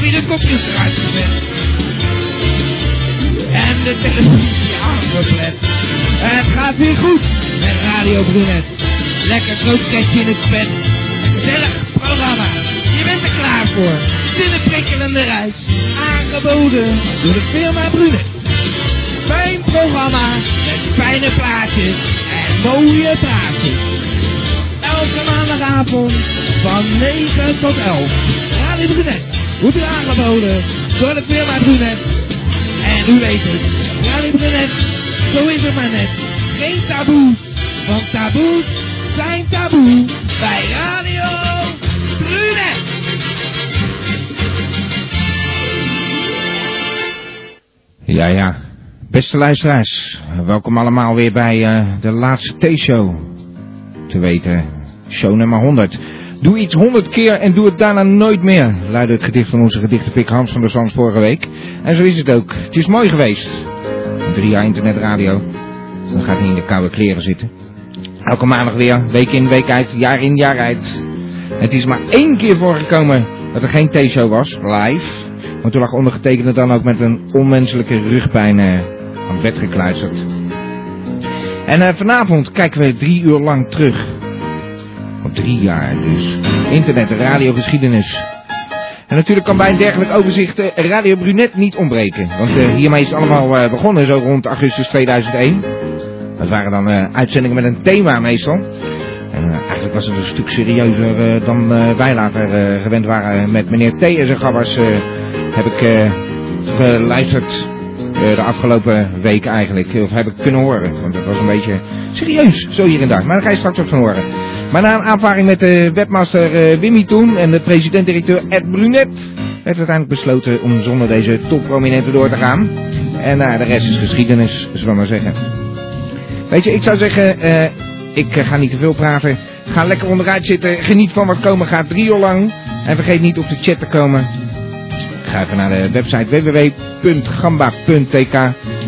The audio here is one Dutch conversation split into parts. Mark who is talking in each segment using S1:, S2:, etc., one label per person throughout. S1: koffiegraatje bent. En de televisie aangeplet. En het gaat weer goed met Radio Brunet. Lekker kroosketje in het bed. Gezellig programma. Je bent er klaar voor. Zinne prikkelende reis. Aangeboden door de firma Brunet. Fijn programma met fijne plaatjes en mooie praatjes. Elke maandagavond van 9 tot 11. Radio Brunet wordt u aangeboden door de firma Brunet. En u weet het, Radio Brunet, zo is het maar net. Geen taboes, want taboes zijn taboe bij Radio Brunet.
S2: Ja, ja. Beste luisteraars, welkom allemaal weer bij eh, de laatste T-show. Te weten, show nummer 100. Doe iets 100 keer en doe het daarna nooit meer, luidde het gedicht van onze gedichtenpik Hans van der Zands vorige week. En zo is het ook. Het is mooi geweest. Drie jaar internetradio. Dan gaat niet in de koude kleren zitten. Elke maandag weer, week in, week uit, jaar in, jaar uit. Het is maar één keer voorgekomen dat er geen T-show was, live. Maar toen lag ondergetekende dan ook met een onmenselijke rugpijn eh, aan bed gekluisterd. En eh, vanavond kijken we drie uur lang terug. Op drie jaar dus. Internet, radiogeschiedenis. En natuurlijk kan bij een dergelijk overzicht eh, Radio Brunet niet ontbreken. Want eh, hiermee is het allemaal eh, begonnen, zo rond augustus 2001. Dat waren dan eh, uitzendingen met een thema meestal. En eh, eigenlijk was het een stuk serieuzer eh, dan eh, wij later eh, gewend waren met meneer T en zijn gabbers. eh, heb ik eh, geluisterd eh, de afgelopen week eigenlijk. Of heb ik kunnen horen. Want dat was een beetje serieus, zo hier en daar. Maar daar ga je straks ook van horen. Maar na een aanvaring met de webmaster eh, Wimmy toen en de president-directeur Ed Brunet... werd uiteindelijk besloten om zonder deze topprominente door te gaan. En nou, de rest is geschiedenis, zullen we maar zeggen. Weet je, ik zou zeggen, eh, ik eh, ga niet te veel praten. Ga lekker onderuit zitten. Geniet van wat komen gaat drie uur lang. En vergeet niet op de chat te komen. Ga even naar de website www.gamba.tk.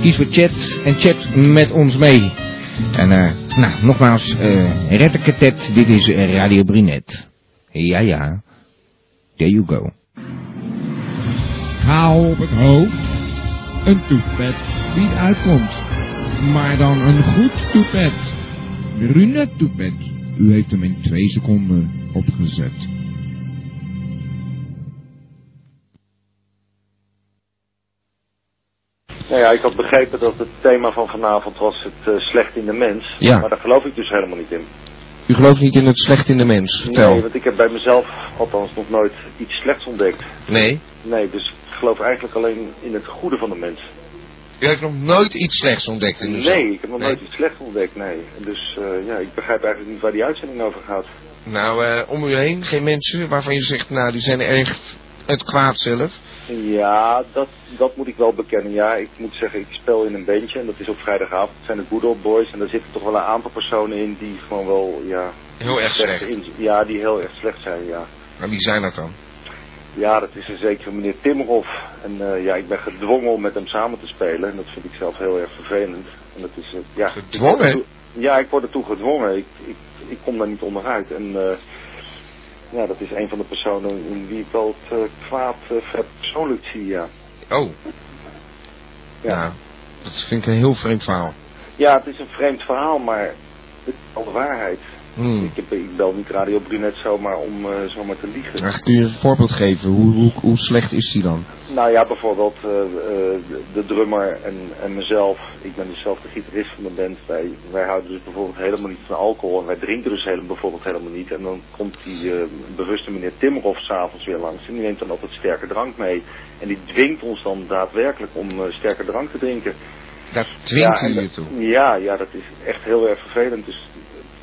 S2: Kies voor chat en chat met ons mee. En eh, nou, nogmaals, eh Retteketet, dit is Radio Brunet. Ja, ja. There you go.
S1: Haal op het hoofd een toepet die het uitkomt. Maar dan een goed toepet. Brunet toepet. U heeft hem in twee seconden opgezet.
S3: Nou ja, ik had begrepen dat het thema van vanavond was het eh, slecht in de mens.
S2: Ja.
S3: Maar daar geloof ik dus helemaal niet in.
S2: U gelooft niet in het slecht in de mens,
S3: Nee, want ik heb bij mezelf althans nog nooit iets slechts ontdekt.
S2: Nee.
S3: Nee, dus ik geloof eigenlijk alleen in het goede van de mens.
S2: U heeft nog nooit iets slechts ontdekt
S3: nee, ik heb nog
S2: Nee.
S3: nooit iets slechts ontdekt, nee. Dus eh, ja, ik begrijp eigenlijk niet waar die uitzending over gaat.
S2: Nou, om u heen geen mensen waarvan je zegt, nou, die zijn echt het kwaad zelf.
S3: Ja, dat, dat moet ik wel bekennen. Ja, ik moet zeggen, ik speel in een bandje en dat is op vrijdagavond. Het zijn de Good Old Boys en daar zitten toch wel een aantal personen in die gewoon wel, ja...
S2: Heel erg slecht.
S3: in- ja, die heel erg slecht zijn, ja.
S2: Maar wie zijn dat dan?
S3: Ja, dat is een zekere meneer Timmerhoff. En eh, ja, ik ben gedwongen om met hem samen te spelen. En dat vind ik zelf heel erg vervelend. En dat is, eh, ja,
S2: Gedwongen?
S3: ja, ik word ertoe gedwongen. Ik, ik, ik kom daar niet onderuit. En eh, ja, dat is een van de personen in wie ik wel het eh, kwaad eh, verpersoonlijk zie, ja.
S2: Oh.
S3: Ja.
S2: Nou, dat vind ik een heel vreemd verhaal.
S3: Ja, het is een vreemd verhaal, maar het is wel de waarheid.
S2: Hmm.
S3: Ik, heb, ik bel niet Radio Brunet zomaar om eh, zomaar te liegen.
S2: Maar kun je een voorbeeld geven? Hoe, hoe, hoe slecht is die dan?
S3: Nou ja, bijvoorbeeld eh, eh, de- de drummer en, en mezelf. Ik ben dus zelf de gitarist van de band. Wij, wij houden dus bijvoorbeeld helemaal niet van alcohol. En wij drinken dus helemaal, bijvoorbeeld helemaal niet. En dan komt die eh, bewuste meneer Timmerhoff s'avonds weer langs. En die neemt dan altijd sterke drank mee. En die dwingt ons dan daadwerkelijk om eh, sterke drank te drinken.
S2: Daar dwingt
S3: en
S2: u je
S3: dat-
S2: toe.
S3: Ja, ja, dat is echt heel erg vervelend. Dus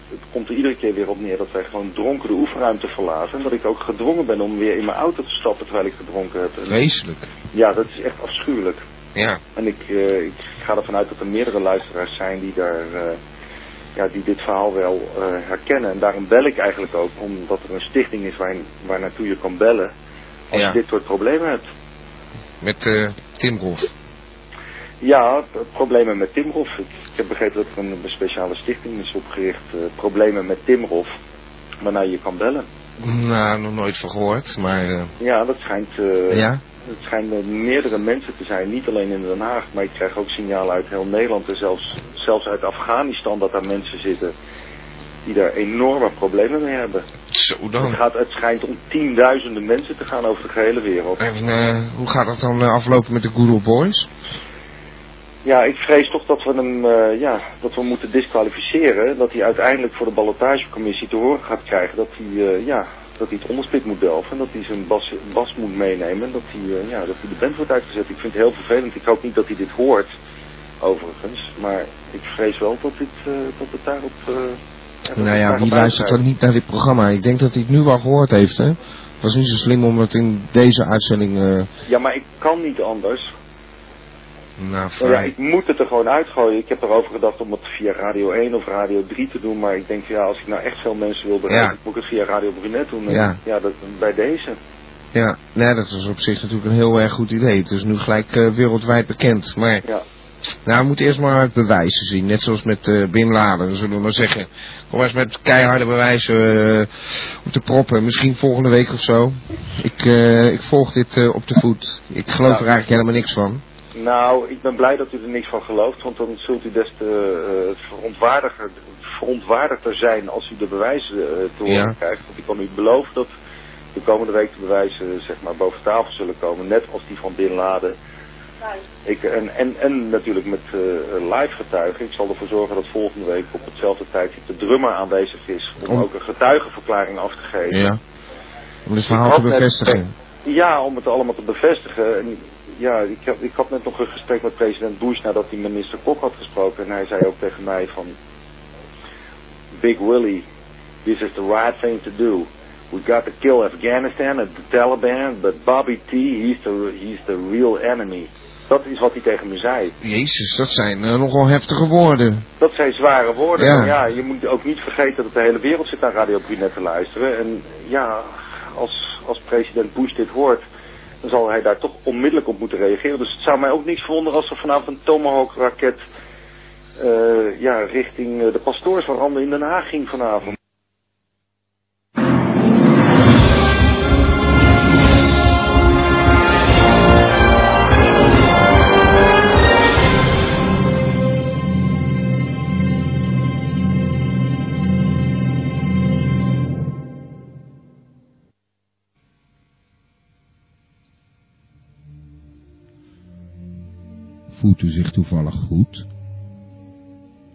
S3: het komt er iedere keer weer op neer dat wij gewoon dronken de oefenruimte verlaten. En dat ik ook gedwongen ben om weer in mijn auto te stappen terwijl ik gedronken heb. En-
S2: Vreselijk.
S3: ja, dat is echt afschuwelijk.
S2: Ja.
S3: En ik, eh, ik ga ervan uit dat er meerdere luisteraars zijn die, daar, eh, ja, die dit verhaal wel eh, herkennen. En daarom bel ik eigenlijk ook, omdat er een stichting is waar, waar naartoe je kan bellen als
S2: Ja.
S3: je dit soort problemen hebt.
S2: Met eh Tim Rolf.
S3: Ja, p- problemen met Timrof. Ik, ik heb begrepen dat er een, een speciale stichting is opgericht, eh, problemen met Timrof, waarna je kan bellen.
S2: Nou, nog nooit van gehoord, maar... eh,
S3: Ja, dat schijnt eh,
S2: ja?
S3: Het schijnen meerdere mensen te zijn, niet alleen in Den Haag, maar ik krijg ook signalen uit heel Nederland en zelfs, zelfs uit Afghanistan dat daar mensen zitten die daar enorme problemen mee hebben.
S2: Zo
S3: Het,
S2: dan.
S3: gaat, het schijnt om tienduizenden mensen te gaan over de gehele wereld.
S2: En eh, hoe gaat dat dan eh, aflopen met de Google Boys?
S3: Ja, ik vrees toch dat we hem eh, ja, dat we hem moeten disqualificeren. Dat hij uiteindelijk voor de ballotagecommissie te horen gaat krijgen dat hij, eh, ja, dat hij het onderspit moet delven. En dat hij zijn bas, bas moet meenemen. En dat hij, eh, ja, dat hij de band wordt uitgezet. Ik vind het heel vervelend. Ik hoop niet dat hij dit hoort, overigens. Maar ik vrees wel dat, dit, eh, dat het daarop... eh, ja, dat het
S2: Nou ja,
S3: daarop
S2: wie luistert
S3: uitgaat.
S2: dan niet naar dit programma? Ik denk dat hij het nu wel gehoord heeft, hè? Het was niet zo slim om het in deze uitzending... eh
S3: Ja, maar ik kan niet anders.
S2: nou,
S3: Nou ja,
S2: vrij...
S3: ik moet het er gewoon uitgooien. Ik heb erover gedacht om het via Radio 1 of Radio 3 te doen. Maar ik denk, van, ja, als ik nou echt veel mensen wil bereiken,
S2: Ja.
S3: moet ik het via Radio Brunet doen. En
S2: Ja.
S3: ja dat, bij deze.
S2: Ja, nee, dat is op zich natuurlijk een heel erg goed idee. Het is nu gelijk eh, wereldwijd bekend. Maar
S3: Ja.
S2: nou, we moeten eerst maar het bewijzen zien. Net zoals met eh Bin Laden, zullen we maar zeggen. Kom maar eens met keiharde bewijzen eh, op de proppen. Misschien volgende week of zo. Ik, eh, ik volg dit eh, op de voet. Ik geloof
S3: Nou.
S2: er eigenlijk helemaal niks van.
S3: Nou, ik ben blij dat u er niks van gelooft. Want dan zult u des te eh, verontwaardiger, verontwaardigder zijn als u de bewijzen eh, te horen
S2: Ja.
S3: krijgt. Want ik kan u beloven dat de komende week de bewijzen eh, zeg maar, boven tafel zullen komen. Net als die van Bin Laden.
S4: Eh,
S3: Ik, en, en, en natuurlijk met eh, live getuigen. Ik zal ervoor zorgen dat volgende week op hetzelfde tijdstip de drummer aanwezig is. Om,
S2: Om-
S3: ook een getuigenverklaring af te geven.
S2: Ja. Om dit verhaal te
S3: had net-
S2: bevestigen.
S3: Ja, om het allemaal te bevestigen. En, ja, ik, heb- ik had net nog een gesprek met president Bush nadat hij minister Kok had gesproken. En hij zei ook tegen mij van... Big Willie, this is the right thing to do. We got to kill Afghanistan and the Taliban, but Bobby T, he's the, he's the real enemy. Dat is wat hij tegen me zei.
S2: Jezus, dat zijn eh, nogal heftige woorden.
S3: Dat zijn zware woorden.
S2: Ja.
S3: Maar ja, je moet ook niet vergeten dat de hele wereld zit naar Radio Brunet te luisteren. En ja, als, als president Bush dit hoort, dan zal hij daar toch onmiddellijk op moeten reageren. Dus het zou mij ook niks verwonderen als er vanavond een Tomahawk-raket eh, ja, richting eh, de pastoors van Randen in Den Haag ging vanavond.
S5: Voelt u zich toevallig goed?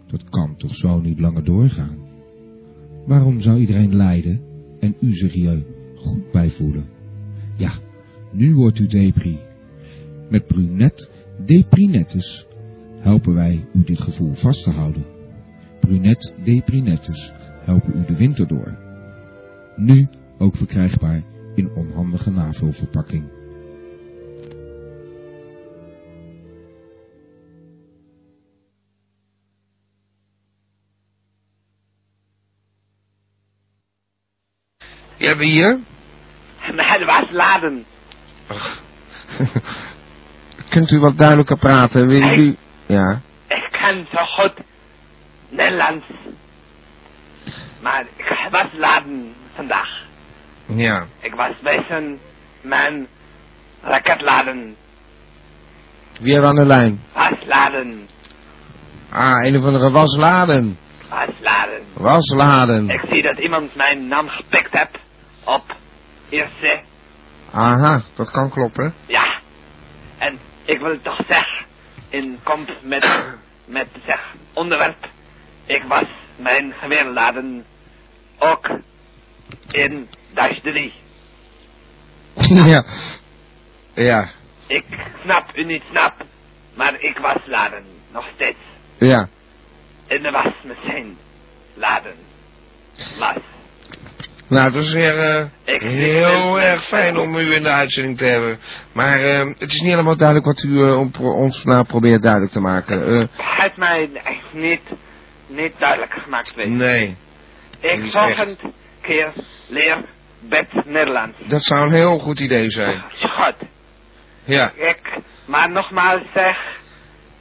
S5: Dat kan toch zo niet langer doorgaan? Waarom zou iedereen lijden en u zich hier goed bij voelen? Ja, nu wordt u depri. Met Brunet Deprinetus helpen wij u dit gevoel vast te houden. Brunet Deprinetus helpen u de winter door. Nu ook verkrijgbaar in onhandige navulverpakking.
S2: Je hebt hier...
S3: Maar waar is Laden?
S2: Kunt u wat duidelijker praten? Wil u... Ja.
S1: Ich kann so gut Nederlands. Maar ik was laden vandaag.
S2: Ja.
S1: Ik was bezig mijn raketladen.
S2: Wie hebben we aan de lijn?
S1: Was laden.
S2: Ah, een of andere wasladen.
S1: Was laden.
S2: Wasladen.
S1: Ik zie dat iemand mijn naam gepikt heeft op eerste.
S2: Aha, dat kan kloppen.
S1: Ja. En ik wil toch zeggen, in komst met, met zeg, onderwerp. Ik was mijn geweerladen ook in Dash 3.
S2: ja. Ja.
S1: Ik snap u niet snap, maar ik was laden, nog steeds.
S2: Ja.
S1: In de was misschien. Laden. Was.
S2: Nou, dat is weer eh,
S1: Ik-
S2: heel
S1: ik-
S2: erg fijn om u in de uitzending te hebben. Maar eh, het is niet helemaal duidelijk wat u eh, om- pro- ons nou probeert duidelijk te maken. Eh,
S1: Het mij echt niet, niet duidelijk gemaakt weet.
S2: nee,
S1: ik
S2: is
S1: volgende keer leer bed Nederlands.
S2: dat zou een heel goed idee zijn.
S1: Goed.
S2: Ja.
S1: Ik, maar nogmaals zeg,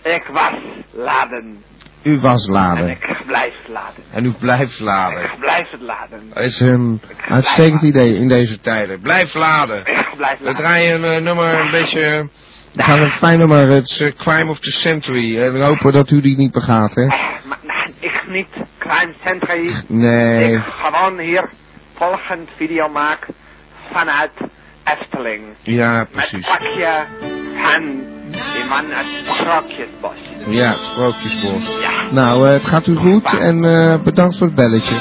S1: ik was laden.
S6: U was
S1: En
S6: laden.
S1: ik blijf laden.
S2: En u blijft laden.
S1: Ik blijf het laden.
S2: Dat is een uitstekend idee in deze tijden. Blijf laden.
S1: Ik blijf
S2: We
S1: laden.
S2: draaien een eh, nummer een beetje... eh, We gaan een fijn nummer. Het is eh, Crime of the Century. En we hopen dat u die niet begaat, hè?
S1: Eh, Maar, nee, ik niet. Crime Centra hier.
S2: Nee.
S1: Ik gewoon hier volgend video maak vanuit Efteling.
S2: Ja,
S1: Met
S2: precies.
S1: pakje van die man uit het Sprookjesbos.
S2: Ja, Sprookjesbos.
S1: Ja.
S2: Nou, eh, het gaat u goed en eh, bedankt voor het belletje.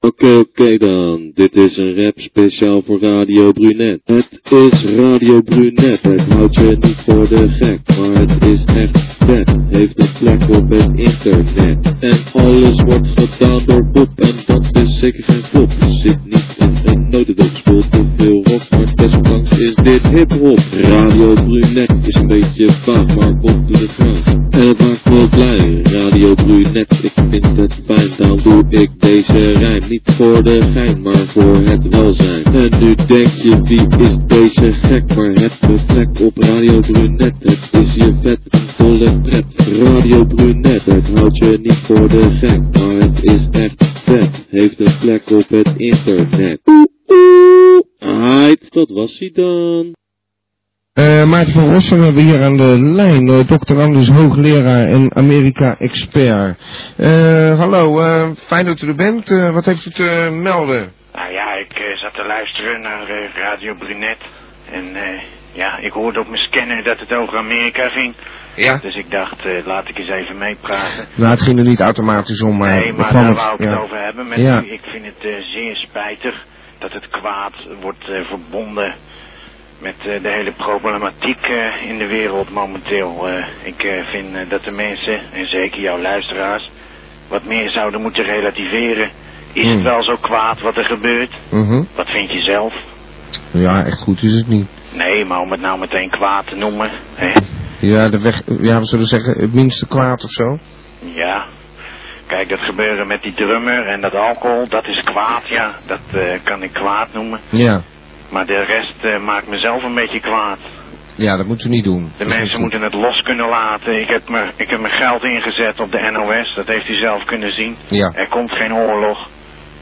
S7: Oké, oké dan. Dit is een rap speciaal voor Radio Brunet. Het is Radio Brunet. Het houdt je niet voor de gek. Maar het is echt vet. Heeft een plek op het internet. En alles wordt gedaan door Bob. En dat is zeker geen flop. Zit niet in een notendop. Speelt te veel rock. Maar desondanks is dit hip-hop. Radio Brunet is een beetje vaag. Maar Bob doet het graag. En het maakt me blij, Radio Brunet, ik vind het fijn, dan doe ik deze rijm. Niet voor de gein, maar voor het welzijn. En nu denk je, wie is deze gek? Maar het vertrek op Radio Brunet, het is je vet, een volle pret. Radio Brunet, het houdt je niet voor de gek, maar het is echt vet. Heeft een plek op het internet. Oeh, oeh, Heid, dat was hij dan.
S2: Eh Maarten van Rossum hebben we hier aan de lijn. eh, Dr. Anders, hoogleraar en Amerika-expert. Eh, hallo, eh, fijn dat u er bent. Eh, wat heeft u te melden?
S8: Nou ja, ik eh, zat te luisteren naar eh, Radio Brunet. En eh, ja, ik hoorde op mijn scanner dat het over Amerika ging.
S2: Ja?
S8: Dus ik dacht, eh, laat ik eens even meepraten.
S2: Nou, het ging er niet automatisch om, maar...
S8: nee,
S2: we
S8: maar
S2: kwamen-
S8: daar wou ik
S2: ja.
S8: het over hebben. Met
S2: Ja.
S8: u. Ik vind het eh, zeer spijtig dat het kwaad wordt eh, verbonden met eh, de hele problematiek eh, in de wereld momenteel. Eh, ik eh, vind eh, dat de mensen, en zeker jouw luisteraars, wat meer zouden moeten relativeren. Is het
S2: Hmm.
S8: wel zo kwaad wat er gebeurt?
S2: Mhm.
S8: Wat vind je zelf?
S2: Ja, echt goed is het niet.
S8: Nee, maar om het nou meteen kwaad te noemen. Hè?
S2: Ja, de weg, ja, we zullen zeggen het minste kwaad of zo.
S8: Ja. Kijk, dat gebeuren met die drummer en dat alcohol, dat is kwaad, ja. Dat eh, kan ik kwaad noemen.
S2: Ja,
S8: Maar de rest eh, maakt mezelf een beetje kwaad.
S2: ja dat moeten we niet doen.
S8: De mensen moeten het los kunnen laten. Ik heb, me, ik heb mijn geld ingezet op de NOS, dat heeft u zelf kunnen zien.
S2: Ja.
S8: Er komt geen oorlog.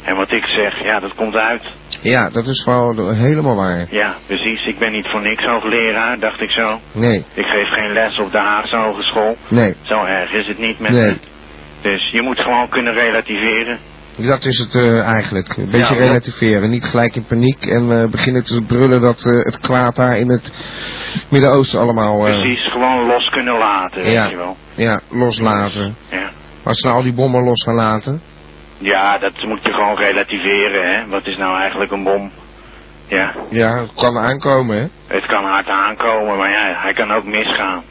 S8: En wat ik zeg, ja, dat komt uit.
S2: ja, dat is wel helemaal waar.
S8: Ja, precies. Ik ben niet voor niks hoogleraar, dacht ik zo.
S2: Nee,
S8: Ik geef geen les op de Haagse Hogeschool.
S2: nee,
S8: Zo erg is het niet met
S2: nee.
S8: Dus je moet gewoon kunnen relativeren.
S2: Dat is het eh, eigenlijk. Een beetje
S8: Ja, ja.
S2: relativeren. Niet gelijk in paniek en eh, beginnen te brullen dat eh, het kwaad daar in het Midden-Oosten allemaal eh,
S8: Precies, gewoon los kunnen laten, weet
S2: Ja.
S8: je wel.
S2: ja, loslaten.
S8: Ja.
S2: Als ze nou al die bommen los gaan laten.
S8: ja, dat moet je gewoon relativeren, hè. Wat is nou eigenlijk een bom? Ja,
S2: Ja, het kan aankomen, hè?
S8: het kan hard aankomen, maar ja, hij kan ook misgaan.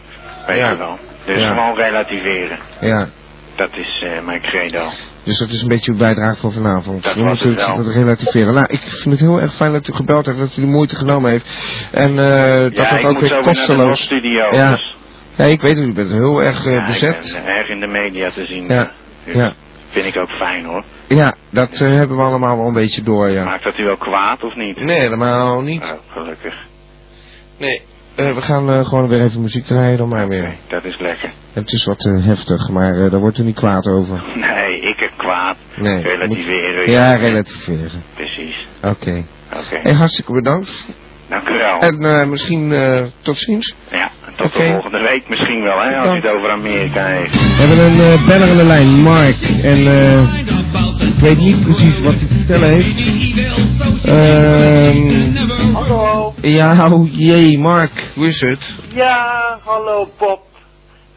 S8: Weet
S2: Ja.
S8: je wel. Dus
S2: Ja.
S8: gewoon relativeren.
S2: Ja.
S8: Dat is eh, mijn credo.
S2: Dus dat is een beetje uw bijdrage voor vanavond.
S8: Dat
S2: we
S8: was
S2: moeten
S8: het wel.
S2: relativeren. Nou, ik vind het heel erg fijn dat u gebeld heeft, dat u de moeite genomen heeft. En eh, dat
S8: ja,
S2: het
S8: ik
S2: ook
S8: moet zo
S2: weer
S8: weer naar de
S2: kosteloos.
S8: studio.
S2: Ja, Ja, ik weet het, u bent heel erg eh,
S8: Ik
S2: bezet.
S8: ben erg in de media te zien.
S2: Ja.
S8: Dus
S2: Ja.
S8: Vind ik ook fijn, hoor.
S2: Ja, dat eh, hebben we allemaal wel een beetje door, ja.
S8: Maakt dat u wel kwaad of niet?
S2: Nee, helemaal niet.
S8: Oh, gelukkig.
S2: Nee. eh, we gaan eh, gewoon weer even muziek draaien dan maar
S8: Oké,
S2: weer.
S8: dat is lekker.
S2: Het is wat eh, heftig, maar eh, daar wordt u niet kwaad over.
S8: Nee, ik heb kwaad.
S2: Nee.
S8: Relativeren.
S2: Ja, relativeren.
S8: Precies.
S2: Oké.
S8: Oké.
S2: Hey, hartstikke bedankt.
S8: Dank u wel.
S2: En eh, misschien eh, tot ziens.
S8: ja, tot
S2: oké.
S8: de volgende week misschien wel, hè, als u
S2: Dank.
S8: het over Amerika heeft.
S2: We hebben een eh, beller aan de lijn, Mark. En eh, ik weet niet precies wat hij te vertellen heeft. Ehm
S9: Hallo.
S2: ja, oh jee, Mark. Hoe is het?
S9: Ja, hallo Bob.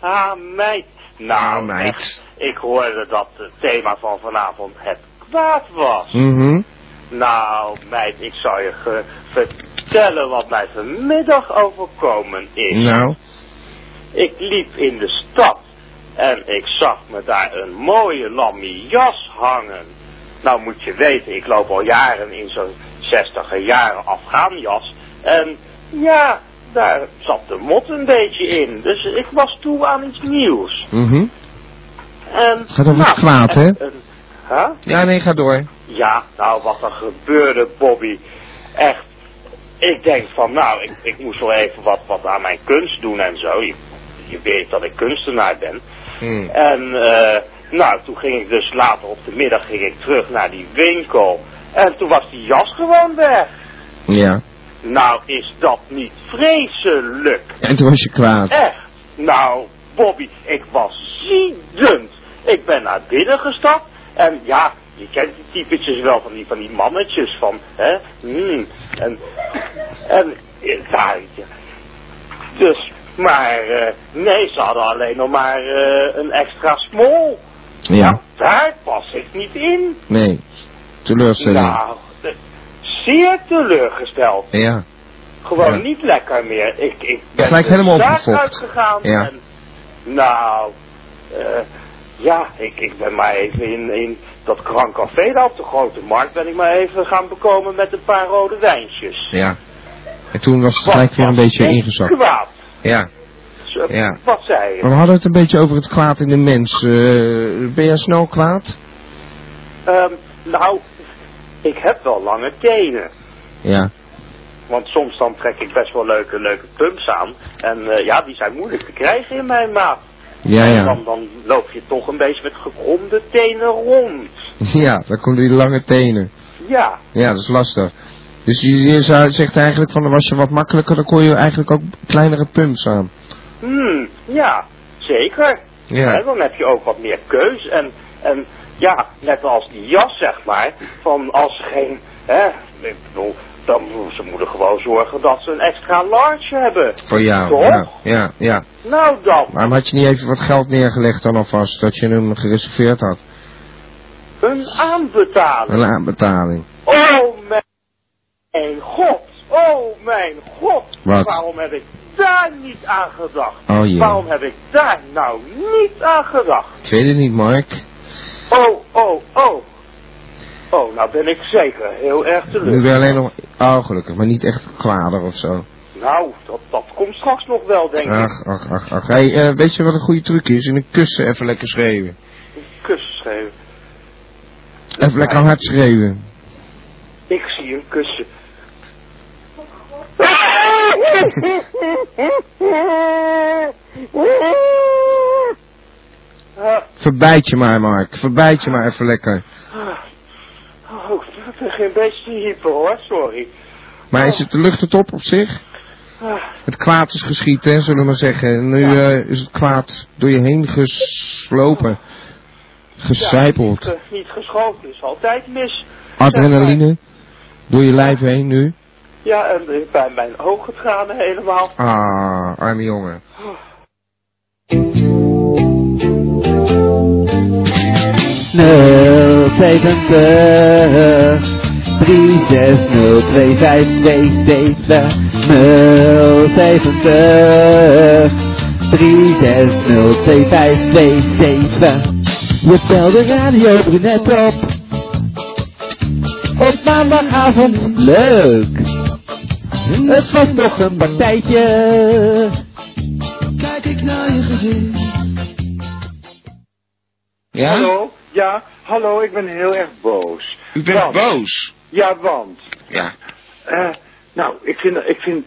S9: Ah, meid.
S2: Nou, meid.
S9: echt, Ik hoorde dat het thema van vanavond het kwaad was.
S2: Mhm.
S9: Nou, meid, ik zou je ge- vertellen wat mij vanmiddag overkomen is.
S2: Nou,
S9: Ik liep in de stad en ik zag me daar een mooie lamme jas hangen. Nou moet je weten, ik loop al jaren in zo'n 60 jaren Afghaanjas. En ja, daar zat de mot een beetje in. Dus ik was toe aan iets nieuws.
S2: mhm.
S9: En, het
S2: gaat over het kwaad, hè?
S9: Huh?
S2: Ja, nee, ga door.
S9: Ja, nou wat er gebeurde, Bobby. Echt. ik denk van, nou, ik, ik moest wel even wat, wat aan mijn kunst doen en zo. Je, je weet dat ik kunstenaar ben.
S2: Hmm.
S9: En eh, nou, toen ging ik dus later op de middag ging ik terug naar die winkel. En toen was die jas gewoon weg.
S2: Ja.
S9: Nou, is dat niet vreselijk?
S2: En toen was je kwaad.
S9: Echt? Nou, Bobby, ik was ziedend. Ik ben naar binnen gestapt en ja, je kent die typetjes wel van die, van die mannetjes van, hè? Hmm. En, en, eh, daar, ja. Dus, maar, eh, nee, ze hadden alleen nog maar eh, een extra smol.
S2: Ja.
S9: Daar pas ik niet in.
S2: Nee. Teleurstelling.
S9: Nou, eh, zeer teleurgesteld.
S2: Ja.
S9: Gewoon
S2: Ja.
S9: niet lekker meer. Ik, ik ben
S2: gelijk
S9: de
S2: helemaal
S9: zaak
S2: opgefokt.
S9: uitgegaan.
S2: Ja.
S9: En, nou, eh, ja, ik, ik ben maar even in, in dat krank café daar op de grote markt ben ik maar even gaan bekomen met een paar rode wijntjes.
S2: Ja. En toen was het
S9: Wat
S2: gelijk weer een
S9: was
S2: beetje
S9: ik
S2: ingezakt.
S9: Kwaad.
S2: Ja.
S9: Zo,
S2: Ja.
S9: Wat zei je?
S2: Maar we hadden het een beetje over het kwaad in de mens. Eh, ben jij snel kwaad?
S9: Ehm, nou, ik heb wel lange tenen.
S2: Ja.
S9: Want soms dan trek ik best wel leuke, leuke pumps aan. En eh, ja, die zijn moeilijk te krijgen in mijn maat.
S2: Ja,
S9: En
S2: ja.
S9: dan, dan loop je toch een beetje met gekromde tenen rond.
S2: Ja, dan komen die lange tenen.
S9: Ja,
S2: Ja, dat is lastig. Dus je, je zou- zegt eigenlijk van, dan was je wat makkelijker, dan kon je eigenlijk ook kleinere pumps aan.
S9: hmm, ja, zeker. Hè,
S2: Ja.
S9: dan heb je ook wat meer keus. En, en ja, net als die jas, zeg maar. Van als ze geen, hè, ik bedoel, dan ze moeten gewoon zorgen dat ze een extra large hebben.
S2: Voor jou.
S9: Toch?
S2: Oh Ja, ja, ja.
S9: Nou dan,
S2: Maar had je niet even wat geld neergelegd dan alvast, dat je hem gereserveerd had?
S9: een aanbetaling.
S2: Een aanbetaling.
S9: Oh mijn, mijn god, oh mijn god.
S2: Wat?
S9: Waarom heb ik daar niet aan gedacht?
S2: Oh jee.
S9: Waarom heb ik daar nou niet aan gedacht?
S2: Ik weet het niet, Mark.
S9: Oh, oh, oh. Oh, nou ben ik zeker heel erg
S2: Nu
S9: teleurgesteld.
S2: weer alleen nog... Oh, gelukkig, maar niet echt kwader of zo.
S9: Nou, dat, dat komt straks nog wel, denk ik.
S2: Ach, ach, ach, ach. Hey, eh, weet je wat een goede truc is? In een kussen even lekker schreeuwen.
S9: Kus schreeuwen.
S2: Even lekker hard schreeuwen.
S9: Ik zie een kussen. Ah,
S2: Verbijt je maar, Mark. Verbijt je maar even lekker.
S1: Ah.
S9: Oh, ik begin een beetje te hyper hoor, sorry.
S2: Maar is het de lucht het op op zich?
S9: Ah,
S2: Het kwaad is geschiet, hè, zullen we maar zeggen. Nu eh, is het kwaad door je heen geslopen.
S9: niet,
S2: Gecijpeld.
S9: eh, niet geschoven is altijd mis.
S2: Adrenaline. Door je lijf heen nu.
S9: Ja, en eh, bij mijn ogen tranen helemaal.
S2: Ah, arme jongen.
S10: We belden Radio Brunet op. Op maandagavond, leuk. Het was nog een partijtje. Kijk ik naar je gezicht.
S2: Ja?
S1: Hallo? Ja, hallo, ik ben heel erg boos.
S2: U bent boos.
S1: Ja, want...
S2: Ja.
S1: eh, nou, ik vind, ik vind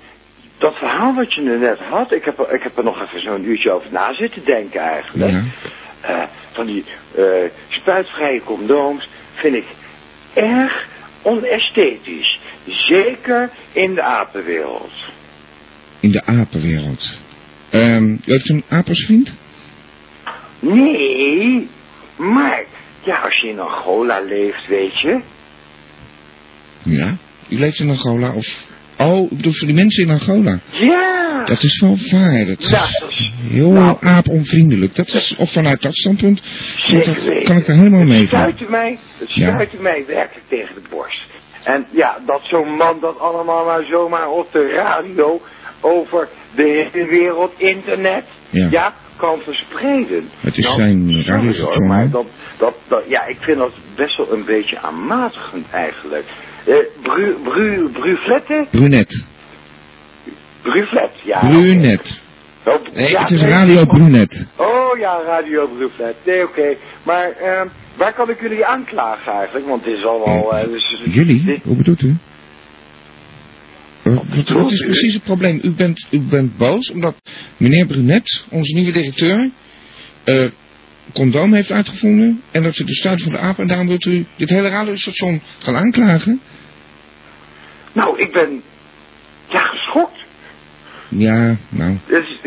S1: dat verhaal wat je er net had... Ik heb, er- ik heb er nog even zo'n uurtje over na zitten denken eigenlijk.
S2: Ja.
S1: Eh, van die eh, spuitvrije condooms vind ik erg onesthetisch. Zeker in de apenwereld.
S11: In de apenwereld. Ehm, u heeft een apelsvriend?
S1: Nee, maar ja, als je in Angola leeft, weet je...
S11: Ja. U leeft in Angola of... Oh, ik bedoel voor die mensen in Angola.
S1: Ja!
S11: Dat is wel waar. Dat is
S1: Ja, dat is-
S11: heel
S1: nou.
S11: aaponvriendelijk. Dat is, of vanuit dat standpunt,
S1: Zeker
S11: dat
S1: weten.
S11: kan ik er helemaal mee
S1: Het
S11: van.
S1: stuitte mij, het
S11: Ja.
S1: stuitte mij werkelijk tegen de borst. En ja, dat zo'n man dat allemaal maar zomaar op de radio over de hele wereld, internet,
S11: Ja.
S1: ja, kan verspreiden.
S11: Het is
S1: Nou,
S11: zijn
S1: sorry hoor,
S11: radiostation, hè?
S1: Maar dat, dat, dat, ja, ik vind dat best wel een beetje aanmatigend eigenlijk. Eh bru, bru, bruflette?
S11: Brunet.
S1: Bruflet, ja.
S11: Brunet.
S1: Oh,
S2: Nee,
S1: ja,
S11: Het is
S1: nee,
S11: Radio
S1: oh,
S11: Brunet.
S1: Oh ja, Radio Bruflet. Nee, oké. Maar ehm, waar kan ik jullie aanklagen eigenlijk? Want het is allemaal... eh, dus-
S11: Jullie?
S1: dit-
S11: Hoe bedoelt u?
S2: Wat, wat is precies het probleem? U bent, u bent boos omdat meneer Brunet, onze nieuwe directeur, eh condoom heeft uitgevonden. En dat ze de stuit van de aap. En daarom wilt u dit hele radiostation gaan aanklagen.
S12: Nou, ik ben... Ja, geschokt.
S2: Ja, nou.
S12: Dus,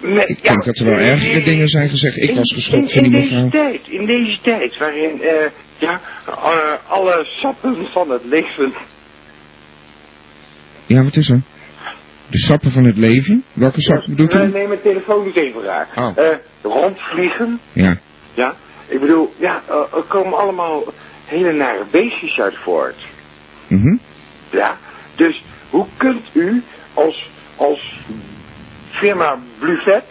S12: met,
S2: Ik denk dat er wel ergere dingen zijn gezegd. Ik
S12: In-
S2: was
S12: in-
S2: geschokt van die
S12: in deze
S2: mevrouw.
S12: tijd, in deze tijd, waarin eh, ja, eh, alle sappen van het leven...
S2: Ja, wat is er? De sappen van het leven? Welke sap bedoelt
S12: Eh,
S2: u?
S12: Nee, mijn telefoon doet even raar.
S2: Oh.
S12: Eh, rondvliegen,
S2: Ja.
S12: ja. Ik bedoel, ja, eh, er komen allemaal hele nare beestjes uit voort.
S2: mhm.
S12: Ja, dus hoe kunt u als, als firma Bluvet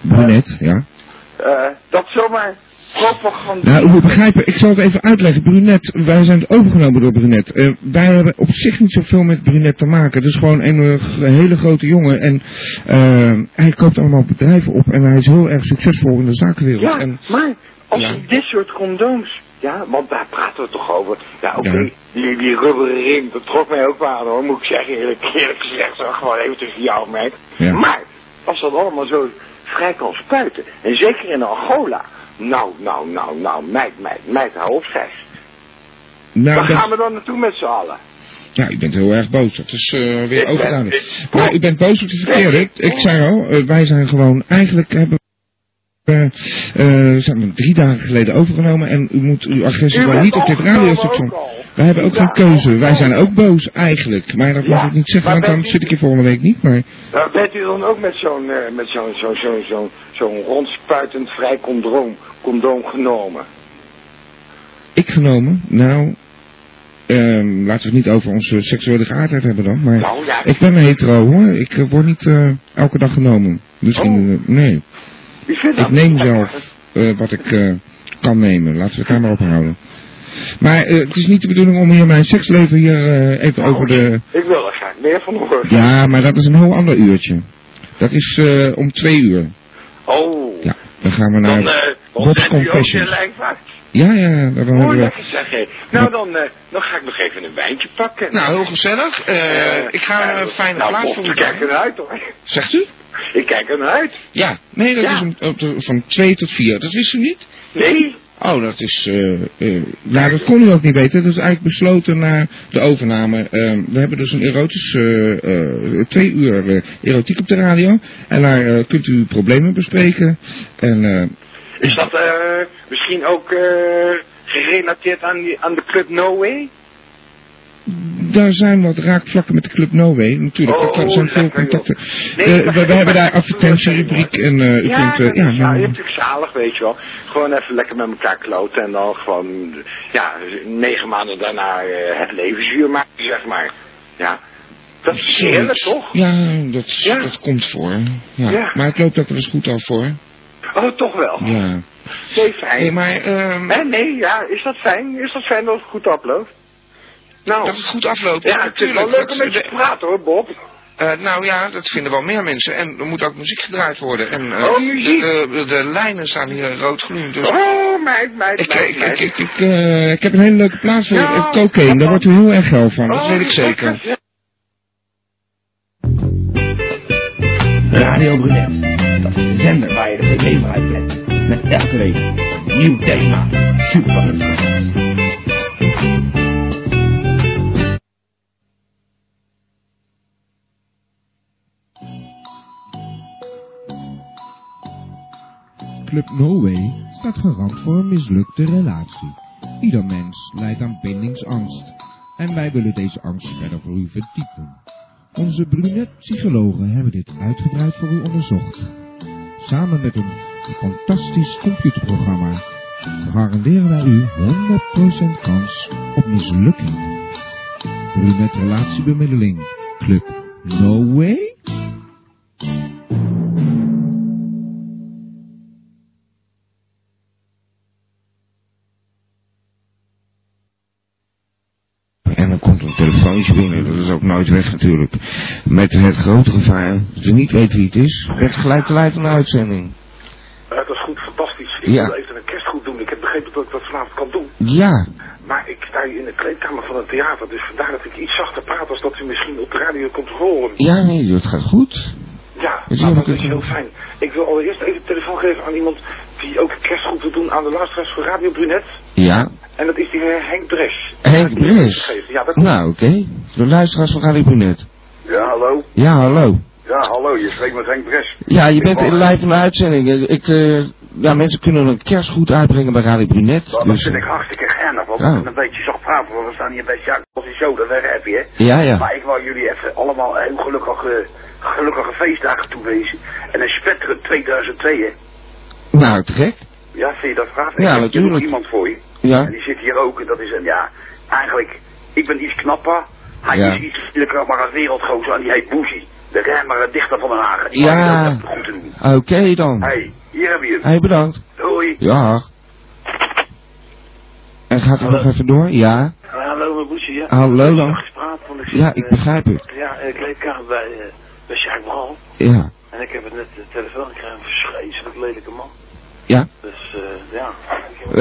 S2: Brunet, ja.
S12: eh, dat zomaar propaganderen?
S2: Nou, u moet begrijpen, ik zal het even uitleggen. Brunet, wij zijn overgenomen door Brunet. Eh, wij hebben op zich niet zoveel met Brunet te maken. Het is gewoon een eh, g- hele grote jongen. En eh, hij koopt allemaal bedrijven op. En hij is heel erg succesvol in de zakenwereld.
S12: Ja,
S2: En,
S12: maar als
S2: Ja.
S12: u dit soort condooms... Ja, want daar praten we toch over. Ja, oké,
S2: Ja.
S12: die, die rubberen ring, dat trok mij ook wel aan hoor, moet ik zeggen. Eerlijk, eerlijk gezegd, hoor, gewoon even tussen jou en mij.
S2: Ja.
S12: Maar, als dat allemaal zo vrij kan spuiten, en zeker in Angola... Nou, nou, nou, nou, meid, meid, meid, hou op, zeg.
S2: nou,
S12: Waar
S2: dat-
S12: gaan we dan naartoe met z'n allen?
S2: Ja, u bent heel erg boos. Dat is eh, weer
S12: Ik ben-
S2: overdaan.
S12: ik-
S2: Maar u bent boos op de verkeerde. Ik- Ik zei al, eh, wij zijn gewoon... Eigenlijk hebben we... eh, eh, zijn we drie dagen geleden overgenomen. En u moet uw agressie
S12: U
S2: maar
S12: bent
S2: niet op dit
S12: overgenomen
S2: radiostation...
S12: ook al.
S2: Wij hebben ook
S12: Ja,
S2: geen keuze. Wij
S12: overgenomen.
S2: zijn ook boos eigenlijk. Maar dat mag
S12: Ja,
S2: ik niet zeggen,
S12: maar
S2: want dan
S12: bent u-
S2: zit ik hier volgende week niet. Maar
S12: Nou, bent u dan ook met zo'n eh, met zo'n zo'n zo'n zo'n zo'n rondspuitend vrij condoom, condoom genomen?
S2: ik genomen, nou... ehm, laten we het niet over onze seksuele geaardheid hebben dan. Maar
S12: Nou ja,
S2: ik ben hetero hoor. Ik eh, word niet eh, elke dag genomen. Misschien,
S12: Oh.
S2: eh, nee.
S12: u vindt
S2: Ik
S12: dat
S2: neem
S12: niet
S2: zelf eh, wat ik eh, kan nemen. Laten we het daar maar op houden. Maar eh, het is niet de bedoeling om hier mijn seksleven hier eh, even over de...
S12: Ik wil er graag meer van horen.
S2: Ja, maar dat is een heel ander uurtje. Dat is eh, om twee uur.
S12: Oh,
S2: Ja, dan gaan we
S12: dan,
S2: naar...
S12: eh dan
S2: Bob's
S12: bent u ook
S2: Confessions.
S12: weer lijnvaart.
S2: Ja, ja, dan hebben
S12: Mooi
S2: we...
S12: lekker zeg, hé. Nou, dan, eh, dan ga ik nog even een wijntje pakken.
S2: Nou, heel gezellig. Eh, ik ga een fijne
S12: nou,
S2: plaats
S12: Bob,
S2: voor u
S12: Ik kijk
S2: maken.
S12: er naar uit, hoor.
S2: Zegt u?
S12: Ik kijk er naar uit.
S2: Ja. Nee, dat
S12: Ja.
S2: is om, op de- van twee tot vier. Dat wist u niet?
S12: Nee,
S2: Oh, dat is. eh eh, nou, dat kon u ook niet weten. Dat is eigenlijk besloten na de overname. Ehm, we hebben dus een erotisch. eh, eh, twee uur eh, erotiek op de radio. En daar eh, kunt u problemen bespreken. En. eh,
S12: is dat eh, misschien ook eh, gerelateerd aan, die, aan de club No Way?
S2: daar zijn wat raakvlakken met de Club No Way. Natuurlijk,
S12: Oh,
S2: er zijn veel
S12: lekker,
S2: contacten.
S12: Nee,
S2: Eh,
S12: ik begrijp-
S2: we, we
S12: ik
S2: hebben daar
S12: begrijp-
S2: advertentierubriek en eh, u
S12: ja,
S2: kunt...
S12: dat
S2: eh, ja,
S12: is ja,
S2: nou,
S12: natuurlijk zalig, weet je wel. Gewoon even lekker met elkaar kloten en dan gewoon, ja, negen maanden daarna eh, het levensvuur maken, zeg maar. Ja, dat is heerlijk, toch?
S2: ja, dat,
S12: Ja.
S2: dat komt voor. Ja.
S12: Ja.
S2: Maar het loopt ook wel eens goed af hoor.
S12: Oh, toch wel.
S2: Ja.
S12: Nee,
S2: Hey,
S12: fijn.
S2: maar ehm,
S12: Hè, nee, ja, is dat fijn? Is dat fijn dat het goed afloopt? Nou,
S2: dat het goed afloopt.
S12: ja, het is wel leuk om
S2: dat-
S12: met je te praten hoor, Bob.
S2: Eh, nou ja, dat vinden wel meer mensen. En er moet ook muziek gedraaid worden. En, eh,
S12: Oh, muziek.
S2: De, de, de lijnen staan hier roodgloeiend. Dus
S12: Oh, meid, meid,
S2: ik,
S12: meid,
S2: ik,
S12: meid.
S2: ik, ik, ik, eh, ik heb een hele leuke plaats voor.
S12: Ja,
S2: Eh, cocaïne, daar wordt u heel erg geil van. Dat
S12: Oh,
S2: weet ik
S12: lekker,
S2: zeker.
S12: zeg.
S1: Radio Brunet. Dat is de zender waar je de problemen uitbrengt. Met elke week een nieuw thema. Super.
S10: Club No Way staat garant voor een mislukte relatie. Ieder mens lijdt aan bindingsangst. En wij willen deze angst verder voor u verdiepen. Onze brunet-psychologen hebben dit uitgebreid voor u onderzocht. Samen met een fantastisch computerprogramma garanderen wij u 100% kans op mislukking. Brunet relatiebemiddeling. Club No Way?
S2: En dan komt er een telefoontje binnen. Dat is ook nooit weg natuurlijk. Met het grote gevaar dat u niet weet wie het is. Werd gelijk de lijn van de uitzending.
S13: Ja, dat is goed, fantastisch. Ik
S2: Ja.
S13: wil even een kerstgoed doen. Ik heb begrepen dat ik dat vanavond kan doen.
S2: Ja,
S12: Maar ik sta hier in de kleedkamer van het theater, dus vandaar dat ik iets zachter praat als dat u misschien op de radio komt horen.
S10: Ja, nee, het gaat goed.
S12: Ja,
S10: Dus
S12: nou,
S10: hier heb ik
S12: dat is
S10: het
S12: heel
S10: wel.
S12: fijn. Ik wil allereerst even de telefoon geven aan iemand die ook kerstgroep wil doen aan de luisteraars van Radio Brunet.
S10: Ja.
S12: En dat is die heer Henk Bres.
S10: Henk Bres.
S12: Ja, dat
S10: Nou, oké. De luisteraars van Radio Brunet.
S4: Ja, hallo.
S10: Ja, hallo.
S4: Ja, hallo, je spreekt met Henk Bres.
S10: Ja, je
S4: Ik
S10: bent
S4: hoor-
S10: in live van de uitzending. Eh, Ik, eh, ja, mensen kunnen een kerstgoed uitbrengen bij Radio Brunet.
S4: Nou, dat
S10: dus,
S4: vind ik hartstikke geinig, want we
S10: Oh.
S4: kunnen een beetje zacht praten, want we staan hier bij Jacques als een show, dat daar heb je. hè.
S10: Ja, ja.
S4: Maar ik wou jullie even allemaal heel gelukkige, gelukkige feestdagen toewezen. En een spettere 2002, hè.
S10: Nou, te gek.
S4: Ja, vind je dat graag? ik
S10: Ja,
S4: heb hier nog
S10: natuurlijk.
S4: iemand voor je.
S10: Ja.
S4: En die zit hier ook, en dat is een, ja, eigenlijk, ik ben iets knapper. Hij
S10: Ja.
S4: is iets vriendelijker, maar een wereldgozer, en die heet Boezie. De remmer, dichter van Den Haag. Ik wou je
S10: Ja.
S4: dat even goed te doen.
S10: eh, Oké dan.
S4: hey, hier heb je hem.
S10: hey, bedankt.
S4: Doei.
S10: Ja. En gaat het nog even door? Ja.
S1: Hallo, mijn boetje. Ja.
S10: Hallo
S1: Ik heb
S10: dan.
S1: nog gespraat, want ik zit,
S10: Ja, ik
S1: eh,
S10: begrijp het.
S1: Ja, ik kleedkamer bij, eh bij Sjaak Bral.
S10: Ja.
S1: En ik heb het net de telefoon gekregen, een verschrikkelijk lelijke man.
S10: Ja.
S1: Dus, eh, ja.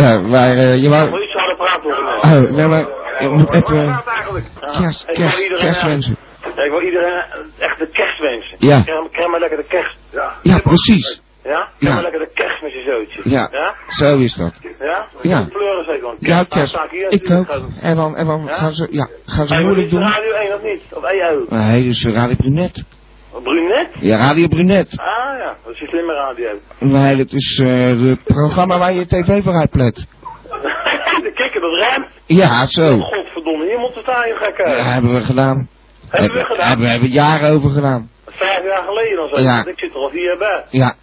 S10: Ja, maar eh, je
S1: Moet
S10: wou...
S1: je zouden praten hoor.
S2: Eh,
S10: Oh, nee, maar ik moet even... Kerst,
S1: Ik wil
S10: kerst,
S12: eh,
S1: iedereen-
S10: kerstwensen.
S1: Ja, ik wil iedereen echt de kerst wensen.
S10: Ja.
S1: Ik Krijg, krijg maar lekker de kerst. Ja.
S10: Ja, precies.
S1: Ja? Krijg maar
S10: Ja.
S1: lekker de kerst met je zootje.
S10: Ja,
S1: Ja?
S10: zo is dat.
S1: Ja?
S10: Ja.
S1: Ik pleuren zeker wel.
S10: Ja,
S1: Dan
S10: kerst.
S1: sta hier
S10: Ik ook.
S1: natuurlijk gewoon-
S10: En dan, en dan
S1: Ja?
S10: gaan ze, ja, gaan ze
S1: Hey, maar
S10: moeilijk
S1: dit is
S10: doen.
S1: Radio 1 of niet? Of E EO?
S10: Nee, dus Radio Brunet.
S1: Brunet?
S10: Ja, Radio Brunet.
S1: Ah ja, dat is een slimme radio.
S10: Nee, dat is eh het programma waar je tv voor uitplet.
S1: de kikker, dat ruimt.
S10: Ja, Ah, zo.
S12: Oh,
S1: Godverdomme, hier moet het aan je gaan kijken.
S10: Ja, hebben we gedaan.
S1: Hebben we gedaan?
S10: Hebben, hebben we jaren over gedaan.
S1: Vijf jaar geleden of zo.
S10: Ja.
S1: want Ik zit er al vier jaar bij.
S10: Ja.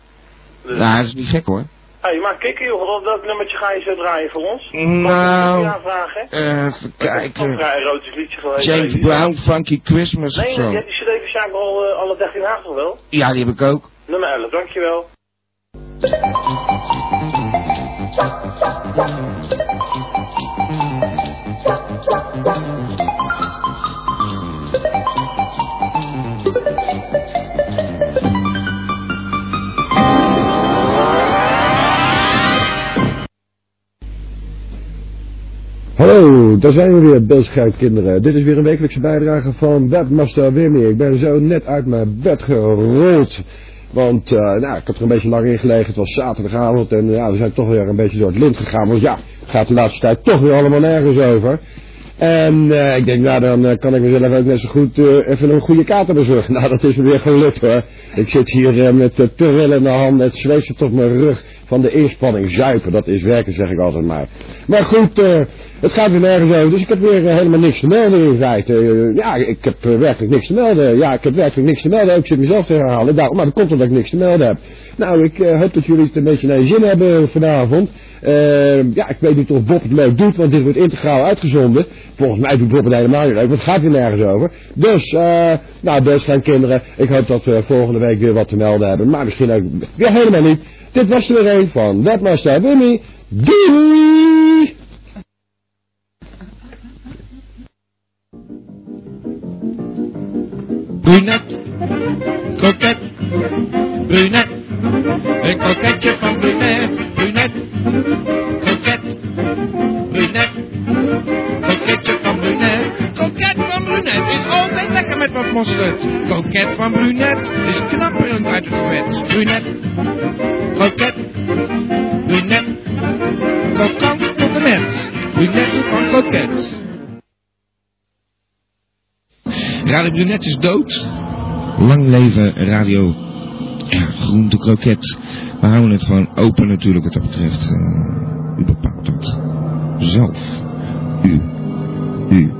S1: Dus-
S10: Nou, dat is niet gek hoor.
S1: hey, maar kikker joh, wat- welk nummertje ga je zo draaien voor ons?
S10: Nou,
S1: Ja, vragen.
S10: eh, even
S1: Een
S10: kijken.
S1: vrij erotisch liedje geweest. weet
S10: James
S1: je.
S10: Brown, Funky Christmas of
S1: eh, Nee, je
S10: zo.
S1: hebt die CD van Sjaak al eh, alle 13 haar toch wel?
S10: Ja, die heb ik ook.
S1: Nummer 11, dankjewel.
S11: Hallo, daar zijn we weer, Bilschuit kinderen. Dit is weer een wekelijkse bijdrage van Webmaster Wimmy. Ik ben zo net uit mijn bed gerold. Want eh, nou, ik heb er een beetje lang in gelegen. Het was zaterdagavond en ja, we zijn toch weer een beetje door het lint gegaan. Want ja, het gaat de laatste tijd toch weer allemaal nergens over. En eh, ik denk, nou dan eh, kan ik mezelf ook net zo goed eh, even een goede kater bezorgen. Nou, dat is me weer gelukt hoor. Ik zit hier eh, met de trillende handen, het zweet zit op mijn rug van de inspanning. Zuipen, dat is werken zeg ik altijd maar. Maar goed, eh, het gaat weer nergens over, dus ik heb weer eh, helemaal niks te melden in feite. Eh, ja, ik heb eh, werkelijk niks te melden. Ja, ik heb werkelijk niks te melden. Ik zit mezelf te herhalen. Nou, maar dat komt omdat ik niks te melden heb. Nou, ik eh, hoop dat jullie het een beetje naar je zin hebben vanavond. Eh, ja, ik weet niet of Bob het leuk doet, want dit wordt integraal uitgezonden. Volgens mij doet Bob het helemaal niet leuk, want het gaat weer nergens over. Dus, eh, nou, best gaan kinderen. Ik hoop dat we volgende week weer wat te melden hebben. Maar misschien ook weer helemaal niet. Dit was er weer een van Webmaster Wimmy. Doei!
S14: Brunet, kroket, brunet, een kroketje van brunet, brunet, kroket, brunet, kroketje van brunet. Kroket van brunet is altijd lekker met wat mosterd. Kroket van brunet is knapperend uit het vet. Brunet, kroket, brunet, krokant compliment, brunet van kroket. Radio Brunet is dood.
S2: Lang leven radio. Ja, groente kroket. We houden het gewoon open natuurlijk wat dat betreft. Eh, u bepaalt dat. Zelf. U. U.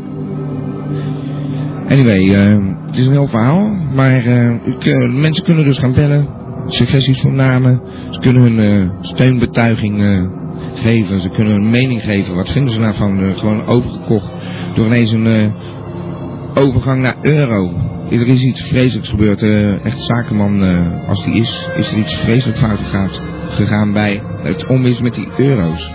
S2: Anyway, eh, het is een heel verhaal. Maar eh, ik, eh, mensen kunnen dus gaan bellen. Suggesties voor namen. Ze kunnen hun eh, steunbetuiging eh, geven. Ze kunnen hun mening geven. Wat vinden ze daarvan? Eh, gewoon overgekocht door ineens een... eh, overgang naar euro. Er is iets vreselijks gebeurd. Eh, echt zakenman, eh, als die is, is er iets vreselijk fout gegaan, gegaan bij het om is met die euro's.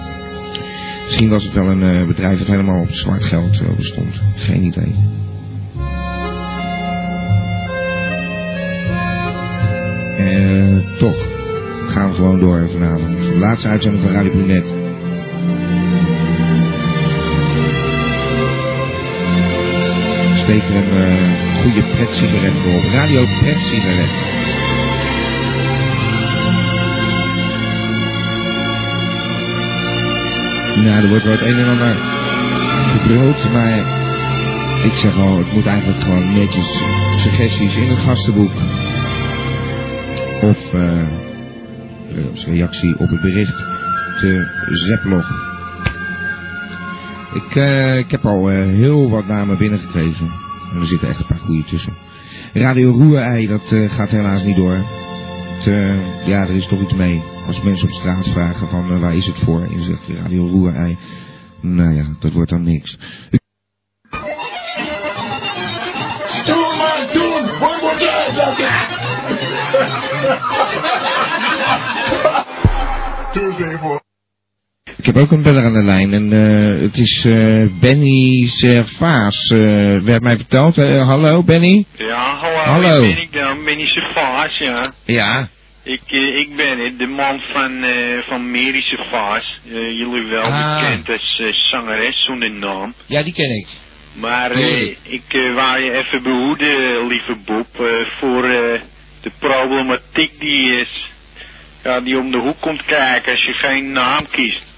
S2: Misschien was het wel een eh, bedrijf dat helemaal op zwart geld eh, bestond. Geen idee. Eh, toch gaan we gewoon door vanavond. De laatste uitzending van Radio Brunet. steekt er een eh, goede pret-sigaret voor op. Radio Pret-sigaret. Nou, er wordt wel het een en ander gebrood, maar ik zeg al, het moet eigenlijk gewoon netjes suggesties in het gastenboek. Of eh, eh, als reactie op het bericht te Zeplog. Ik, eh, ik heb al eh, heel wat namen binnengekregen. En er zitten echt een paar goede tussen. Radio Roerei, dat eh, gaat helaas niet door. Het, eh, ja, er is toch iets mee. Als mensen op straat vragen van eh, waar is het voor? En zegt Radio Roerei. Nou ja, dat wordt dan niks.
S15: Doe maar, doe het. One more time, Tuesday for
S2: Ik heb ook een beller aan de lijn en eh, het is eh, Benny Servaas. eh werd mij verteld. Eh, hallo Benny?
S16: Ja, hallo.
S2: Hallo.
S16: Ik ben ik dan, Benny Servaas, ja.
S2: Ja.
S16: Ik, eh, ik ben het, de man van, eh van Mary Servaas. Eh, jullie wel
S2: Ah.
S16: bekend als eh, zangeres zonder naam.
S2: Ja, die ken ik.
S16: Maar eh,
S2: Mary.
S16: ik eh, wou je even behoeden, lieve Bob, eh, voor eh, de problematiek die is. Ja, die om de hoek komt kijken als je geen naam kiest.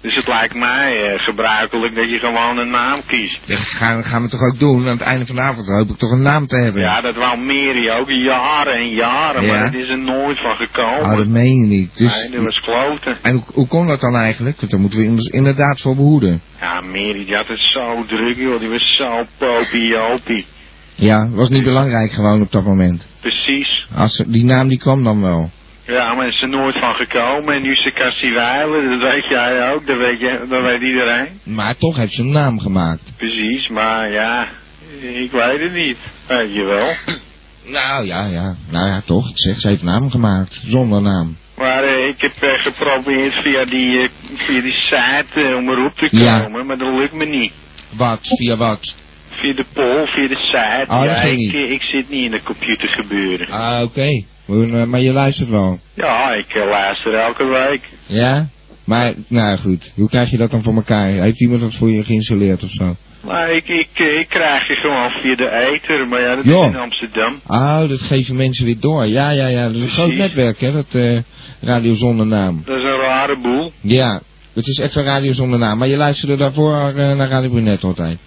S16: Dus het lijkt mij eh, gebruikelijk dat je gewoon een naam kiest.
S2: Dat gaan, gaan we toch ook doen. Aan het einde van de avond hoop ik toch een naam te hebben.
S16: Ja, dat wou Mary ook jaren en jaren,
S2: Ja.
S16: maar het is er nooit van gekomen.
S2: Oh, dat meen je niet. Dus,
S16: Nee, dat was kloten.
S2: En hoe, hoe kon dat dan eigenlijk? Want daar moeten we ons inderdaad voor behoeden.
S16: Ja, Mary die had het zo druk, joh. Die was zo popiopie.
S2: Ja, was niet belangrijk gewoon op dat moment.
S16: Precies.
S2: Als, ze- die naam die kwam dan wel.
S16: Ja, maar het is er nooit van gekomen. En nu is ze Cassie Weilen, dat weet jij ook, dat weet, je, dat weet iedereen.
S2: Maar toch heeft ze een naam gemaakt.
S16: Precies, maar ja, ik weet het niet. Weet je wel.
S2: Nou ja, ja. Nou ja, toch. Ik zeg, ze heeft een naam gemaakt. Zonder naam.
S16: Maar eh, ik heb eh, geprobeerd via die, eh, via die site eh, om erop te
S2: Ja.
S16: komen, maar dat lukt me niet.
S2: Wat? Via wat?
S16: Via de poll, via de site.
S2: Oh, dat
S16: ja,
S2: ging
S16: ik,
S2: niet.
S16: eh, ik zit niet in de computer gebeuren.
S2: Ah, oké. Maar, eh, Maar je luistert wel.
S16: Ja, ik eh, luister elke week.
S2: Ja? Maar, nou goed. Hoe krijg je dat dan voor elkaar? Heeft iemand dat voor je geïnstalleerd of zo?
S16: Maar ik, ik, eh, ik krijg je gewoon via de ether, maar ja, dat
S2: Ja.
S16: is in Amsterdam.
S2: Oh, dat geven mensen weer door. Ja, ja, ja. Dat is een groot
S16: Precies.
S2: netwerk, hè. Dat eh, Radio Zonder Naam.
S16: Dat is een rare boel.
S2: Ja, het is echt een radio zonder naam. Maar je luisterde daarvoor eh, naar Radio Brunet altijd.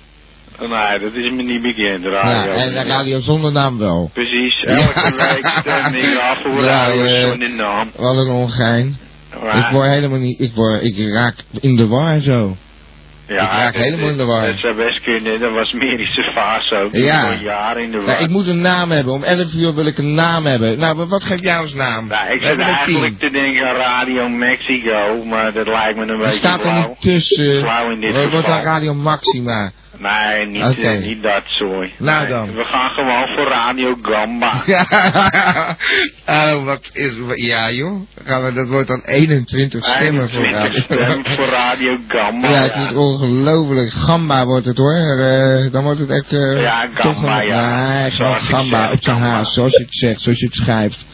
S16: Nee, dat is me niet bekend,
S2: Ja, eh,
S16: radio.
S2: en radio zonder naam wel.
S16: Precies, elke week stem ik af voor
S2: Ja,
S16: radio
S2: eh,
S16: zonder naam.
S2: Wat een ongein.
S16: Maar-
S2: Ik word helemaal niet... Ik, word, ik raak in de war zo.
S16: Ja,
S2: ik raak
S16: dat- eh,
S2: helemaal in de war.
S16: Dat zou best kunnen, dat was Merische fase ook. Die
S2: Ja.
S16: was al jaren in de war.
S2: Nou, ik moet een naam hebben. Om 11 uur wil ik een naam hebben. Nou, maar wat geef jij als naam?
S16: Nou, ik
S2: We
S16: zit
S2: hebben er
S16: eigenlijk te denken aan Radio Mexico, maar dat lijkt me een
S2: tien. Er
S16: beetje
S2: staat er
S16: flauw.
S2: niet tussen.
S16: Flauw in dit
S2: Wat wordt
S16: geval.
S2: dan Radio Maxima?
S16: Nee, niet,
S2: Oké.
S16: eh, niet dat zooi.
S2: Nou
S16: Nee,
S2: dan.
S16: We gaan gewoon voor Radio Gamba.
S2: Ja, oh, wat is... Ja, joh. Gaan we, dat wordt dan 21 stemmen voor Radio
S16: Stem voor Radio Gamba.
S2: Ja, het is ongelooflijk. Gamba wordt het hoor. Eh, dan wordt het echt... eh,
S16: Ja, Gamba,
S2: toch een,
S16: ja.
S2: Nee, gewoon
S16: Zoals ik
S2: Gamba
S16: zeg,
S2: op zijn haas. Zoals je het zegt, zoals je het schrijft.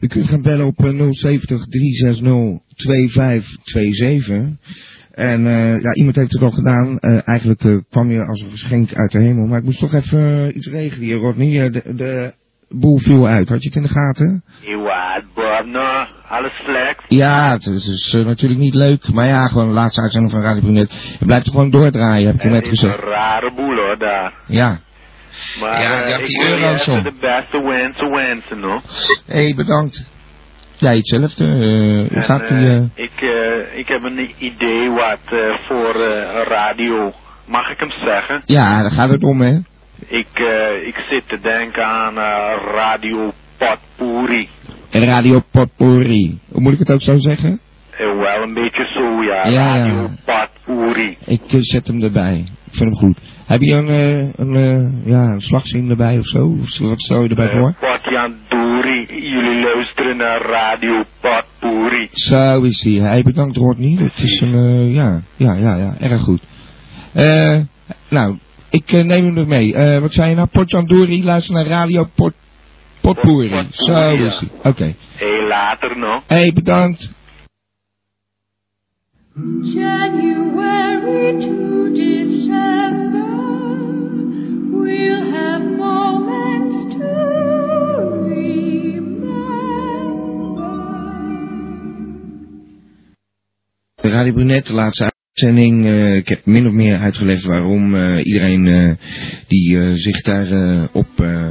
S2: U kunt gaan bellen op eh, 070 360 2527. En eh, ja, iemand heeft het al gedaan. Eh, eigenlijk eh, kwam je als een geschenk uit de hemel. Maar ik moest toch even eh, iets regelen hier, Rodney. Eh, De, de boel viel uit. Had je het in de gaten?
S16: Iwaat, Borna, alles slecht.
S2: Ja, het is, het is, eh, natuurlijk niet leuk. Maar ja, gewoon de laatste uitzending van Radio Brunet. Je blijft er gewoon doordraaien, heb ik je
S16: Het
S2: net
S16: is een
S2: gezegd.
S16: rare boel hoor daar.
S2: Ja.
S16: Maar eh,
S2: Ja, je hebt
S16: ik
S2: die
S16: wil je
S2: euro's
S16: even
S2: om.
S16: de beste wensen wensen hoor.
S2: Hé, hey, bedankt. Jij hetzelfde. eh, hoe
S16: En,
S2: gaat die...
S16: eh,
S2: eh,
S16: ik, eh, ik heb een idee wat eh, voor eh, radio. Mag ik hem zeggen?
S2: Ja, daar gaat het om, hè.
S16: Ik, eh, ik zit te denken aan eh, Radio Patpouri.
S2: Radio Potpourri. Hoe Moet ik het ook zo zeggen?
S16: eh, wel een beetje zo, ja.
S2: Ja, ja.
S16: Radio Bad Uri.
S2: Ik eh, zet hem erbij. Ik vind hem goed. Heb je een, eh, een, eh, ja, een slagzin erbij of zo? Of wat stel je erbij
S16: Eh,
S2: voor?
S16: Patjan Duri, jullie luisteren naar Radio Bad Uri.
S2: Zo is hij. Hij bedankt Rodney. Het is een, eh, ja, ja, ja, ja, erg goed. Eh, nou, ik eh, neem hem nog mee. Eh, wat zei je nou? Potjandori, luister naar Radio Pot, Potpourri. Zo
S16: ja.
S2: is hij. Oké.
S16: Hé, later nog.
S2: Hé, hey, bedankt.
S17: January to December, we'll have moments to remember.
S2: De Radio Brunet, de laatste uitzending. Eh, ik heb min of meer uitgelegd waarom eh, iedereen eh, die eh, zich daar eh, op eh,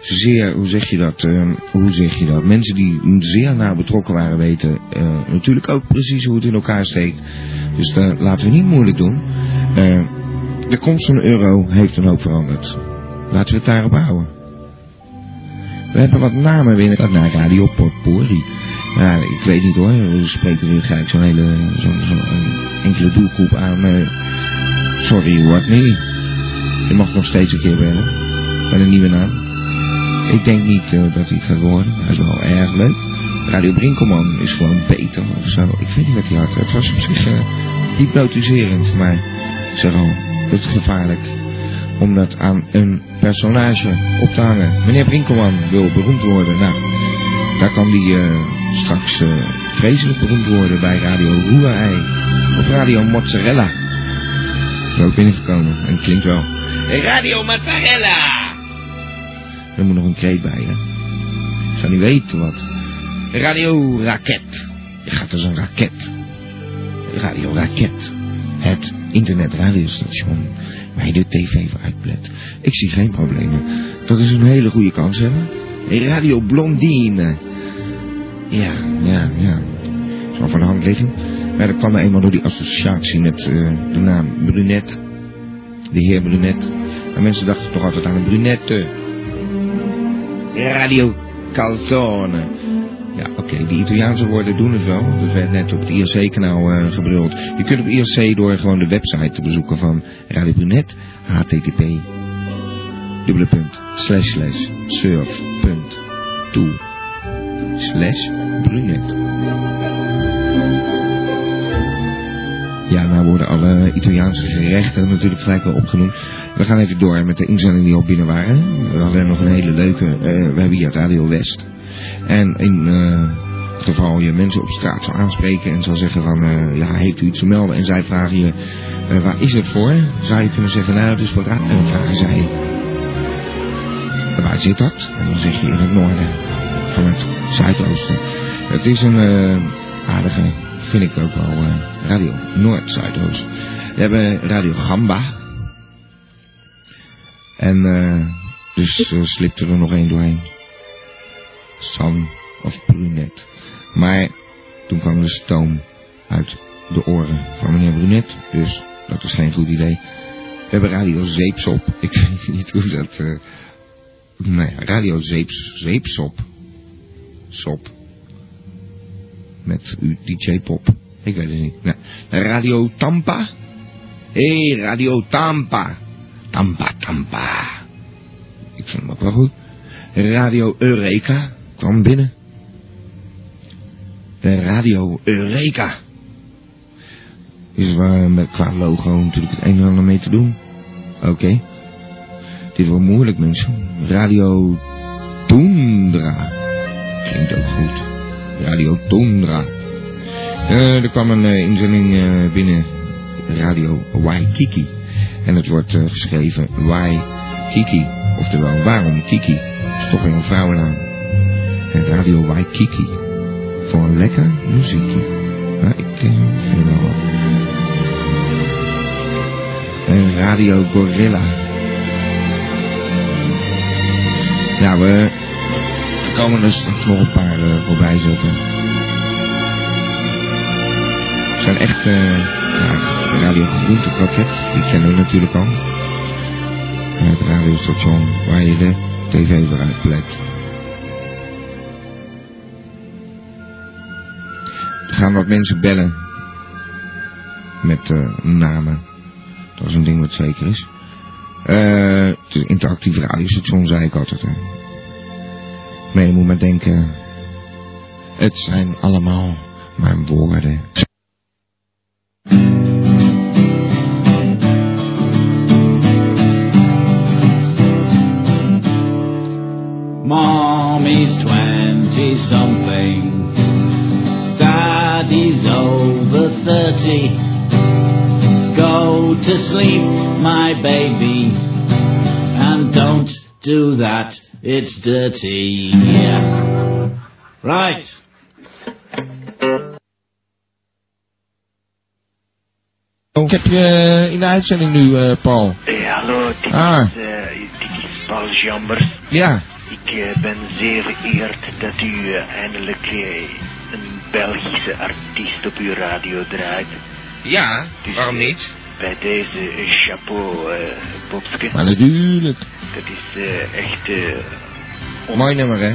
S2: zeer, hoe zeg je dat, eh, hoe zeg je dat, mensen die zeer nauw betrokken waren weten eh, natuurlijk ook precies hoe het in elkaar steekt. Dus daar laten we niet moeilijk doen. Eh, de komst van de euro heeft een hoop veranderd. Laten we het daarop houden. We hebben wat namen binnen naar Radio Potpourri. Ja, ik weet niet hoor, we spreken nu gelijk zo'n hele, zo'n zo'n, eh, enkele doelgroep aan. eh. sorry Rodney, je mag nog steeds een keer bellen, met een nieuwe naam. Ik denk niet eh, dat hij het gaat worden, hij is wel erg leuk. Radio Brinkelman is gewoon beter of zo, ik weet niet wat hij had. Het was op zich eh, hypnotiserend, maar ik zeg al, het is gevaarlijk om dat aan een personage op te hangen. Meneer Brinkelman wil beroemd worden. Nou, daar kan die eh, straks eh, vreselijk beroemd worden bij Radio Roerei of Radio Mozzarella. Is ook binnengekomen en het klinkt wel. Radio Mozzarella! Er moet nog een kreet bij, hè? Ik zou niet weten wat. Radio Raket. Je gaat als een raket. Radio Raket. Het internetradiostation waar je de tv voor uitplet. Ik zie geen problemen. Dat is een hele goede kans, hè? Radio Blondine. Ja, ja, ja. Zal van de hand liggen. Maar dat kwam me eenmaal door die associatie met eh, de naam Brunet. De heer Brunet. Maar mensen dachten toch altijd aan een brunette. Radio Calzone. Ja, oké, die Italiaanse woorden doen het wel. Dat werd net op het IRC-kanaal eh gebruld. Je kunt op IRC door gewoon de website te bezoeken van Radio Brunet. HTTP. Dubbele punt. Slash slash. Surf. Punt. Toe. Slash Brunet. Ja, nou worden alle Italiaanse gerechten natuurlijk gelijk wel opgenoemd. We gaan even door met de inzendingen die al binnen waren. We hadden nog een hele leuke. eh, we hebben hier Radio West. En in eh, het geval je mensen op straat zou aanspreken en zou zeggen van... eh, ja, heeft u iets te melden? En zij vragen je, eh, waar is het voor? Zou je kunnen zeggen, nou, het is voor raad. En dan vragen zij, waar zit dat? En dan zeg je in het noorden van het zuidoosten. Het is een eh, aardige, vind ik ook wel, eh, radio Noord-Zuidoost. We hebben Radio Gamba. En eh, dus eh, slipte er nog één doorheen. San of Brunet. Maar toen kwam de stoom uit de oren van meneer Brunet. Dus dat is geen goed idee. We hebben Radio Zeepsop. Ik weet niet hoe dat... eh, nou ja, Radio Zeeps, Zeepsop. Sop. Met uw DJ Pop. Ik weet het niet. Nou, Radio Tampa. Hé, hey, Radio Tampa. Tampa, Tampa. Ik vind hem ook wel goed. Radio Eureka kwam binnen. Eh, Radio Eureka. Is waar met qua logo natuurlijk het een en ander mee te doen. Oké. Dit wordt moeilijk, mensen. Radio Tundra. Klinkt ook goed. Radio Tundra. Eh, er kwam een eh, inzending eh, binnen. Radio Waikiki. En het wordt eh, geschreven Waikiki. Oftewel, waarom Kiki? Dat is toch weer een vrouwennaam. En Radio Waikiki. Voor een lekker muziekje. Maar ik eh, vind het wel wat. En Radio Gorilla. Nou, we er komen er straks nog een paar eh, voorbij zetten. Het zijn echt, eh ja, Radio Groentekroket, die kennen we natuurlijk al. Het radiostation waar je de tv voor uitplet. gaan wat mensen bellen. Met eh, namen. Dat is een ding wat zeker is. Eh, het is een interactief radiostation, zei ik altijd. Hè. Maar je moet maar denken. Het zijn allemaal mijn woorden.
S18: Mommy's 20 something. Daddy's over 30. Go to sleep, my baby. And don't do that, it's dirty. Yeah. Right.
S1: Ik heb je in de uitzending nu, eh, Paul.
S8: Eh, hallo, dit
S1: Ah.
S8: is, eh, dit is Paul Jambers.
S1: Ja.
S8: Ik eh, ben zeer vereerd dat u eh, eindelijk eh, een Belgische artiest op uw radio draait. eh,
S1: Ja, waarom niet?
S8: Bij deze eh, chapeau, eh Bobske.
S1: Maar natuurlijk.
S8: Dat is eh, echt... eh,
S1: Mooi nummer, hè?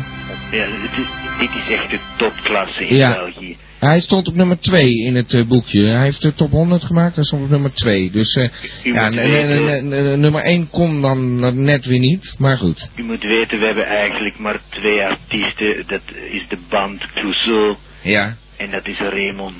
S8: ja, het is, dit is echt de topklasse in
S1: Ja.
S8: België.
S1: Hij stond op nummer 2 in het eh, boekje. Hij heeft de top 100 gemaakt, hij stond op nummer 2. Dus eh,
S8: U
S1: ja,
S8: moet
S1: n- n-
S8: weten-
S1: n- n- n- nummer 1 kon dan net weer niet, maar goed.
S8: U moet weten, we hebben eigenlijk maar twee artiesten. Dat is de band Clouseau
S1: Ja,
S8: en dat is Raymond.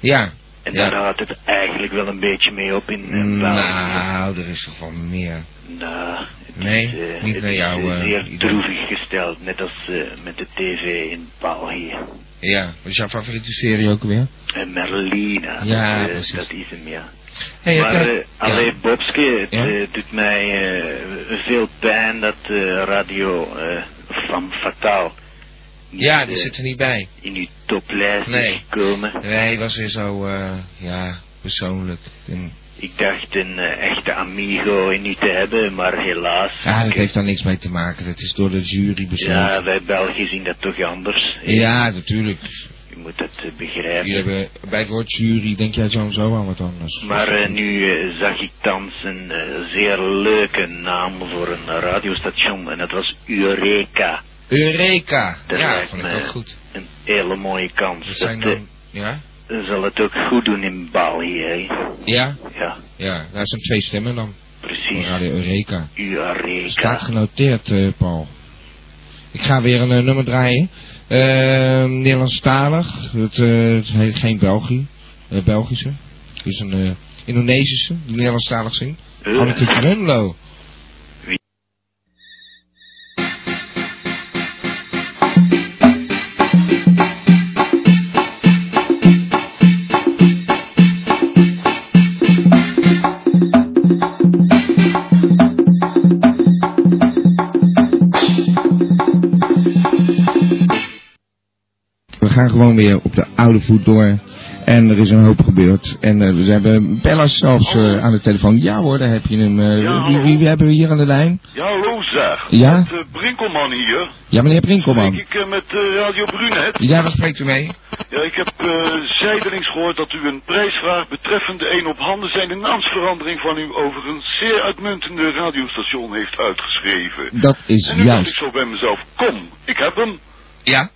S1: ja.
S8: En
S1: Ja.
S8: daar houdt het eigenlijk wel een beetje mee op in eh, België.
S1: Mm, Nou, er is toch wel meer.
S8: Nou, het
S1: Nee,
S8: is, eh,
S1: niet
S8: het
S1: naar
S8: is,
S1: jou,
S8: eh,
S1: eh,
S8: zeer
S1: idee.
S8: droevig gesteld, net als eh, met de tv in België.
S1: Ja, wat is jouw favoriete serie ook weer?
S8: En Eh, Merlina,
S1: Ja,
S8: dat, eh,
S1: precies.
S8: dat is hem, ja.
S1: Hey,
S8: maar
S1: kijk,
S8: eh,
S1: ja.
S8: alleen Bobske, het
S1: Ja?
S8: eh, doet mij eh, veel pijn dat eh, radio eh, van Fataal
S1: Ja, die
S8: eh,
S1: zit er niet bij.
S8: in uw toplijst is
S1: Nee.
S8: gekomen.
S1: Nee, hij was weer zo, eh, ja, persoonlijk. En,
S8: Ik dacht een eh, echte amigo in u te hebben, maar helaas.
S1: ja, Ah, dat heeft daar niks mee te maken. Dat is door de jury
S8: Ja,
S1: besloten.
S8: wij Belgen zien dat toch anders.
S1: Ja, natuurlijk.
S8: Je moet dat eh, begrijpen.
S1: Jullie hebben, bij het woord jury denk jij sowieso aan wat anders.
S8: Maar eh, nu eh, zag ik thans een eh, zeer leuke naam voor een radiostation en dat was Eureka.
S1: Eureka!
S8: Dat
S1: ja,
S8: lijkt
S1: vond ik
S8: me
S1: ook goed.
S8: Een hele mooie kans.
S1: Dat zijn
S8: Dat, eh,
S1: dan, ja?
S8: zal het ook goed doen in Bali, hè?
S1: Ja?
S8: Ja,
S1: Ja, daar zijn twee stemmen dan. Voor
S8: precies.
S1: Radio Eureka.
S8: Eureka.
S1: Staat genoteerd, eh, Paul. Ik ga weer een eh, nummer draaien. Eh, Nederlandstalig. Het, eh, het heet geen België. eh, Belgische. Het is een eh, Indonesische die Nederlandstalig zingt.
S8: Eh.
S1: Anneke Grunlo.
S2: We gaan gewoon weer op de oude voet door. En er is een hoop gebeurd. En eh, we hebben bellers zelfs eh, aan de telefoon. Ja hoor, daar heb je hem. eh, wie, wie, wie hebben we hier aan de lijn?
S19: Ja, hallo zeg.
S2: Ja?
S19: Met, eh, Brinkelman hier.
S2: Ja, meneer Brinkelman.
S19: Spreek ik eh, met eh, Radio Brunet.
S2: Ja, waar spreekt u mee?
S19: Ja, ik heb eh, zijdelings gehoord dat u een prijsvraag betreffende een op handen zijnde naamsverandering van uw overigens zeer uitmuntende radiostation heeft uitgeschreven.
S2: Dat is
S19: en nu dacht ik
S2: juist.
S19: zo bij mezelf, kom, ik heb hem.
S1: Ja?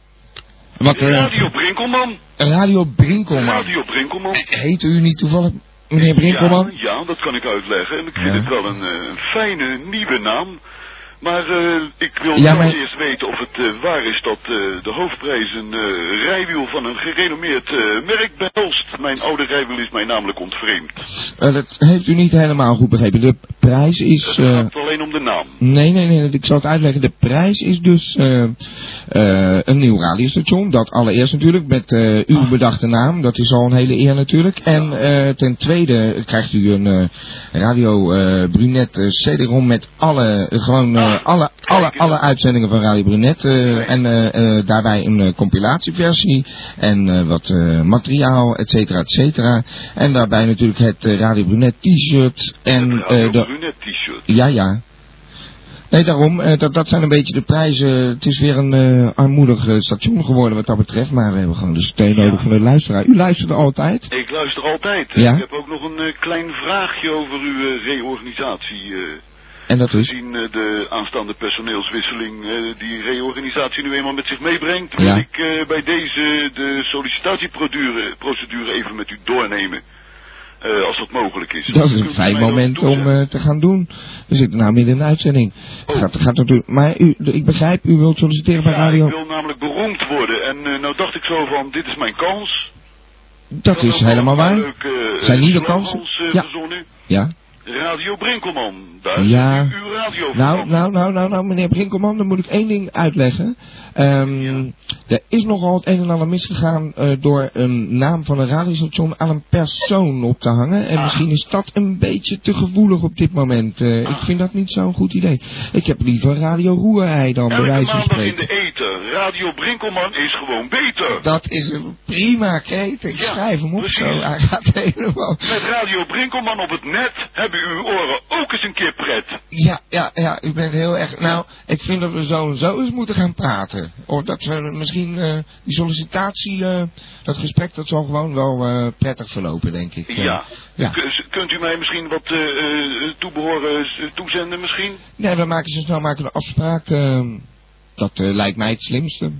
S1: Wat, eh,
S19: Radio Brinkelman.
S1: Radio Brinkelman.
S19: Radio Brinkelman.
S1: Heet u niet toevallig meneer Brinkelman?
S19: Ja, ja, dat kan ik uitleggen. En ik vind
S1: Ja.
S19: het wel een, eh, een fijne nieuwe naam. Maar eh, ik wil
S1: Ja,
S19: ja,
S1: maar-
S19: eerst weten of het eh, waar is dat eh, de hoofdprijs een eh, rijwiel van een gerenommeerd eh, merk behelst. Mijn oude rijwiel is mij namelijk ontvreemd.
S2: Eh, dat heeft u niet helemaal goed begrepen. De prijs is...
S19: Het
S2: eh,
S19: gaat alleen om de naam.
S2: Nee, nee, nee, ik zal het uitleggen. De prijs is dus eh, eh, een nieuw radiostation. Dat allereerst natuurlijk, met eh, uw bedachte naam. Dat is al een hele eer natuurlijk. En eh, ten tweede krijgt u een eh, Radio eh Brunet eh, CD-ROM met alle, eh, gewoon, eh, alle, alle, alle uitzendingen van Radio Brunet. eh, en eh, eh, daarbij een eh, compilatieversie en eh, wat eh, materiaal, et cetera, et cetera. En daarbij natuurlijk het eh, Radio Brunet t-shirt en eh, de...
S19: Brunet t-shirt.
S2: Ja, ja. Nee, daarom, eh, dat, dat zijn een beetje de prijzen. Het is weer een eh, armoedig eh, station geworden wat dat betreft, maar we hebben gewoon de steun nodig van de luisteraar. U luistert altijd?
S19: Ik luister altijd.
S2: Ja?
S19: Ik heb ook nog een eh, klein vraagje over uw eh, reorganisatie. eh.
S2: En dat is?
S19: Gezien eh, de aanstaande personeelswisseling eh, die reorganisatie nu eenmaal met zich meebrengt, wil
S2: Ja.
S19: ik eh, bij deze de sollicitatieprocedure procedure even met u doornemen. Eh, als dat mogelijk is.
S2: Dat is
S19: Kunt
S2: een
S19: u
S2: fijn
S19: mij dat
S2: moment om
S19: toezeggen?
S2: eh, te gaan doen. We zitten nou midden in de uitzending. Gaat, gaat natuurlijk, maar u, ik begrijp, u wilt solliciteren bij
S19: Oh. Ja, ik
S2: radio.
S19: wil namelijk beroemd worden. En eh, nou dacht ik zo van, dit is mijn kans.
S2: Dat is helemaal waar.
S19: Leuk, eh,
S2: Zijn nieuwe
S19: slogans,
S2: kansen.
S19: eh,
S2: Ja.
S19: verzonnen.
S2: Ja.
S19: Radio Brinkelman. Daar
S2: Ja.
S19: is uw radio
S2: Nou, nou, nou, nou, nou, meneer Brinkelman, dan moet ik één ding uitleggen. Ehm, Er is nogal het een en ander misgegaan eh, door een naam van een radiostation aan een persoon op te hangen.
S19: Ah.
S2: En misschien is dat een beetje te gevoelig op dit moment. Eh,
S19: Ah.
S2: Ik vind dat niet zo'n goed idee. Ik heb liever Radio Roerij dan, bij
S19: Elke
S2: wijze van
S19: maandag in
S2: spreken.
S19: de eten. Radio Brinkelman is gewoon beter.
S2: Dat is een prima kreet. Ik schrijf hem op zo. Hij gaat helemaal...
S19: Met Radio Brinkelman op het net hebben uw oren ook eens een keer pret.
S2: Ja, ja, ja, u bent heel erg... Nou, ik vind dat we zo en zo eens moeten gaan praten. Of dat we misschien eh, die sollicitatie, eh, dat gesprek, dat zal gewoon wel eh, prettig verlopen, denk ik. eh.
S19: Ja.
S2: ja.
S19: Kus- Kunt u mij misschien wat eh, eh, toebehoren eh, toezenden misschien?
S2: Nee, we maken zo snel maken we een afspraak. eh, dat eh, lijkt mij het slimste.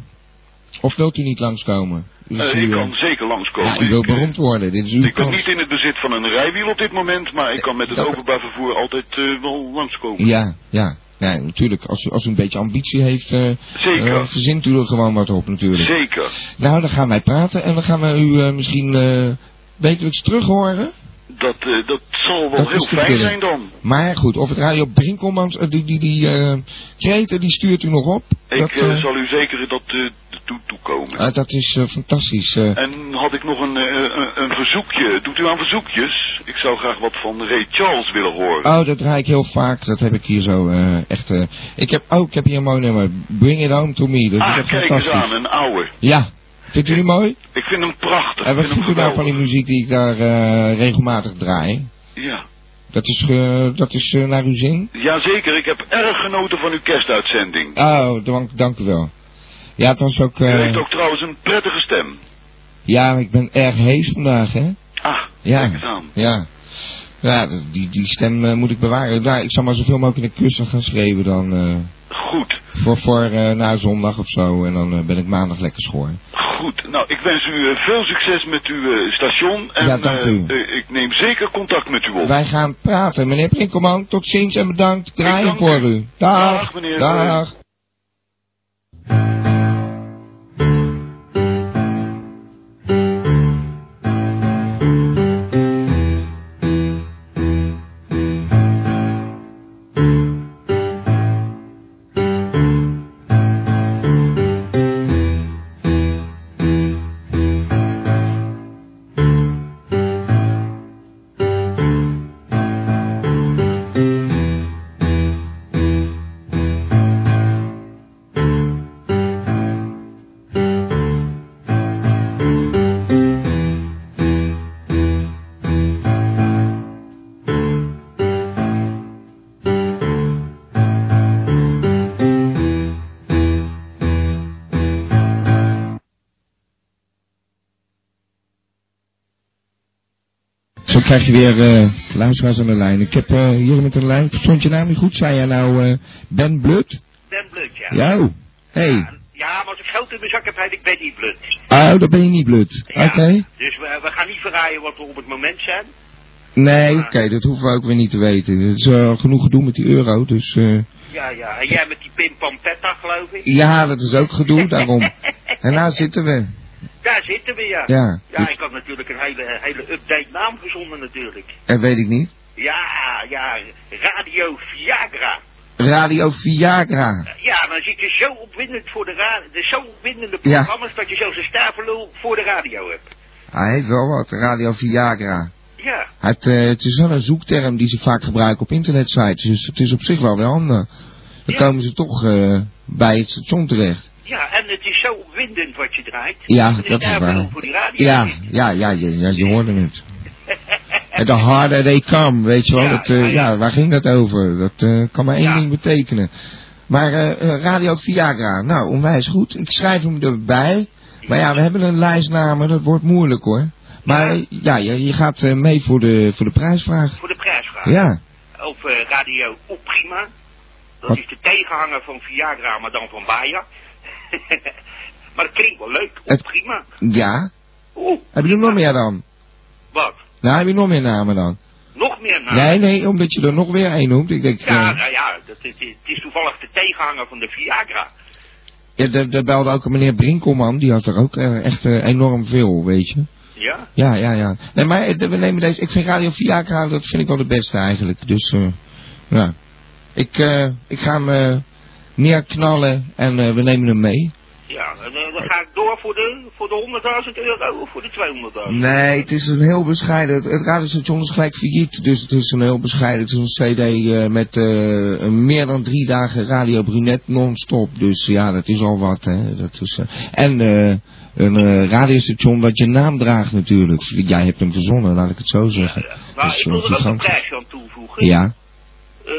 S2: Of wilt u niet langskomen? U is
S19: Eh,
S2: uw,
S19: ik
S2: eh,
S19: kan zeker langskomen.
S2: Ja, u wilt
S19: Ik, eh,
S2: beroemd worden. Dit is uw
S19: Ik ben
S2: kans.
S19: niet in het bezit van een rijwiel op dit moment, maar ik kan met het openbaar vervoer altijd eh, wel langskomen.
S2: Ja, ja. Nee, natuurlijk. Als u, als u een beetje ambitie heeft, eh,
S19: Zeker.
S2: eh, verzint u er gewoon wat op natuurlijk.
S19: Zeker.
S2: Nou, dan gaan wij praten en dan gaan we u eh, misschien eh, wekelijks terug horen.
S19: Dat, eh, dat zal wel
S2: Dat
S19: heel
S2: is te
S19: fijn
S2: beginnen.
S19: zijn dan.
S2: Maar goed, of het Radio Brinkelmans, eh, die, die, die eh, kreten, die stuurt u nog op.
S19: Ik
S2: dat,
S19: eh,
S2: eh,
S19: zal u zeker dat eh, toe toekomen.
S2: ah, dat is eh, fantastisch. eh.
S19: En had ik nog een, eh, een, een verzoekje. Doet u aan verzoekjes? Ik zou graag wat van Ray Charles willen horen.
S2: Oh, dat draai ik heel vaak. Dat heb ik hier zo eh, echt... eh, ik heb, oh, ik heb hier een mooi nummer. Bring it home to me. Dat is
S19: ah,
S2: echt
S19: kijk eens
S2: fantastisch.
S19: aan, een ouwe.
S2: Ja. Vindt u die mooi?
S19: Ik vind hem prachtig.
S2: En
S19: Ik
S2: wat
S19: vind hem
S2: vindt u nou van die
S19: geweldig.
S2: muziek die ik daar eh, regelmatig draai?
S19: Ja.
S2: Dat is, eh, dat is eh, naar uw zin?
S19: Jazeker, ik heb erg genoten van uw kerstuitzending.
S2: Oh, dank, dank u wel. Ja, het was ook... eh,
S19: U heeft ook trouwens een prettige stem.
S2: Ja, ik ben erg hees vandaag, hè?
S19: Ah,
S2: Ja.
S19: kijk eens aan.
S2: Ja. Ja, die, die stem eh, moet ik bewaren. Nou, ik zal maar zoveel mogelijk in de kussen gaan schreeuwen dan. eh,
S19: Goed.
S2: voor voor eh, na zondag of zo. En dan eh, ben ik maandag lekker schoor.
S19: Goed, nou ik wens u eh, veel succes met uw eh, station en
S2: Ja, dank
S19: eh,
S2: u.
S19: eh, ik neem zeker contact met u op.
S2: Wij gaan praten. Meneer Prinkelman, tot ziens en bedankt. Draai hem voor u. Dag.
S19: Dag, meneer.
S2: Dag. Zo krijg je weer eh, luisteraars aan de lijn. Ik heb eh, hier met een lijn. Stond je naam niet goed? Zei jij nou eh, Ben Blut?
S9: Ben blut, ja.
S2: Ja. oh. Hey.
S9: Ja, maar als ik geld in mijn zak heb, heet ik ben niet blut.
S2: Oh, dat ben je niet Blut. Oké.
S9: Dus we, we gaan niet verraaien wat we op het moment zijn.
S2: Nee, oké, dat hoeven we ook weer niet te weten. Het is eh, genoeg gedoe met die euro, dus... eh,
S9: Ja, ja. En jij met die Pim Pampetta, geloof ik?
S2: ja, dat is ook gedoe, daarom. En nou zitten we.
S9: Daar zitten we, ja.
S2: Ja, goed.
S9: ik had natuurlijk een hele, een hele update naam verzonnen, natuurlijk.
S2: En weet ik niet.
S9: Ja, ja. Radio Viagra.
S2: Radio Viagra.
S9: Ja, dan zit je zo opwindend voor de radio, de zo opwindende
S2: Ja.
S9: programma's dat je zelfs een stavelul voor de radio hebt.
S2: Hij heeft wel wat, Radio Viagra.
S9: Ja.
S2: Het, eh, het is wel een zoekterm die ze vaak gebruiken op internetsites, dus het is op zich wel weer handig. Dan komen ze toch eh, bij het station terecht.
S9: Ja, en het is zo opwindend wat je draait.
S2: Ja,
S9: Het
S2: dat is
S9: daar
S2: waar.
S9: bedoel Voor die radio.
S2: Ja, ja, ja, ja, ja, je hoorde het. En The harder they come, weet je wel.
S9: Ja,
S2: dat, eh,
S9: ja,
S2: ja,
S9: ja.
S2: waar ging dat over? Dat eh, kan maar één
S9: Ja.
S2: ding betekenen. Maar eh, eh, Radio Viagra, nou, onwijs goed. Ik schrijf hem erbij. Maar ja, we hebben een lijst namen, dat wordt moeilijk hoor. Maar eh, ja, je, je gaat eh, mee voor de, voor de prijsvraag.
S9: Voor de prijsvraag.
S2: Ja.
S9: op eh, radio Oeprima. Dat is de tegenhanger van Viagra, maar dan van Baia. maar het klinkt wel leuk.
S2: Het-
S9: Oeprima.
S2: Ja?
S9: Oeh,
S2: Heb je er nog meer dan?
S9: wat?
S2: Nou, heb je nog meer namen dan?
S9: Nog meer namen?
S2: Nee, nee, omdat je er nog weer één noemt. Ik denk,
S9: Nou. Ja,
S2: eh,
S9: nou ja, dat is, het is toevallig de tegenhanger van de Viagra.
S2: ja, daar daar belde ook een meneer Brinkelman, die had er ook eh, echt eh, enorm veel, weet je.
S9: Ja?
S2: Ja, ja, ja. Nee, maar eh, we nemen deze, ik vind Radio Viagra, dat vind ik wel de beste eigenlijk. Dus, eh, ja. Ik, eh, ik ga hem eh, neerknallen en eh, we nemen hem mee.
S9: Ja, en eh, dan ga ik door voor de, voor de 100.000 euro of voor de 200.000?
S2: Nee, het is een heel bescheiden. Het, het radiostation is gelijk failliet. Dus het is een heel bescheiden. Het is een CD eh, met eh, een meer dan drie dagen Radio Brunet non-stop. Dus ja, dat is al wat. Hè. Dat is, eh, en eh, een eh, radiostation dat je naam draagt natuurlijk. Jij hebt hem verzonnen, laat ik het zo zeggen.
S9: Nou,
S2: Dus,
S9: ik
S2: eh,
S9: wil er ook een
S2: gigantisch.
S9: prijsje aan toevoegen.
S2: Ja,
S9: Eh,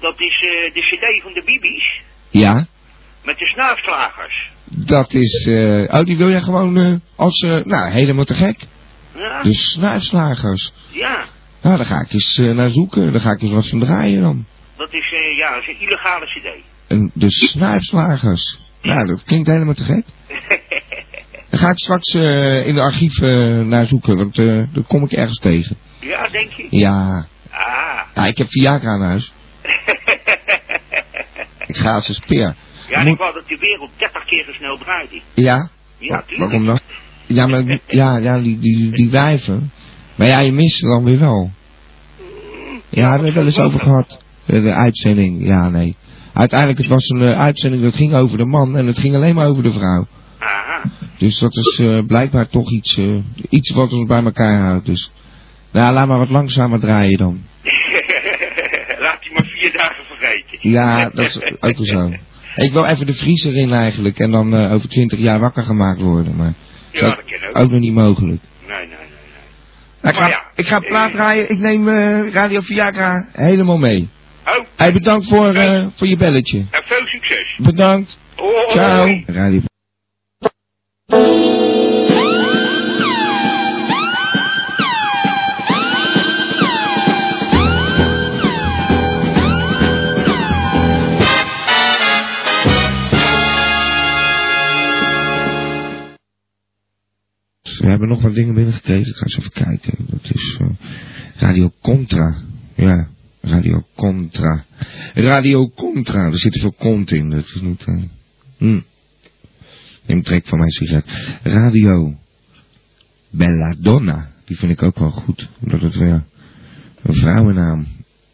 S9: dat is eh, de cd van de Bibi's
S2: ja.
S9: met de snuifslagers.
S2: Dat is... eh, oh, die wil jij gewoon eh, als... eh, nou, helemaal te gek.
S9: Ja?
S2: De snuifslagers.
S9: Ja,
S2: Nou, daar ga ik eens eh, naar zoeken. Daar ga ik eens wat van draaien dan.
S9: dat is, eh, ja, dat is een illegale cd.
S2: Een, de snuifslagers. Nou, dat klinkt helemaal te gek. Daar ga ik straks eh, in de archieven naar zoeken, want eh dat kom ik ergens tegen.
S9: Ja, denk je?
S2: Ja.
S9: Ah.
S2: ja ik heb Viagra in huis. ik ga als een speer.
S9: Ja, en
S2: Moet-
S9: ik wou dat de wereld 30 keer zo snel draaide.
S2: Ja?
S9: Ja,
S2: Wa- Waarom dan? Ja, maar ik- ja, ja die, die, die wijven. Maar ja, je mist ze dan weer wel. Ja, daar hebben we wel eens over gehad. De, de uitzending, ja, nee. Uiteindelijk, het was een eh, uitzending dat ging over de man en het ging alleen maar over de vrouw. Dus dat is eh, blijkbaar toch iets, eh, iets wat ons bij elkaar houdt. Dus. Nou, laat maar wat langzamer draaien dan.
S9: Laat die maar vier dagen vergeten.
S2: Ja, dat is ook wel zo. Ik wil even de vriezer in eigenlijk en dan eh, over twintig jaar wakker gemaakt worden. Maar
S9: Ja, dat kan ook.
S2: ook nog niet mogelijk.
S9: Nee, nee, nee. nee. eh,
S2: Nou, ik, ga, ik ga plaat draaien. Ik neem eh, Radio Viagra helemaal mee.
S9: Oh.
S2: Hey, bedankt voor, eh, voor je belletje.
S9: En veel succes.
S2: Bedankt.
S9: Hoi.
S2: Ciao. Radio We hebben nog wat dingen binnengekregen. Ik ga eens even kijken. Dat is eh, Radio Contra. Ja, Radio Contra. Radio Contra. Er zit veel kont in. Dat is niet... eh, hm. Neem een trek van mijn sigaret. Radio Belladonna. Die vind ik ook wel goed. Omdat het weer een vrouwennaam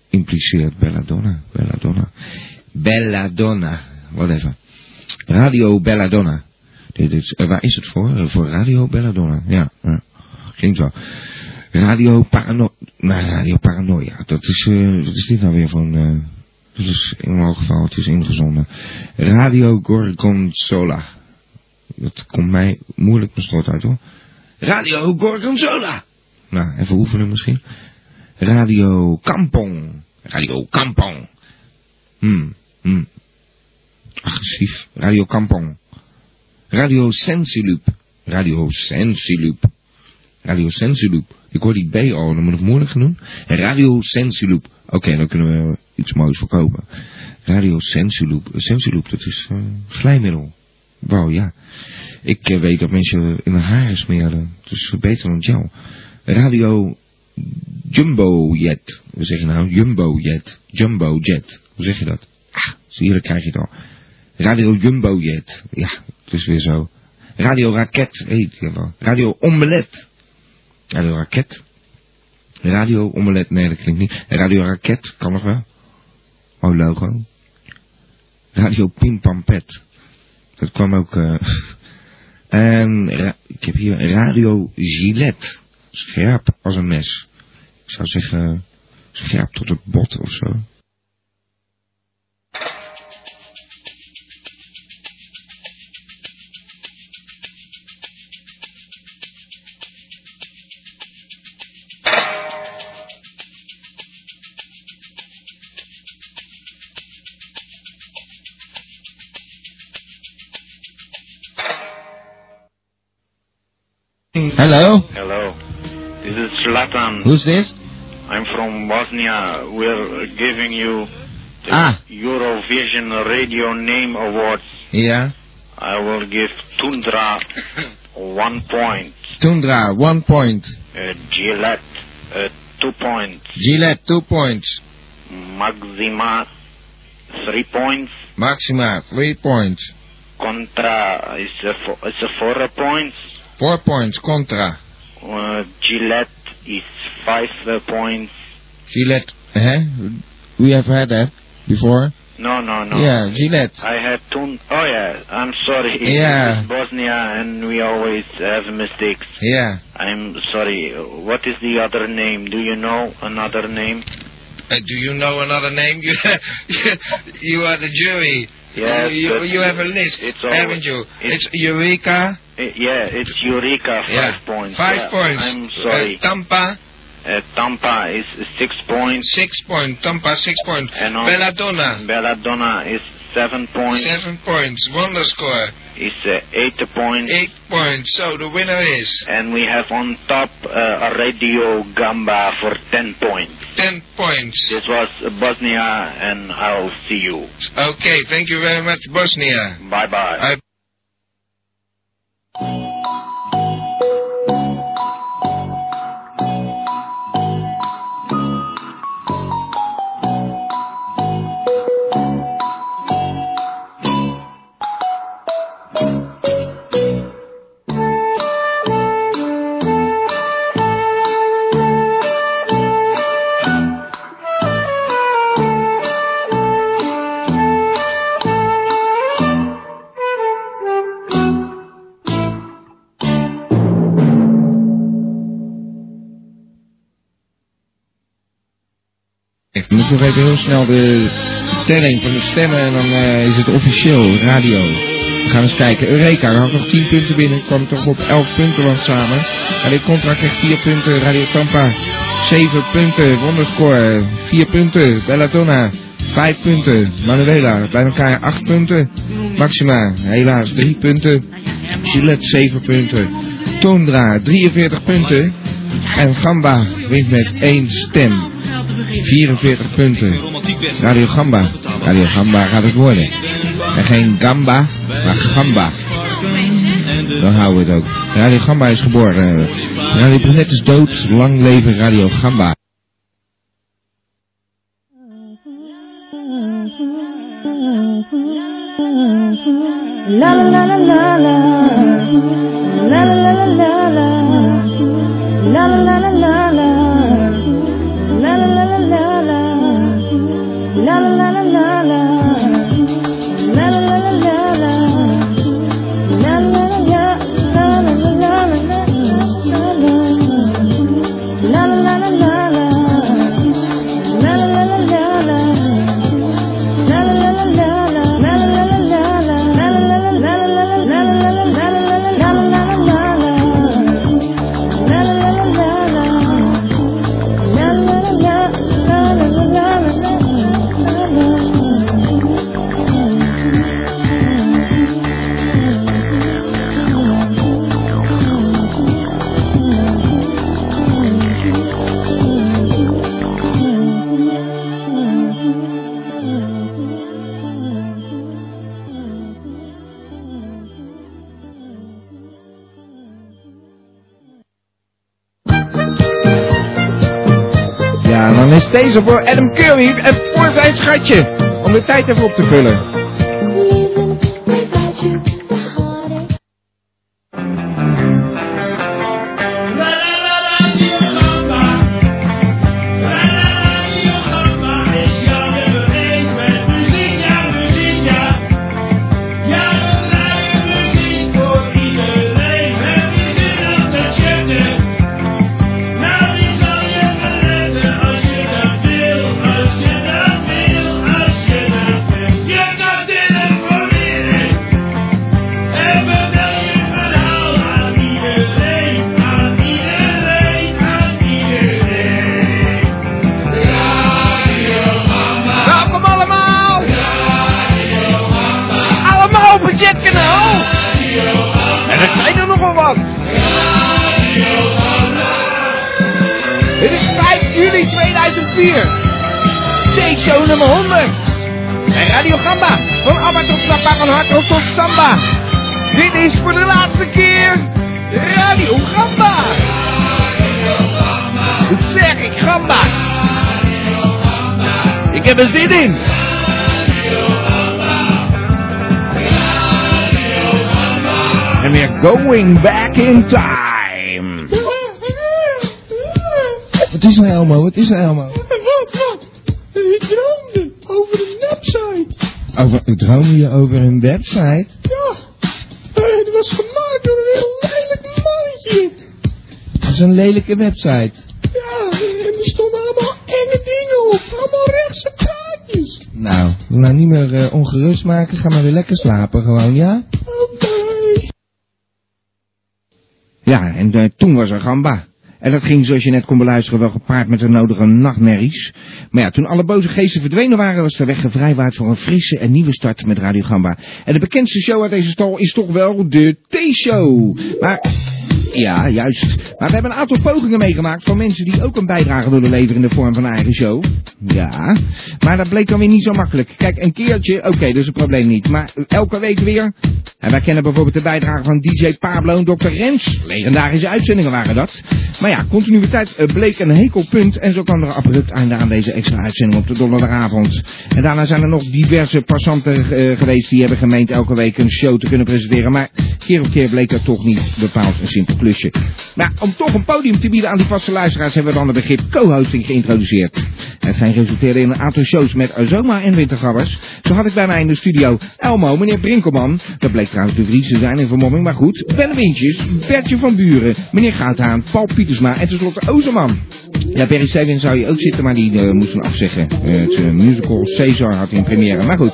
S2: impliceert. Belladonna. Belladonna. Belladonna. Whatever. Radio Belladonna. Dit is, eh, waar is het voor? Eh, voor Radio Belladonna. Ja, ja. klinkt wel. Radio Paranoia. Nou, Radio Paranoia. Dat is, eh, wat is dit nou weer van... eh dat is in elk geval, het is ingezonden. Radio Gorgonzola. Dat komt mij moeilijk mijn strot uit hoor. Radio Gorgonzola. Nou, even oefenen misschien. Radio Kampong. Radio Kampong. Hmm, hmm. Agressief. Radio Kampong. Radio Sensiloop. Radio Sensiloop. Radio Sensiloop. Ik hoor die B al, dan moet ik het moeilijk gaan doen. Radio Sensiloop. Oké, dan kunnen we iets moois verkopen. Radio Sensiloop. Sensiloop, dat is eh, glijmiddel. Wauw, ja. Ik eh, weet dat mensen in hun haren smeren. Dus beter dan jou. Radio Jumbo Jet. Hoe zeg je nou? Jumbo Jet. Jumbo Jet. Hoe zeg je dat? Ah, zie je, dan krijg je het al. Radio Jumbo Jet. Ja, het is weer zo. Radio Raket heet die wel. Radio Omelet. Radio Raket. Radio Omelet, nee dat klinkt niet. Radio Raket, kan nog wel. Oh, logo. Radio Pimpampet. Dat kwam ook... eh, en ra- ik heb hier Radio Gillette. Scherp als een mes. Ik zou zeggen, scherp tot het bot of zo. Hello,
S20: Hello. This is Zlatan.
S2: who's this?
S8: I'm from Bosnia. We're giving you the
S2: Ah.
S8: Eurovision Radio Name Award.
S2: Ja.
S8: I will give Tundra one point,
S16: Tundra, one point.
S8: uh, Gillette uh, two points,
S16: Gillette, two points.
S8: Maxima three points,
S16: Maxima, three points.
S8: Contra is uh, fo- is uh, four points,
S16: Four points, Contra.
S8: uh, Gillette is five uh, points.
S16: Gillette, hè? We have had that before.
S8: No, no, no.
S16: Yeah, Gillette.
S8: I had two. Oh yeah, I'm sorry.
S16: Yeah.
S8: It's Bosnia, and we always have mistakes.
S16: Yeah.
S8: I'm sorry. What is the other name? Do you know another name?
S16: Uh, do you know another name? You, you are the jury.
S8: Yes.
S16: You, you,
S8: but
S16: you have a list,
S8: It's always,
S16: haven't you?
S8: It's,
S16: It's Eureka,
S8: eh, yeah, it's Eureka. Five
S16: Yeah,
S8: points.
S16: five
S8: Yeah,
S16: points.
S8: I'm sorry.
S16: Uh, Tampa,
S8: Uh, Tampa is six points.
S16: six point. Tampa, six point.
S8: And on-
S16: Belladonna,
S8: Belladonna is seven points.
S16: seven points. Wonder score,
S8: Is uh, eight points.
S16: eight points. So the winner is
S8: And we have on top uh, a Radio Gamba for ten points.
S16: ten points.
S8: This was Bosnia, and I'll see you.
S16: Okay, thank you very much, Bosnia.
S8: Bye bye.
S2: Ik moet nog even heel snel de telling van de stemmen en dan eh, is het officieel radio. We gaan eens kijken. Eureka had nog 10 punten binnen, kwam toch op 11 punten land samen. En dit contract krijgt 4 punten. Radio Tampa 7 punten. Wonderscore 4 punten. Belladonna 5 punten. Manuela bij elkaar 8 punten. Maxima helaas 3 punten. Gillette 7 punten. Tondra 43 punten. En Gamba wint met 1 stem. 44 punten. Radio Gamba. Radio Gamba gaat het worden. En geen Gamba, maar Gamba. Dan houden we het ook. Radio Gamba is geboren. Radio Brunet is dood. Lang leven Radio Gamba.
S21: La la la la la. La la la la la. La la la la la. La la la la la la. La la la la la. La la la la la la. La la la la la la la la la la la. La la la la la. La la la la la la.
S2: Ja, en dan is deze voor Adam Curry en voor zijn schatje. Om de tijd even op te vullen.
S21: Yeah.
S15: uur. T-show nummer 100. En Radio Gamba. Van Abba tot Samba, van Hart tot tot Samba. Dit is voor de laatste keer Radio Gamba. Dat zeg ik, Gamba. Ik heb er zin in.
S2: En weer going back in time.
S15: Wat is nou Elmo? Wat is nou Elmo?
S17: Wat, wat? Ik droomde over een website.
S15: Over, droom je over een website?
S17: Ja. Eh, Het was gemaakt door een heel lelijk mannetje.
S15: Dat is een lelijke website.
S17: Ja, en er stonden allemaal enge dingen op. Allemaal rechtse plaatjes.
S15: Nou, nou niet meer eh, ongerust maken. Ga maar weer lekker slapen gewoon, ja?
S2: Ja, en eh, toen was er gamba. En dat ging, zoals je net kon beluisteren, wel gepaard met de nodige nachtmerries. Maar ja, toen alle boze geesten verdwenen waren, was de weg gevrijwaard voor een frisse en nieuwe start met Radio Gamba. En de bekendste show uit deze stal is toch wel de T-show. Maar ja, juist. Maar we hebben een aantal pogingen meegemaakt van mensen die ook een bijdrage willen leveren in de vorm van een eigen show. Ja, maar dat bleek dan weer niet zo makkelijk. Kijk, een keertje, oké, dat is een probleem niet. Maar elke week weer. En wij kennen bijvoorbeeld de bijdrage van DJ Pablo en Dr. Rens. Legendarische uitzendingen waren dat. Maar ja, continuïteit eh, bleek een hekelpunt. En zo kwam er een abrupt einde aan deze extra uitzending op de donderdagavond. En daarna zijn er nog diverse passanten eh, geweest die hebben gemeend elke week een show te kunnen presenteren. Maar keer op keer bleek dat toch niet bepaald een simpel klusje. Maar om toch een podium te bieden aan die vaste luisteraars hebben we dan het begrip co-hosting geïntroduceerd. Hetgeen resulteerde in een aantal shows met Azoma en Wintergabbers. Zo had ik bij mij in de studio Elmo, meneer Brinkelman. Dat bleek trouwens de Vries te zijn in vermomming, maar goed. Ben Wintjes, Bertje van Buren, meneer Gaathaan, Paul Pietersma en tenslotte Ozerman. Ja, Barry Stevens zou je ook zitten, maar die eh, moest hem afzeggen. Eh, het eh, musical Caesar had hij in première, maar goed.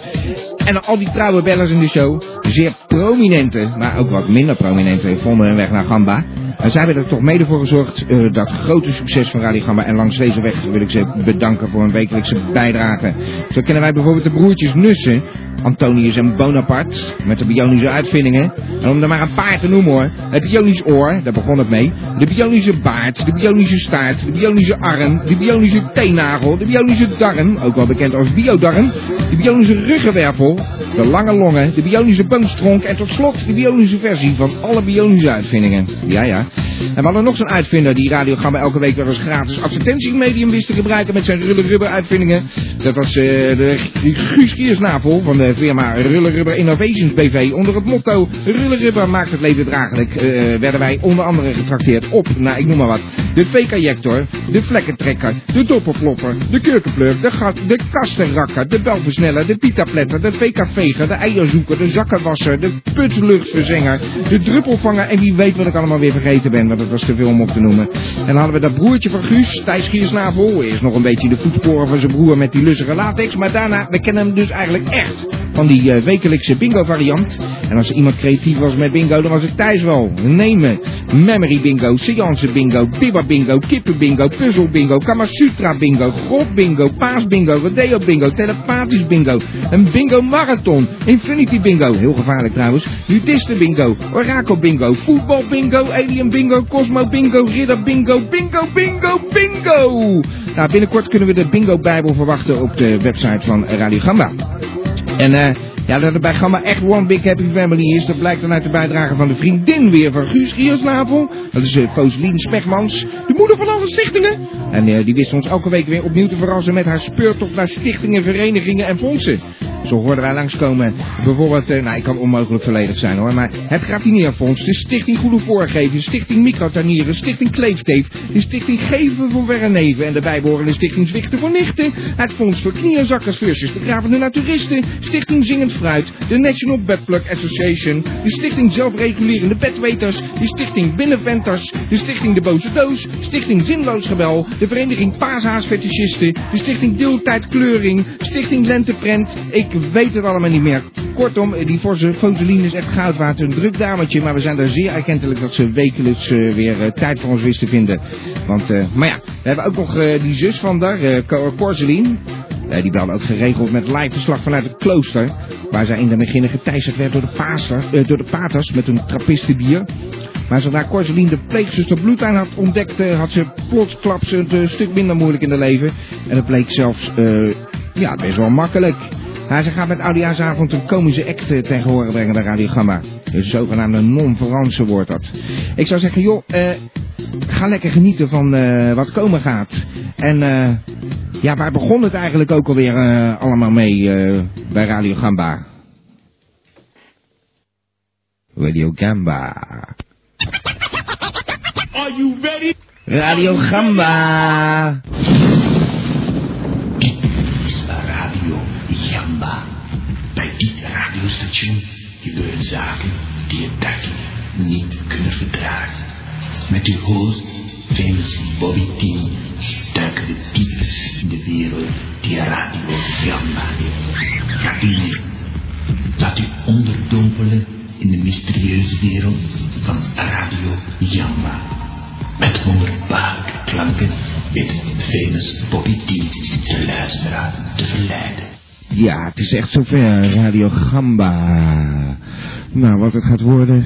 S2: En al die trouwe bellers in de show, zeer prominente, maar ook wat minder prominente, vonden hun weg naar Gamba. En zij hebben er toch mede voor gezorgd eh, dat grote succes van Radio Gamba. En langs deze weg wil ik ze bedanken voor hun wekelijkse bijdrage. Zo kennen wij bijvoorbeeld de broertjes Nussen, Antonius en Bonaparte, met de bionische uitvindingen. En om er maar een paar te noemen hoor. Het bionisch oor, daar begon het mee. De bionische baard, de bionische staart, de bionische arm, de bionische teennagel, de bionische darm, ook wel bekend als biodarm, de bionische ruggenwervel, de lange longen, de bionische boomstronk en tot slot de bionische versie van alle bionische uitvindingen. Ja, ja. En we hadden nog zo'n uitvinder die Radiogramma elke week weer als gratis advertentiemedium wist te gebruiken met zijn rulle-rubber uitvindingen. Dat was eh, de Gu- Guus Giersnavel van de firma Rulle Rubber Innovations BV. Onder het motto Rulle Rubber maakt het leven draaglijk eh, werden wij onder andere getrakteerd op, nou ik noem maar wat, de V-kajector, de vlekkentrekker, de dopperflopper, de kurkenpleur, de, gat, de kastenrakker, de belversneller, de pitapletter, de VK-veger, de eierzoeker, de zakkenwasser, de putluchtverzenger, de druppelvanger en wie weet wat ik allemaal weer vergeten ben, want het was te veel om op te noemen. En dan hadden we dat broertje van Guus, Thijs Giersnavel, eerst nog een beetje in de voetsporen van zijn broer met die lussige latex, maar daarna, we kennen hem dus eigenlijk echt van die eh, wekelijkse bingo variant. En als er iemand creatief was met bingo, dan was het Thijs wel. Nemen. Memory bingo, seance bingo, bibba bingo, kippen bingo, puzzel bingo, kamasutra bingo, grot bingo, paas bingo, rodeo bingo, telepathisch bingo, een bingo marathon, infinity bingo, heel gevaarlijk trouwens, judisten bingo, orakel bingo, voetbal bingo, alien bingo, cosmo bingo, ridder bingo, bingo bingo bingo. Nou, binnenkort kunnen we de bingo bijbel verwachten op de website van Radio Gamba. En eh, ja, dat er bij Gamma echt one big happy family is, dat blijkt dan uit de bijdrage van de vriendin weer van Guus Giersnavel. Dat is eh Foselien Smegmans, de moeder van alle stichtingen. En eh, die wist ons elke week weer opnieuw te verrassen met haar speurtocht naar stichtingen, verenigingen en fondsen. Zo hoorden wij langskomen. Bijvoorbeeld, eh, nou ik kan onmogelijk volledig zijn hoor, maar het Gratineerfonds, de Stichting Goede Voorgeven, Stichting Microtanieren, Stichting Kleefteef, de Stichting Geven voor Werreneven en de bijbehorende Stichting Zwichten voor Nichten, het Fonds voor Knieënzakkers versus de Gravende Naturisten, Stichting Zingend Fruit, de National Bedplug Association, de Stichting Zelfregulerende Bedweters, de Stichting Binnenventers, de Stichting De Boze Doos, Stichting Zinloos Gebel, de Vereniging Paashaas Fetischisten, de Stichting Deeltijd Kleuring, Stichting Lenteprent, ik weet het allemaal niet meer. Kortom, die forse Foseline is echt goud waard, een druk dametje, maar we zijn daar zeer erkentelijk dat ze wekelijks eh, weer eh, tijd voor ons wist te vinden. Want, eh, maar ja, we hebben ook nog eh, die zus van daar, eh Cor- Corseline. Eh, die belde ook geregeld met live verslag vanuit het klooster. eh, Waar zij in de beginnen geteisterd werd door de, pater, door de paters met hun trappistenbier. Maar zodra Corseline de pleegzuster bloed aan had ontdekt, eh, had ze plotsklaps het een stuk minder moeilijk in haar leven. En dat bleek zelfs eh, ja, best wel makkelijk. Maar ze gaat met Oudejaarsavond een komische act eh, ten gehore brengen bij Radio Gamma. Een zogenaamde non-Franse wordt dat. Ik zou zeggen, joh, eh, ga lekker genieten van eh, wat komen gaat. En eh, ja, waar begon het eigenlijk ook alweer eh, allemaal mee eh, bij Radio Gamba? Radio Gamba.
S22: Are you ready?
S2: Radio Gamba.
S23: is Radio Jamba. Bij dit radiostation gebeuren zaken die je dag niet kunnen verdragen. Met uw host, famous Bobby T, duiken we diep in de wereld die Radio Jamba heeft. Gaat u mee. Laat u onderdompelen in de mysterieuze wereld van Radio Jamba. Met wonderbaarlijke klanken weet famous Bobby D de luisteraar te verleiden.
S2: Ja, het is echt zover. Radio Gamba. Nou, wat het gaat worden,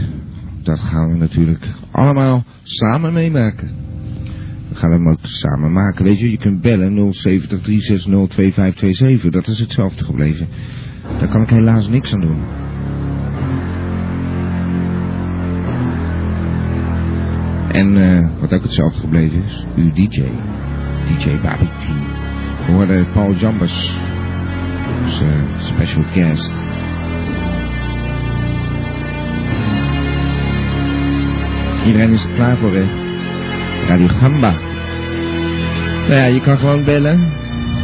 S2: dat gaan we natuurlijk allemaal samen meemaken. We gaan hem ook samen maken. Weet je, je kunt bellen 070 360 2527. Dat is hetzelfde gebleven. Daar kan ik helaas niks aan doen. En eh, wat ook hetzelfde gebleven is, uw DJ. DJ Babiti. We hoorden Paul Jambers. Dus, eh, special guest. Iedereen is er klaar voor, hè? Radio Gamba. Nou ja, je kan gewoon bellen.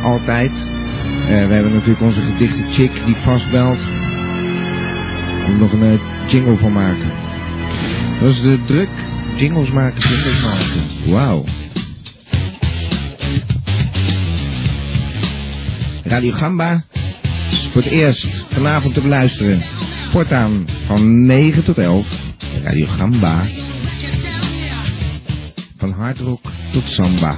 S2: Altijd. Eh, we hebben natuurlijk onze gedichte chick die vastbelt. Daar moet ik nog een eh, jingle van maken. Dat is de druk. Jingles maken, jingles maken. Wauw. Radio Gamba is voor het eerst vanavond te beluisteren. Voortaan van 9 tot 11. Radio Gamba. Van hardrock tot samba.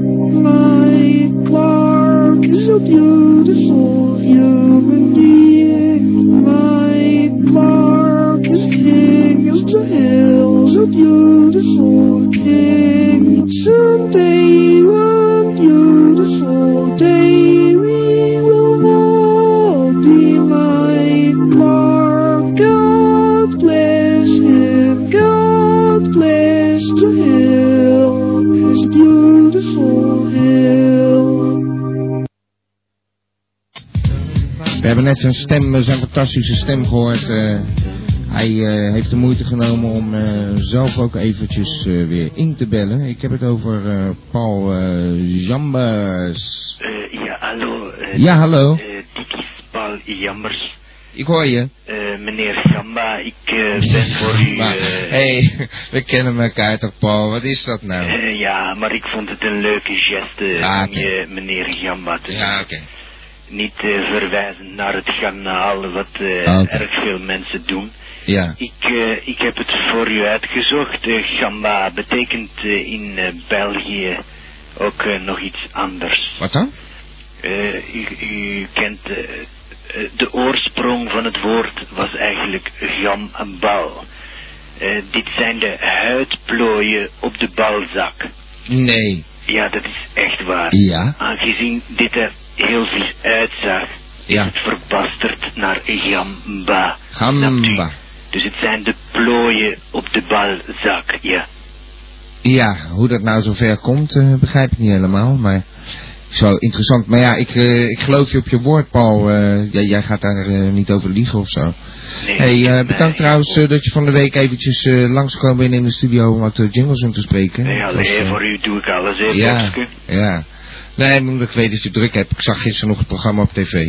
S21: My Clark is a beautiful human being. My Clark is king of the hills, a beautiful king. Someday, one beautiful day, we will all be my Clark. God bless him, God bless the hill, his beautiful hill.
S2: We hebben net zijn stem, eh, zijn fantastische stem gehoord. eh. hij eh, heeft de moeite genomen om eh, zelf ook eventjes eh, weer in te bellen. Ik heb het over eh, Paul eh Jambers.
S8: Eh, ja, hallo. eh,
S2: Ja, hallo.
S8: eh, dit is Paul Jammers.
S2: Ik hoor je.
S8: Eh, meneer Gamba, ik eh, ben voor u...
S2: Maar,
S8: eh,
S2: hey, we kennen elkaar toch, Paul? Wat is dat nou?
S8: eh, ja, maar ik vond het een leuke geste
S2: Ah,
S8: om je meneer Gamba te
S2: Ja, oké.
S8: Niet eh, verwijzen naar het garnaal, wat eh,
S2: Ah, oké.
S8: erg veel mensen doen.
S2: Ja.
S8: Ik, eh, ik heb het voor u uitgezocht. Eh, gamba betekent eh, in eh, België ook eh, nog iets anders.
S2: Wat dan?
S8: Eh, u, u kent eh, eh, de oorsprong van het woord was eigenlijk gambal. Eh, dit zijn de huidplooien op de balzak.
S2: Nee.
S8: Ja, dat is echt waar.
S2: Ja.
S8: Aangezien dit er heel vies uitzag,
S2: Ja.
S8: is het verbasterd naar gamba.
S2: Gamba.
S8: Dus het zijn de plooien op de balzak, ja.
S2: Ja, hoe dat nou zover komt, eh, begrijp ik niet helemaal. Maar zo interessant. Maar ja, ik, eh, ik geloof je op je woord, Paul. Eh, jij, jij gaat daar eh, niet over liegen of zo. hey, eh, bedankt trouwens eh, dat je van de week eventjes langs langskwam binnen in de studio om wat eh, jingles om te spreken.
S8: Nee,
S2: Het
S8: alleen
S2: was, eh,
S8: voor u doe ik alles, hè,
S2: ja,
S8: Popske.
S2: ja. Nee, maar omdat ik weet dat je druk hebt. Ik zag gisteren nog het programma op tv.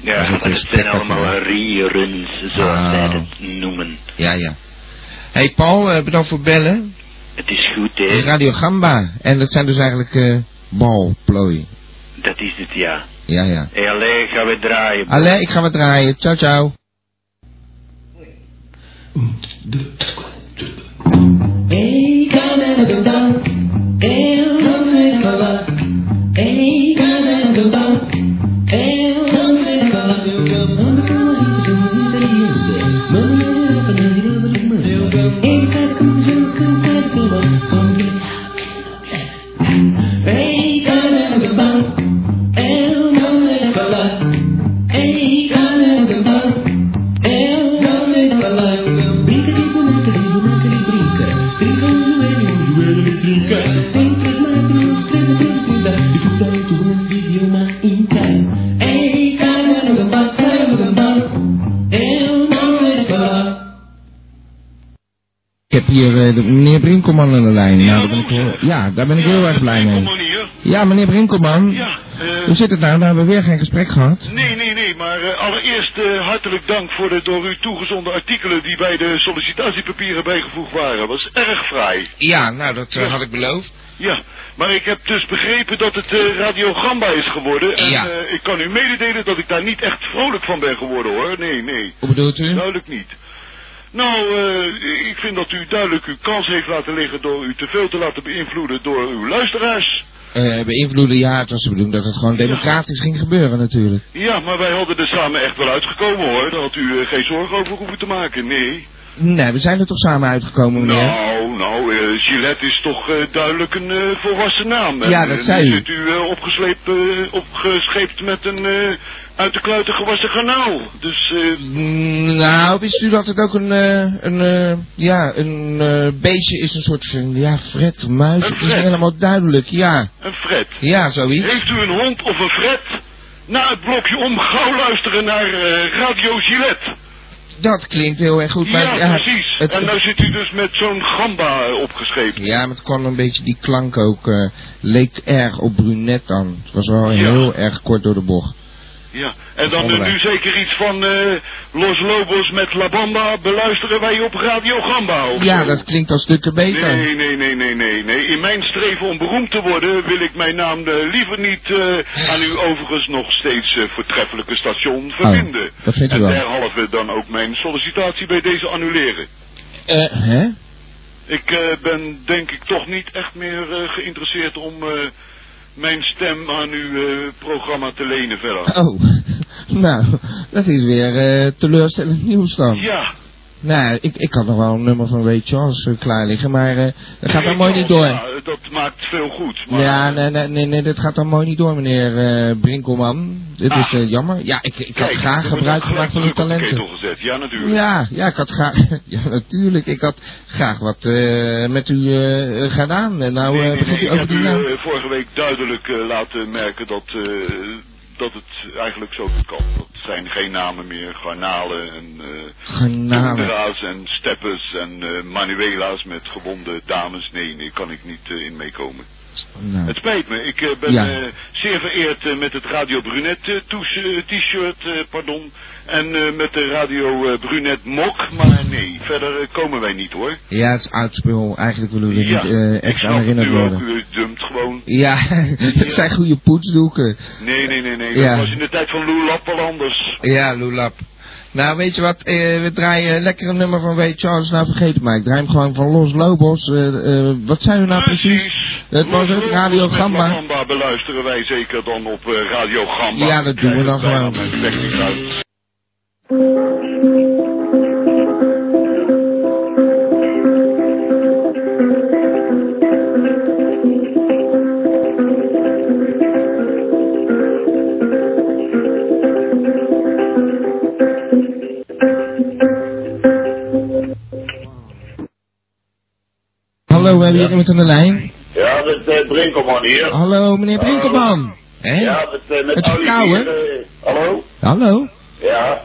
S8: Ja,
S2: is ook
S8: maar
S2: weer
S8: het zijn allemaal
S2: spectaculair.
S8: reruns, zoals zij
S2: Ah.
S8: dat noemen.
S2: Ja, ja. hey, Paul, eh, bedankt voor het bellen.
S8: Het is goed, hè?
S2: Radio Gamba. En dat zijn dus eigenlijk eh balplooien.
S8: Dat is het, ja.
S2: Ja, ja.
S8: Hé, allee, gaan we draaien. boy.
S2: Allee, ik ga wat draaien. Ciao, ciao.
S21: Hey, come and go down. Hey, come and go up. Hey, come and go down. Hey, come and go up.
S24: hier eh, de, meneer Brinkelman aan de lijn. Ja, daar ben ik, heel- ja, daar ben ik heel erg blij mee. Ja, meneer Brinkelman.
S19: eh,
S24: Hoe zit het nou? We hebben weer geen gesprek gehad.
S19: Nee, nee, nee, maar eh, allereerst eh, hartelijk dank voor de door u toegezonden artikelen die bij de sollicitatiepapieren bijgevoegd waren. Was erg fraai.
S2: Ja, nou dat eh, had ik beloofd.
S19: Ja, maar ik heb dus begrepen dat het eh Radio Gamba is geworden. En eh, ik kan u mededelen dat ik daar niet echt vrolijk van ben geworden hoor. Nee, nee.
S2: Hoe bedoelt u?
S19: Duidelijk niet. Nou, eh, ik vind dat u duidelijk uw kans heeft laten liggen door u te veel te laten beïnvloeden door uw luisteraars.
S2: Eh, beïnvloeden, ja, het was de bedoeling dat het gewoon democratisch ging gebeuren natuurlijk.
S19: Ja, maar wij hadden er samen echt wel uitgekomen hoor. Daar had u eh, geen zorgen over hoeven te maken, nee.
S24: Nee, we zijn er toch samen uitgekomen, meneer?
S19: Nou, nou, eh, Gillette is toch eh, duidelijk een eh, volwassen naam.
S24: Ja,
S19: En,
S24: dat
S19: eh,
S24: zei
S19: nu
S24: u.
S19: zit u eh, opgesleept, eh, opgescheept met een eh, uit de kluiten gewassen kanaal. Dus, eh,
S2: Mm, Nou, wist u dat het ook een, eh, een eh, ja, een eh, beestje is, een soort, van, ja, fret, muis, het is niet helemaal duidelijk, ja.
S19: een fret.
S2: Ja, zoiets.
S19: Heeft u een hond of een fret? Na het blokje om, gauw luisteren naar eh, Radio Gillette.
S2: Dat klinkt heel erg goed, maar
S19: ja,
S2: ja,
S19: precies.
S2: het-
S19: en nou zit u dus met zo'n gamba eh, opgescheept.
S2: Ja, maar het kwam een beetje, die klank ook, eh, leek erg op brunet dan. Het was wel
S19: Ja.
S2: heel erg kort door de bocht.
S19: Ja, en dan eh,
S2: Onderweg.
S19: nu zeker iets van eh, Los Lobos met La Bamba beluisteren wij op Radio Gamba. Of
S2: Ja,
S19: zo.
S2: dat klinkt al stukken beter.
S19: Nee, nee, nee, nee, nee, nee. In mijn streven om beroemd te worden wil ik mijn naam eh, liever niet eh, aan uw overigens nog steeds eh, voortreffelijke station verbinden.
S2: Oh, dat vindt u
S19: en
S2: wel.
S19: derhalve dan ook mijn sollicitatie bij deze annuleren.
S2: Eh, hè?
S19: Ik eh, ben denk ik toch niet echt meer eh, geïnteresseerd om eh, mijn stem aan uw eh, programma te lenen verder.
S2: Oh, nou, dat is weer eh, teleurstellend nieuws dan.
S19: Ja.
S2: Nou, ik, ik had nog wel een nummer van Ray Charles eh, klaar liggen, maar eh, dat gaat dan mooi niet door.
S19: Ja, dat maakt veel goed. Maar... eh,
S2: Ja, nee, nee, nee, nee, dat gaat dan mooi niet door, meneer eh Brinkelman. Dit
S19: Ah.
S2: is eh, jammer. Ja, ik, ik had
S19: Kijk,
S2: graag
S19: we hebben
S2: gebruik
S19: ook gelijk
S2: gemaakt van uw
S19: druk op de
S2: talenten.
S19: ketel gezet. Ja, natuurlijk.
S2: Ja, ja, ik had graag, ja natuurlijk, ik had graag wat eh, met u eh, gedaan. En nou,
S19: Nee,
S2: eh
S19: nee,
S2: begint
S19: nee,
S2: u
S19: ik
S2: over
S19: heb
S2: die
S19: u
S2: naam.
S19: eh, vorige week duidelijk eh, laten merken dat, eh, dat het eigenlijk zo goed kan. Dat zijn geen namen meer, garnalen en eh
S2: Garnalen.
S19: tundra's en steppers en eh, manuela's met gewonde dames. Nee, nee, kan ik niet eh, in meekomen.
S2: Nou.
S19: Het spijt me, ik eh, ben
S2: Ja.
S19: eh, zeer vereerd eh, met het Radio Brunet eh, toes- eh, t-shirt, eh, pardon, en eh, met de Radio eh, Brunet mok, maar nee, verder eh, komen wij niet hoor.
S2: Ja, het is oud spul. Eigenlijk willen we er
S19: Ja,
S2: niet eh,
S19: ik
S2: echt
S19: snap
S2: aan
S19: het
S2: herinnerd
S19: nu
S2: worden.
S19: ook, u dumpt gewoon.
S2: Ja, het zijn goede poetsdoeken.
S19: Nee, nee, nee, nee.
S2: Ja.
S19: Dat was in de tijd van Lou Lap wel anders.
S2: Ja, Loelap. Nou, weet je wat, eh, we draaien lekker een nummer van Ray Charles. Nou, vergeet het maar. Ik draai hem gewoon van Los Lobos. Eh, eh, wat zijn we nou precies? Het was het Radio
S19: Met La
S2: Gamba.
S19: Gamba beluisteren wij zeker dan op eh, Radio Gamba.
S2: Ja, dat doen we dan
S19: Krijgen
S2: gewoon.
S19: wij dan met technisch uit.
S2: Hallo, we hebben hier iemand aan de lijn.
S25: Ja, met eh, Brinkelman hier.
S2: Hallo, meneer Brinkelman. Hé?
S25: Ja, met, eh, met
S2: Het is
S25: Olivier.
S2: verkouden.
S25: eh, hallo?
S2: Hallo.
S25: Ja.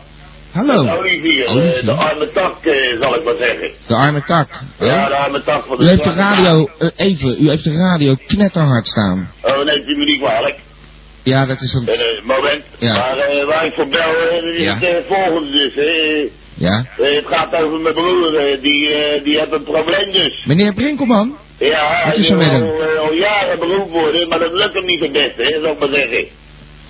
S2: Hallo.
S25: Met Olivier, eh,
S2: Olivier.
S25: de arme tak, eh, zal ik maar zeggen.
S2: De arme tak.
S25: Ja, de arme tak van de
S2: U heeft de
S25: zwarte
S2: radio, eh, even, u heeft de radio knetterhard staan.
S25: taak. Oh, neemt u me niet kwalijk.
S2: Ja, dat is een...
S25: Eh, moment.
S2: Ja.
S25: Maar eh, waar ik voor bel, eh, dat is
S2: Ja.
S25: het eh, volgende dus. eh.
S2: Ja.
S25: Eh, het gaat over mijn broer, eh, die, eh, die heeft een probleem dus.
S2: Meneer Brinkelman?
S25: Ja, hij
S2: Wat is er
S25: wil
S2: met hem?
S25: al, eh, al jaren beroemd worden, maar dat lukt hem niet het beste, hè, zal ik maar zeggen.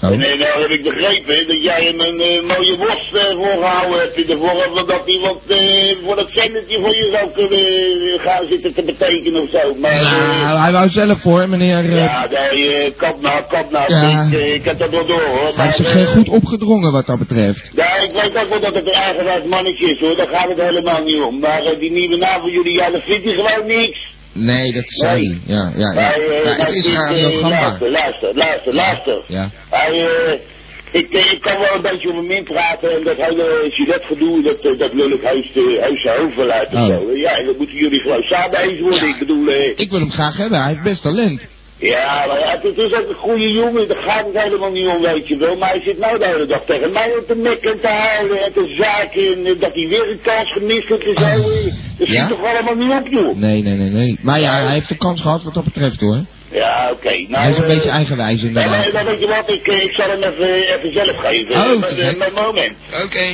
S2: Oh.
S25: En eh, nou heb ik begrepen dat jij hem een eh, mooie worst eh, voorgehouden hebt in de vorm van dat hij wat eh, voor dat zendertje voor je zou kunnen eh, gaan zitten te betekenen of zo. Maar eh,
S2: Nou, hij wou zelf hoor, meneer... eh,
S25: ja, nee, eh, kap nou, kap nou,
S2: Ja.
S25: ik, eh, ik heb dat wel door hoor.
S2: hij heeft
S25: Maar,
S2: zich
S25: eh,
S2: eh, goed opgedrongen wat dat betreft.
S25: ja, ik weet ook wel dat het een eigenwijs mannetje is hoor, daar gaat het helemaal niet om. Maar eh, die nieuwe naam van jullie, ja, dat vindt hij gewoon niks.
S2: Nee, dat zei hij. Ja, ja, Nou, ja.
S25: Hij, eh,
S2: Ja, het
S25: hij
S2: is nou
S25: vindt, eh,
S2: Radio Gamba.
S25: Luister, luister, luister, luister.
S2: Ja.
S25: Hij, eh, ik, eh, ik kan wel een beetje over hem in praten en dat hele Gillette gedoe, dat, eh, dat lul ik heus, eh, heus zijn hoofd wel uit of
S2: Oh.
S25: zo. Ja, en dat moeten jullie gewoon samen eens worden, ik bedoel... eh,
S2: Ik wil hem graag hebben, hij heeft best talent.
S25: Ja, maar ja, het is ook een goede jongen, daar gaat het helemaal niet om, weet je wel. Maar hij zit nou de hele dag tegen mij op te mekken en te huilen en te zaken en eh, dat hij weer een kans gemist heeft en zo. Dat schiet
S2: Ja?
S25: toch allemaal niet op, joh.
S2: Nee, nee, nee, nee. Maar ja, hij heeft de kans gehad wat dat betreft hoor.
S25: Ja, oké. Nou,
S2: hij is een
S25: eh,
S2: beetje eigenwijs
S25: Nee, nee,
S2: inderdaad.
S25: maar weet je wat, ik, eh, ik zal hem even, even zelf geven.
S2: Oh,
S25: Met,
S2: te
S25: eh,
S2: gek.
S25: met moment.
S12: Oké.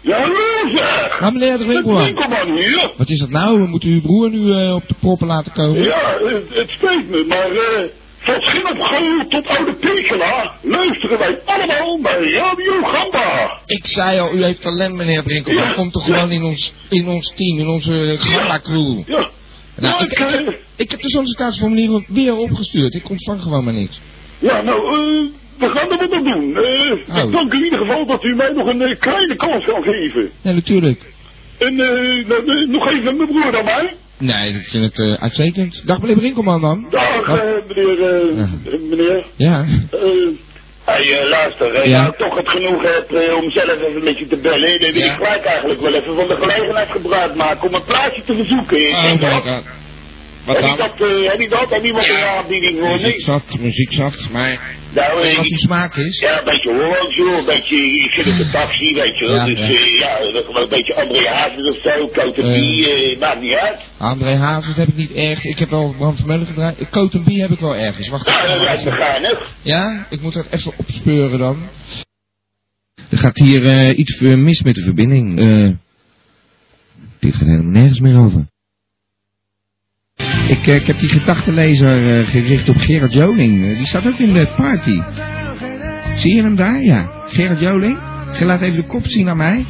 S25: Ja, zeg!
S2: Ga meneer de
S25: Winkelman
S2: winkelman.
S25: hier.
S2: Wat is dat nou? We moeten uw broer nu eh, op de proppen laten komen.
S25: Ja, het, het spijt me, maar eh, van Schilopgeul tot Oude Pekela luisteren wij allemaal bij Radio Gamba.
S12: Ik zei al, u heeft talent, meneer Brinkelman. Komt toch gewoon in ons, in ons team, in
S2: eh,
S12: onze Gamba-crew.
S25: Ja.
S12: Nou, ik, ik, heb- ik heb de sollicitatieformulier weer opgestuurd. Ik ontvang gewoon maar niks.
S25: Ja, nou, eh, we gaan er wat aan doen. Eh,
S2: Oh.
S25: Ik dank u in ieder geval dat u mij nog een eh, kleine kans kan geven.
S2: Ja, natuurlijk.
S25: En eh, nou, eh, nog even mijn broer aan mij.
S2: Nee, ik vind het eh, uitstekend. Dag meneer Brinkelman dan.
S25: Dag,
S2: Wat?
S25: eh, meneer, eh, eh, meneer.
S2: Ja.
S25: Eh, hey, eh, luister, eh,
S2: Ja.
S25: nou toch het genoeg hebt eh, om zelf even een beetje te bellen, dan wil ik gelijk eigenlijk wel even van de gelegenheid gebruik maken om een plaatsje te verzoeken.
S2: Oh my god. Wat
S25: heb ik
S2: dan?
S25: dat, eh, heb ik dat? Heb iemand een aanbieding voor
S2: Muziek
S25: me?
S2: zat, muziek zat, maar
S25: Nou, eh,
S2: wat uw smaak is.
S25: ja, een beetje Hollands, joh. Een beetje, ik zit
S10: Ah.
S25: op de taxi, weet je wel.
S2: Ja,
S25: dus
S2: ja.
S25: eh, ja, dat gewoon een beetje André Hazes of zo, Cote
S2: Eh.
S25: Bie, eh, maakt niet uit.
S2: André Hazes heb ik niet erg. Ik heb wel Bram Vermeulen gedraaid. Coat en Bie heb ik wel ergens. Wacht
S25: Nou, dat lijkt me geinig.
S2: Ja, ik moet dat even opspeuren dan. Er gaat hier eh, iets eh, mis met de verbinding. Eh, dit gaat helemaal nergens meer over. Ik, eh, ik heb die gedachtenlezer eh, gericht op Gerard Joling. Eh, die staat ook in de party. Zie je hem daar? Ja. Gerard Joling. Je laat even de kop zien aan mij.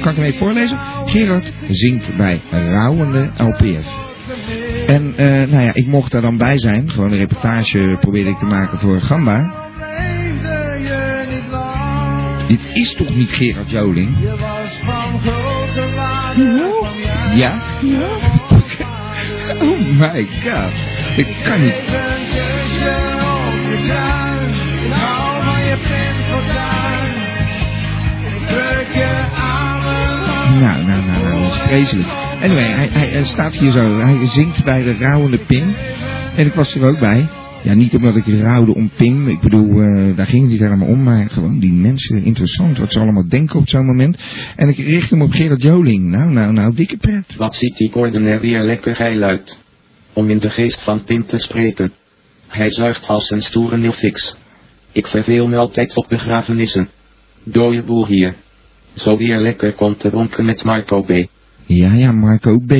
S2: Kan ik hem even voorlezen? Gerard zingt bij rouwende LPF. En eh, nou ja, ik mocht daar dan bij zijn. Gewoon een reportage probeerde ik te maken voor Gamba. Dit is toch niet Gerard Joling? Ja? oh my god. Dat kan niet. Nou, nou, nou, nou, dat is vreselijk. Anyway, hij, hij, hij staat hier zo. Hij zingt bij de rouwende Pim. En ik was er ook bij. Ja, niet omdat ik rouwde om Pim. Ik bedoel, eh, daar ging het niet helemaal om. Maar gewoon die mensen. Interessant wat ze allemaal denken op zo'n moment. En ik richt hem op Gerard Joling. Nou, nou, nou, dikke pret.
S26: Wat ziet die Gordon er weer lekker geil uit. Om in de geest van Pim te spreken. Hij zuigt als een stoere nilfix. Ik verveel me altijd op begrafenissen. Dooie boel hier. Zo weer lekker komt te ronken met Marco B.
S2: Ja, ja, Marco B.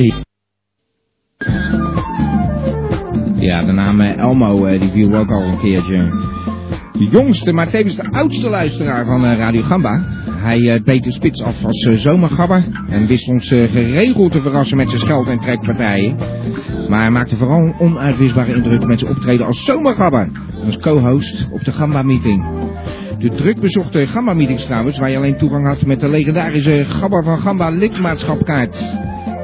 S2: Ja, de naam eh, Elmo eh, die viel ook al een keertje. De jongste, maar tevens de oudste luisteraar van eh, Radio Gamba. Hij eh, beet de spits af als eh, zomergabber en wist ons eh, geregeld te verrassen met zijn scheld- en trekpartijen. Maar hij maakte vooral een onuitwisbare indruk met zijn optreden als zomergabber. Als co-host op de Gamba-meeting. De druk bezochte Gamba-meetings trouwens, waar je alleen toegang had met de legendarische Gabba van Gamba lidmaatschapkaart.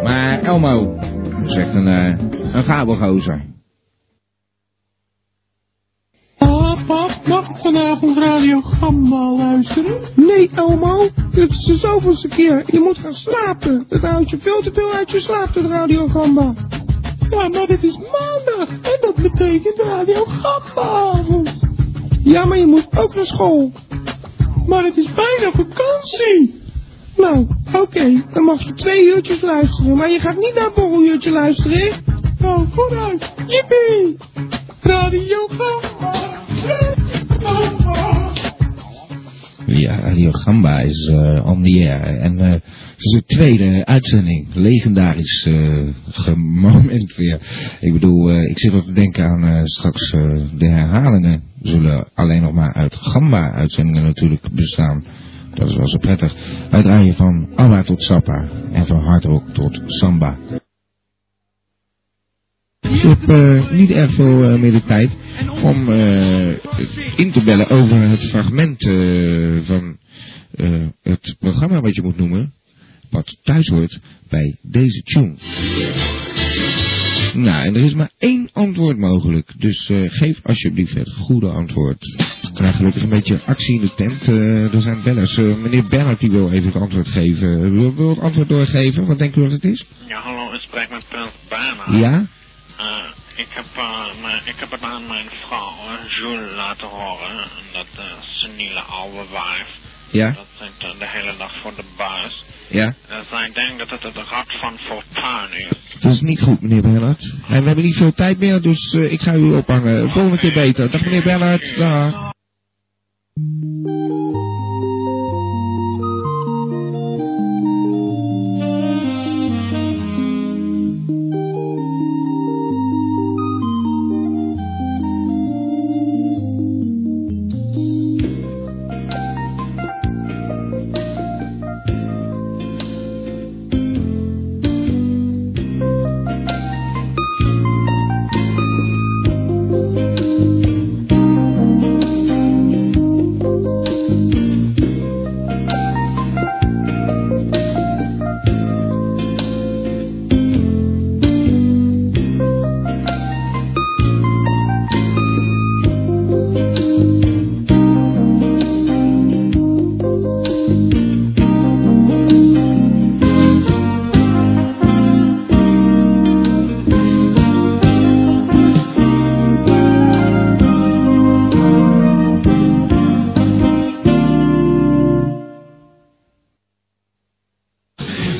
S2: Maar Elmo, dat is echt een, eh een gabelgozer.
S27: Pap, pap, mag ik vanavond Radio Gamma luisteren? Nee, Elmo. Het is de zoveelste keer. Je moet gaan slapen. Het houdt je veel te veel uit je slaap, de Radio Gamma. Ja, maar het is maandag. En dat betekent Radio Gamma-avond. Ja, maar je moet ook naar school. Maar het is bijna vakantie. Nou, oké. Dan mag je twee uurtjes luisteren. Maar je gaat niet naar borreluurtje luisteren, hè? Nou, vooruit. Jippie. Radio Gamma.
S2: Ja, Radio Gamba is eh on the air. En eh, het is de tweede uitzending. Legendarisch eh, ge- moment weer. Ik bedoel, eh, ik zit al te denken aan eh, straks eh, de herhalingen. Zullen alleen nog maar uit Gamba-uitzendingen natuurlijk bestaan. Dat is wel zo prettig. Wij draaien van Abba tot Sappa. En van hardrock tot Samba. Ik heb eh, niet erg veel eh, meer de tijd om eh, in te bellen over het fragment eh, van eh, het programma wat je moet noemen. Wat thuis hoort bij deze tune. Nou, en er is maar één antwoord mogelijk. Dus eh, geef alsjeblieft het goede antwoord. Nou, gelukkig een beetje actie in de tent. Eh, er zijn bellers. Eh, meneer Bernhard die wil even het antwoord geven. Wil, wil het antwoord doorgeven? Wat denkt u dat het is?
S16: Ja, hallo, het spreekt met Prins Bijna.
S2: Ja?
S16: Eh, Ik heb, eh, mijn- ik heb het aan mijn vrouw, eh, Jules, laten horen. En Dat eh seniele oude wijf.
S2: Ja.
S16: Dat zit eh, de hele dag voor de buis.
S2: Ja.
S16: En zij denkt dat het het rad van fortuin is.
S2: Dat is niet goed, meneer Bernhard. En we hebben niet veel tijd meer, dus eh, ik ga u ophangen. Volgende keer beter. Dag meneer Bernhard. Dag.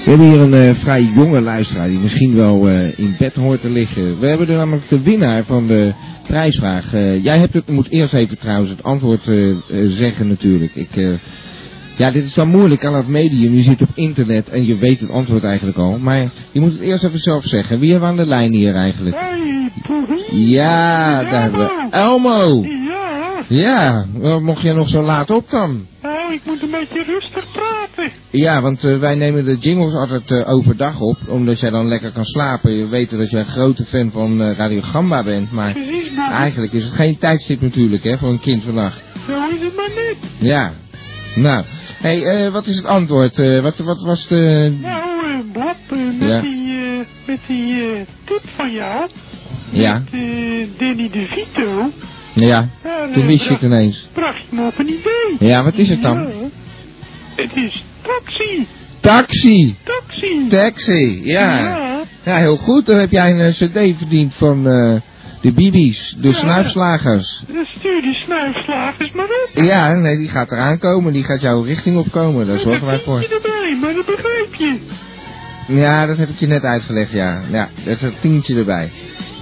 S2: We hebben hier een eh, vrij jonge luisteraar die misschien wel eh, in bed hoort te liggen. We hebben er namelijk de winnaar van de prijsvraag. Eh, jij hebt het, moet eerst even trouwens het antwoord eh, eh, zeggen natuurlijk. Ik, eh, ja, dit is dan moeilijk aan het medium. Je zit op internet en je weet het antwoord eigenlijk al. Maar je moet het eerst even zelf zeggen. Wie hebben we aan de lijn hier eigenlijk?
S21: Hey, poerie.
S2: Ja, daar hebben we Elmo.
S21: Ja,
S2: Ja, wel, mocht jij nog zo laat op dan?
S21: nou, ik moet een beetje rustig praten.
S2: Ja, want eh, wij nemen de jingles altijd eh, overdag op, omdat jij dan lekker kan slapen. Je weet dat jij een grote fan van eh, Radio Gamba bent, maar
S21: Precies, maar-
S2: eigenlijk is het geen tijdstip natuurlijk, hè, voor een kind vannacht.
S21: Zo is het maar niet.
S2: Ja. Nou, hey, eh, wat is het antwoord? Eh, wat, wat was de...
S21: Nou, eh, Bob, eh, met
S2: Ja.
S21: die, eh, met die eh, tip van jou,
S2: Ja,
S21: eh, Danny DeVito,
S2: ja,
S21: daar, eh,
S2: toen wist je het
S21: bracht-
S2: ineens.
S21: bracht je me op een idee.
S2: Ja, wat is het dan?
S21: Ja. Het is taxi,
S2: Taxi!
S21: taxi.
S2: Taxi, ja.
S21: Ja,
S2: Ja, heel goed. Dan heb jij een eh, cd verdiend van eh, de Bibi's, de
S21: Ja.
S2: snuifslagers.
S21: dan stuur die snuifslagers maar op.
S2: Ja, nee, die gaat eraan komen. Die gaat jouw richting opkomen. Daar zorgen wij
S21: Vind
S2: voor.
S21: je erbij, maar dat begrijp je.
S2: Ja, dat heb ik je net uitgelegd, ja. Ja, dat is een tientje erbij.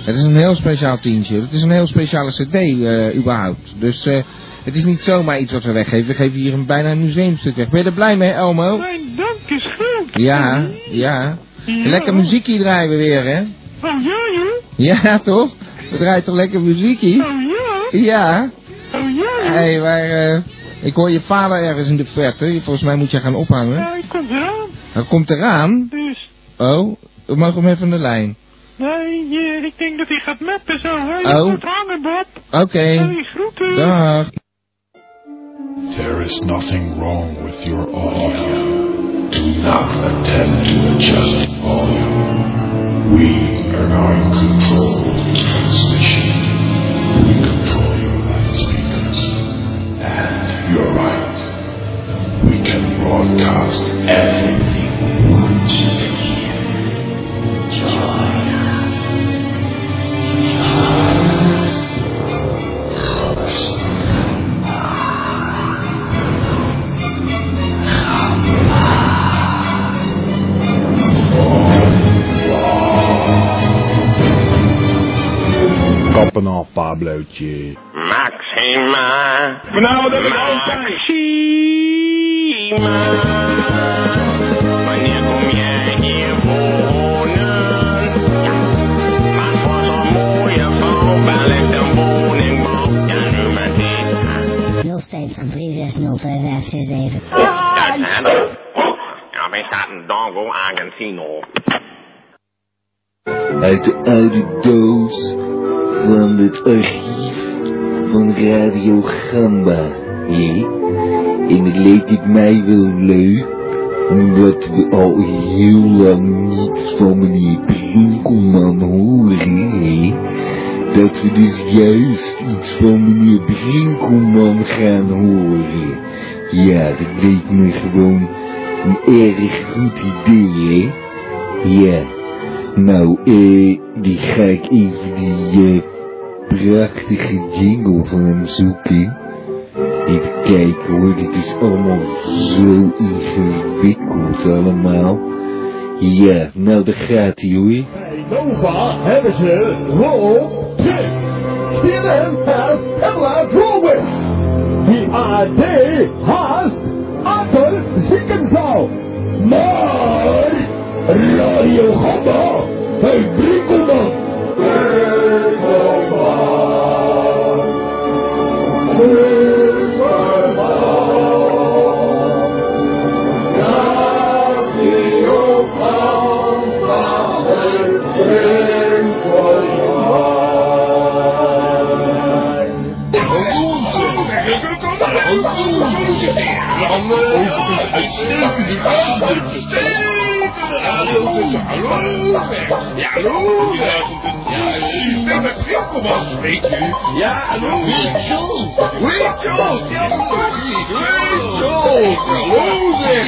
S2: Het is een heel speciaal tientje. Het is een heel speciale cd, eh, überhaupt. Dus eh, het is niet zomaar iets wat we weggeven. We geven hier een bijna een museumstuk weg. Ben je er blij mee,
S10: Oh.
S2: Elmo?
S21: Mijn dank is groot.
S2: Ja, ja. Lekker muziekje draaien we weer, hè?
S21: Oh ja, joh.
S2: Ja, toch? We draaien toch lekker muziekje?
S21: Oh ja.
S2: Ja.
S21: Oh ja.
S2: Hé, hey, maar eh, ik hoor je vader ergens in de verte. Volgens mij moet je gaan ophangen.
S21: Nou, ik kom eraan.
S2: Hij komt eraan.
S21: Dus,
S2: Oh, we mogen hem even aan de lijn.
S21: nee, eh, ik denk dat hij gaat meppen zo. Hé, je
S2: Oh.
S21: moet hangen, Bob.
S2: Oké.
S21: Hé, groeten.
S2: Dag.
S22: There is nothing wrong with your audio. Do not attempt to adjust volume. We are not in control of the transmission. We control your loudspeakers. And you're right. We can broadcast everything we want to hear.
S12: Kappen af, Pablootje.
S9: Maxima.
S12: Nou, dat is
S9: Maxima. Wanneer kom jij hier wonen? Ja. Maar voor zo'n mooie vrouw bel ik de woningbouw. Ja, nu maar dit.
S25: 07
S9: Ja, dat Ja, wij een Dongo Argentino.
S10: Uit de oude doos van het archief van Radio Gamba. Hè? En het leek het mij wel leuk, omdat we al heel lang niets van meneer Brinkelman horen. Hè? Dat we dus juist iets van meneer Brinkelman gaan horen. Ja, dat leek me gewoon een erg goed idee, hè? Ja.
S28: Nou, eh, die ga ik even die eh, prachtige jingle van hem zoeken. Even kijken hoor, dit is allemaal zo Mhm, ingewikkeld allemaal. Ja, nou daar gaat hij hoor.
S21: Nova hebben ze Rob Dick. CNN has Ella Drolwig. The AD has Adolf Ziekenzaal. Maar Radio Gamba bij Brinkelman. Brinkelman.
S10: Ja, hallo. Rachel. Rachel. Rachel. Hallo zeg.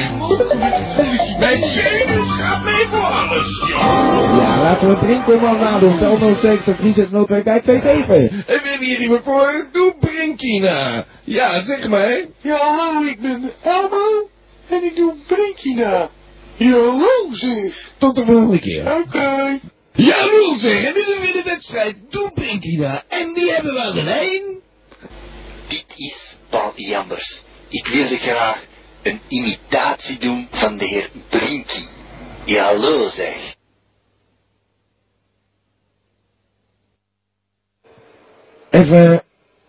S10: Mijn penis gaat mee voor alles.
S1: Ja, laten we Nou, Brinkelman nadoen. Bel 070 36 bij
S10: En we hebben hier iemand voor. Doe Brinkina. Ja, zeg maar. Ja, hallo, ik ben Elma. En ik doe Brinkina. Ja, hallo zeg. Tot de volgende keer. Oké. Ja, hallo zeg. En dit is weer de wedstrijd. Doe Brinkina. En die hebben we aan de lijn.
S16: Dit is Paul Janders. Ik wilde graag een imitatie doen van de heer Brinkie. Ja, hallo zeg.
S2: Even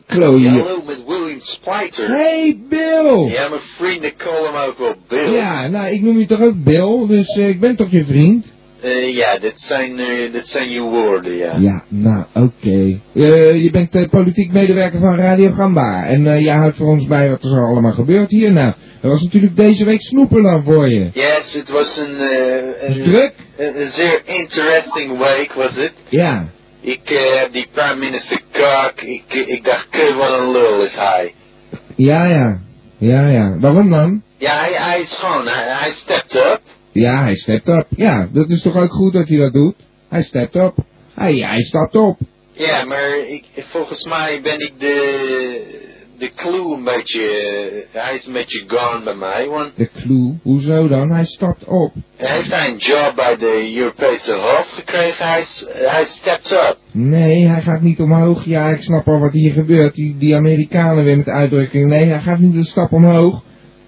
S2: klooien.
S16: Hallo met William Spiter.
S2: Hey, Bill.
S16: Ja, mijn vrienden callen hem ook wel Bill.
S2: Ja, nou, ik noem je toch ook Bill, dus eh, ik ben toch je vriend?
S16: Eh, ja, dat zijn, eh, dat zijn je woorden, ja.
S2: nou, oké. Eh, je bent eh, politiek medewerker van Radio Gamba. En eh, jij houdt voor ons bij wat er zo allemaal gebeurt hier. Nou, er was natuurlijk deze week Snoeperland voor je.
S16: Yes, het was een, eh, een,
S2: Druk?
S16: een, een zeer interesting week, was het.
S2: Ja.
S16: Ik eh, heb die prime minister Kak, ik, ik dacht, kut, wat een lul is hij.
S2: Ja, ja. Ja, ja. Waarom dan?
S16: Ja, hij, hij is gewoon, hij, hij stepped up.
S2: Ja, hij stept op. Ja, dat is toch ook goed dat hij dat doet? Hij stept op. Hij, hij stapt op.
S16: Ja, maar ik, volgens mij ben ik de, de clue een beetje, eh, hij is een beetje gone bij mij, want
S2: De clue. Hoezo dan? Hij stapt op.
S16: heeft hij een job bij de Europese Hof gekregen, hij, is- hij stepped up.
S2: Nee, hij gaat niet omhoog. Ja, ik snap al wat hier gebeurt. Die, die Amerikanen weer met uitdrukking. Nee, hij gaat niet een stap omhoog.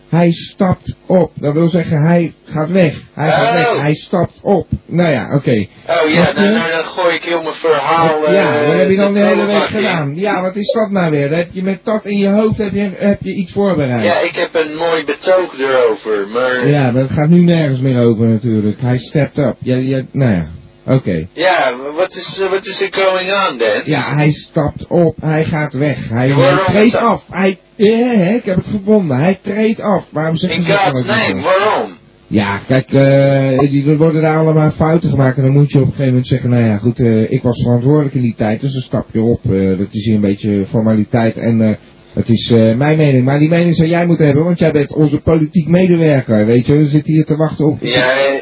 S2: Hij stapt op. Dat wil zeggen, hij gaat weg. Hij gaat weg. Hij stapt op. Nou ja, oké.
S16: Oh ja,
S2: Snap je?
S16: nou, nou dan gooi ik heel mijn verhaal. eh,
S2: Ja, wat heb je dan de hele week
S16: prullenbak in.
S2: gedaan? Ja, wat is dat nou weer? Heb je met dat in je hoofd heb je, heb je iets voorbereid?
S16: Ja, ik heb een mooi betoog erover, maar...
S2: Ja, maar het gaat nu nergens meer over natuurlijk. Hij stept op. Ja, ja, nou ja, oké.
S16: Ja, wat is, eh, wat is er going on then?
S2: Ja, hij stapt op, hij gaat weg. Hij,
S16: Waarom
S2: hij
S16: is
S2: treedt
S16: dat?
S2: af. Hij, ja, hè, ik heb het gevonden. Hij treedt af. Waarom zeg je
S16: In
S2: dat nou
S16: God's
S2: ook niet
S16: name,
S2: zo?
S16: waarom?
S2: Ja, kijk, eh, die, er worden daar allemaal fouten gemaakt. En dan moet je op een gegeven moment zeggen, nou ja, goed, eh, ik was verantwoordelijk in die tijd. Dus dan stap je op. Eh, dat is hier een beetje formaliteit. En eh, het is eh, mijn mening. Maar die mening zou jij moeten hebben, want jij bent onze politiek medewerker. Weet je, we zitten hier te wachten op...
S16: Ja, eh,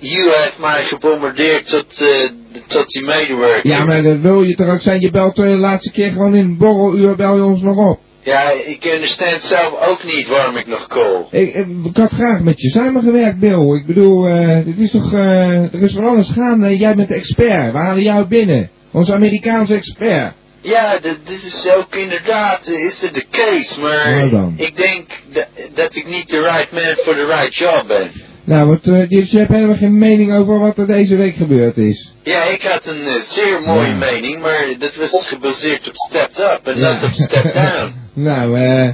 S16: you heeft mij gebombardeerd tot, eh, tot die medewerker.
S2: Ja, maar dat wil je toch ook zijn? Je belt eh, de laatste keer gewoon in het borreluur, bel je ons nog op.
S16: Ja, ik understand zelf ook niet waarom ik nog call.
S2: Ik, ik, ik had graag met je samengewerkt, Bill. Ik bedoel, eh, dit is toch, eh, er is van alles gaande. Jij bent de expert. We halen jou binnen. Onze Amerikaanse expert.
S16: Ja, dit dit is ook inderdaad, eh, is het de case, maar
S2: Nou dan.
S16: ik denk dat, dat ik niet de right man voor de right job ben.
S2: Nou, wat, eh, dus je hebt helemaal geen mening over wat er deze week gebeurd is.
S16: Ja, ik had een eh, zeer mooie mening, maar dat was gebaseerd op stepped up en
S2: Ja.
S16: niet op step down.
S2: Nou, eh,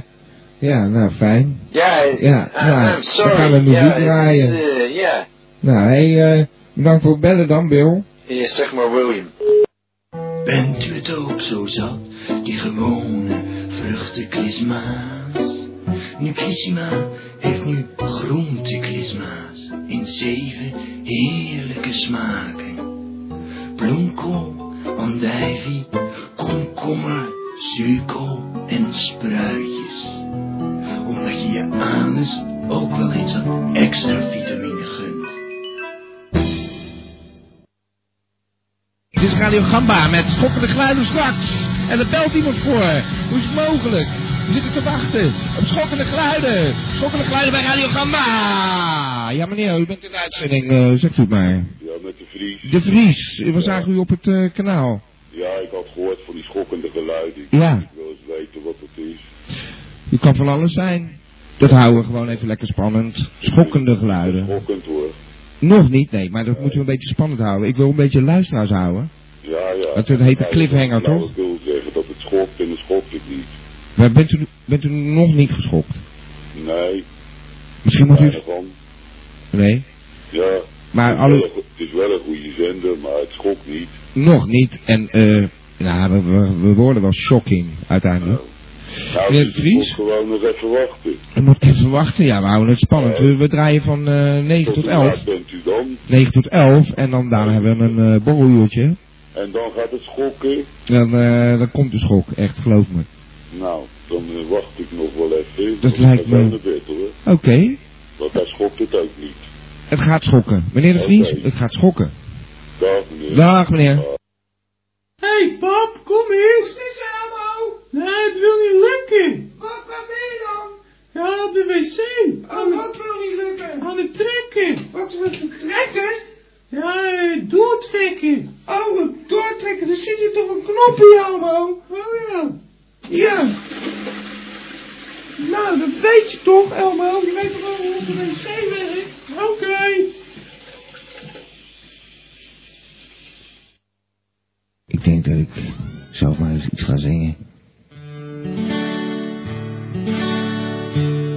S2: ja, nou, fijn.
S16: Ja, eh,
S2: Ja,
S16: I- I'm
S2: nou, dan gaan we
S16: sorry.
S2: muziek
S16: Ja, het is,
S2: draaien.
S16: eh, ja.
S2: Nou, hey, eh, bedankt voor het bellen dan, Bill.
S16: Ja, Eh, zeg maar William.
S8: Bent u het ook zo zat, die gewone vruchtenklisma's? Nucissima heeft nu groenteklisma's in zeven heerlijke smaken. Bloemkool, andijvie, komkommer, suiker en spruitjes. Omdat je je anus ook wel eens wat extra vitamine gunt.
S2: is Radio Gamba met schokkende geluiden straks. En er belt iemand voor. Hoe is het mogelijk? We zitten te wachten op schokkende geluiden. Schokkende geluiden bij Radio Gamba. Ja meneer, u bent in de uitzending. eh, zegt u het maar.
S19: Ja, met de Vries.
S2: De Vries, we zagen u op het eh, kanaal.
S19: Ja, ik had gehoord van die schokkende geluiden. Ik
S2: Ja.
S19: ik wil eens weten wat het is.
S10: U kan van alles zijn. Dat houden we gewoon even lekker spannend. Schokkende geluiden.
S19: Schokkend hoor.
S10: Nog niet, nee, maar dat moeten we een beetje spannend houden. Ik wil een beetje luisteraars houden.
S19: Ja, ja.
S10: Dat heet de
S19: Ja,
S10: cliffhanger,
S19: nou,
S10: toch?
S19: Ik wil zeggen dat het schokt en dan schokt het niet.
S10: Maar bent u, bent u nog niet geschokt?
S19: Nee.
S10: Misschien moet u...
S19: weinig van.
S10: Nee,
S19: Ja.
S10: Maar
S19: het, is
S10: alle-
S19: wel een go- het is wel een goede zender, maar het schokt niet.
S10: nog niet. En eh, nou, we, we, we worden wel shocking uiteindelijk.
S19: Nou,
S10: Meneer
S19: dus
S10: de
S19: ik moet
S10: Vries?
S19: gewoon nog even wachten.
S10: We moeten Eh, even wachten, ja, we houden het spannend. We, we draaien van eh 9 tot
S19: hoe laat
S10: 11.
S19: bent u dan?
S10: 9 tot 11 en dan daarna hebben we een eh borreluurtje.
S19: En dan gaat het schokken.
S10: Dan, eh, dan komt de schok, echt, geloof me.
S19: Nou, dan eh, wacht ik nog wel even.
S10: Dat
S19: Dan
S10: lijkt
S19: ga ik
S10: me-
S19: naar bed, hoor.
S10: Oké,
S19: Want daar schokt het ook niet.
S10: het gaat schokken. Meneer de Vries,
S19: Oké.
S10: het gaat schokken.
S19: Dag meneer.
S10: Dag meneer.
S21: hey, pap, kom eens. Is er allemaal? Nee, het wil niet lukken. Wat, waar ben je dan? Ja, op de wc. Oh, wat wil niet lukken? Aan het trekken. Wat wil je trekken? Ja, eh, doortrekken. Oh, doortrekken. Er zit hier toch een knop in, Elmo? Oh ja. Ja. Nou, dat weet je toch, Elmo? Je weet toch wel hoe de wc werkt? Oké.
S10: Ik denk dat ik zelf maar eens iets ga zingen.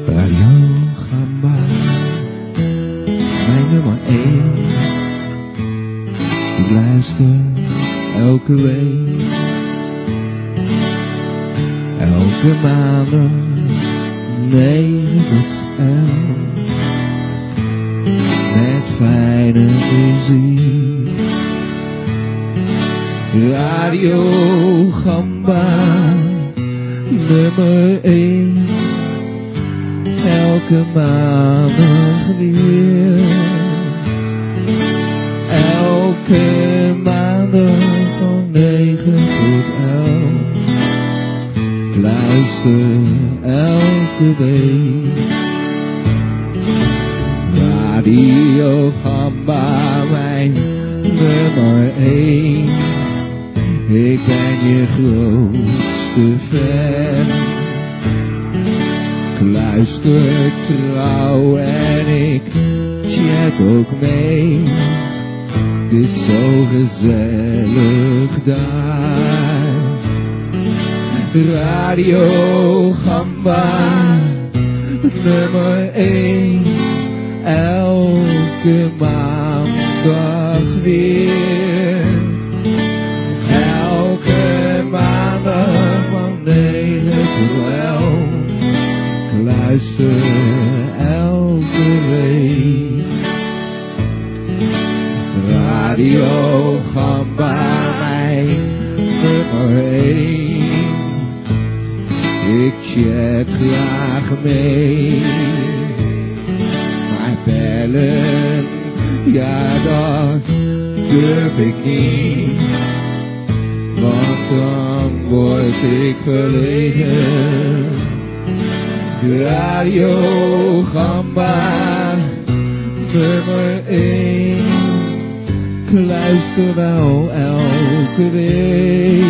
S10: Radio Gamba, mijn nummer 1. Ik luister elke week, elke maandag, 9 tot 11. Met fijne muziek. Radio Gamba, nummer 1. Elke maandag weer. Elke maandag van 9 tot 11. Ik luister elke week. Radio Gamba, mijn nummer 1. Ik ben je grootste fan. Ik luister trouw en ik chat ook mee. Het is zo gezellig daar. Radio Gamba, nummer 1. Elke maandag weer. Elke maandag van 9 tot 11. Ik Luister elke week. Radio Gamba, mijn nummer 1. Ik chat graag mee. Maar bellen, ja dat durf ik niet. Want dan word ik verlegen. Radio Gamba, nummer 1. Ik luister wel elke week.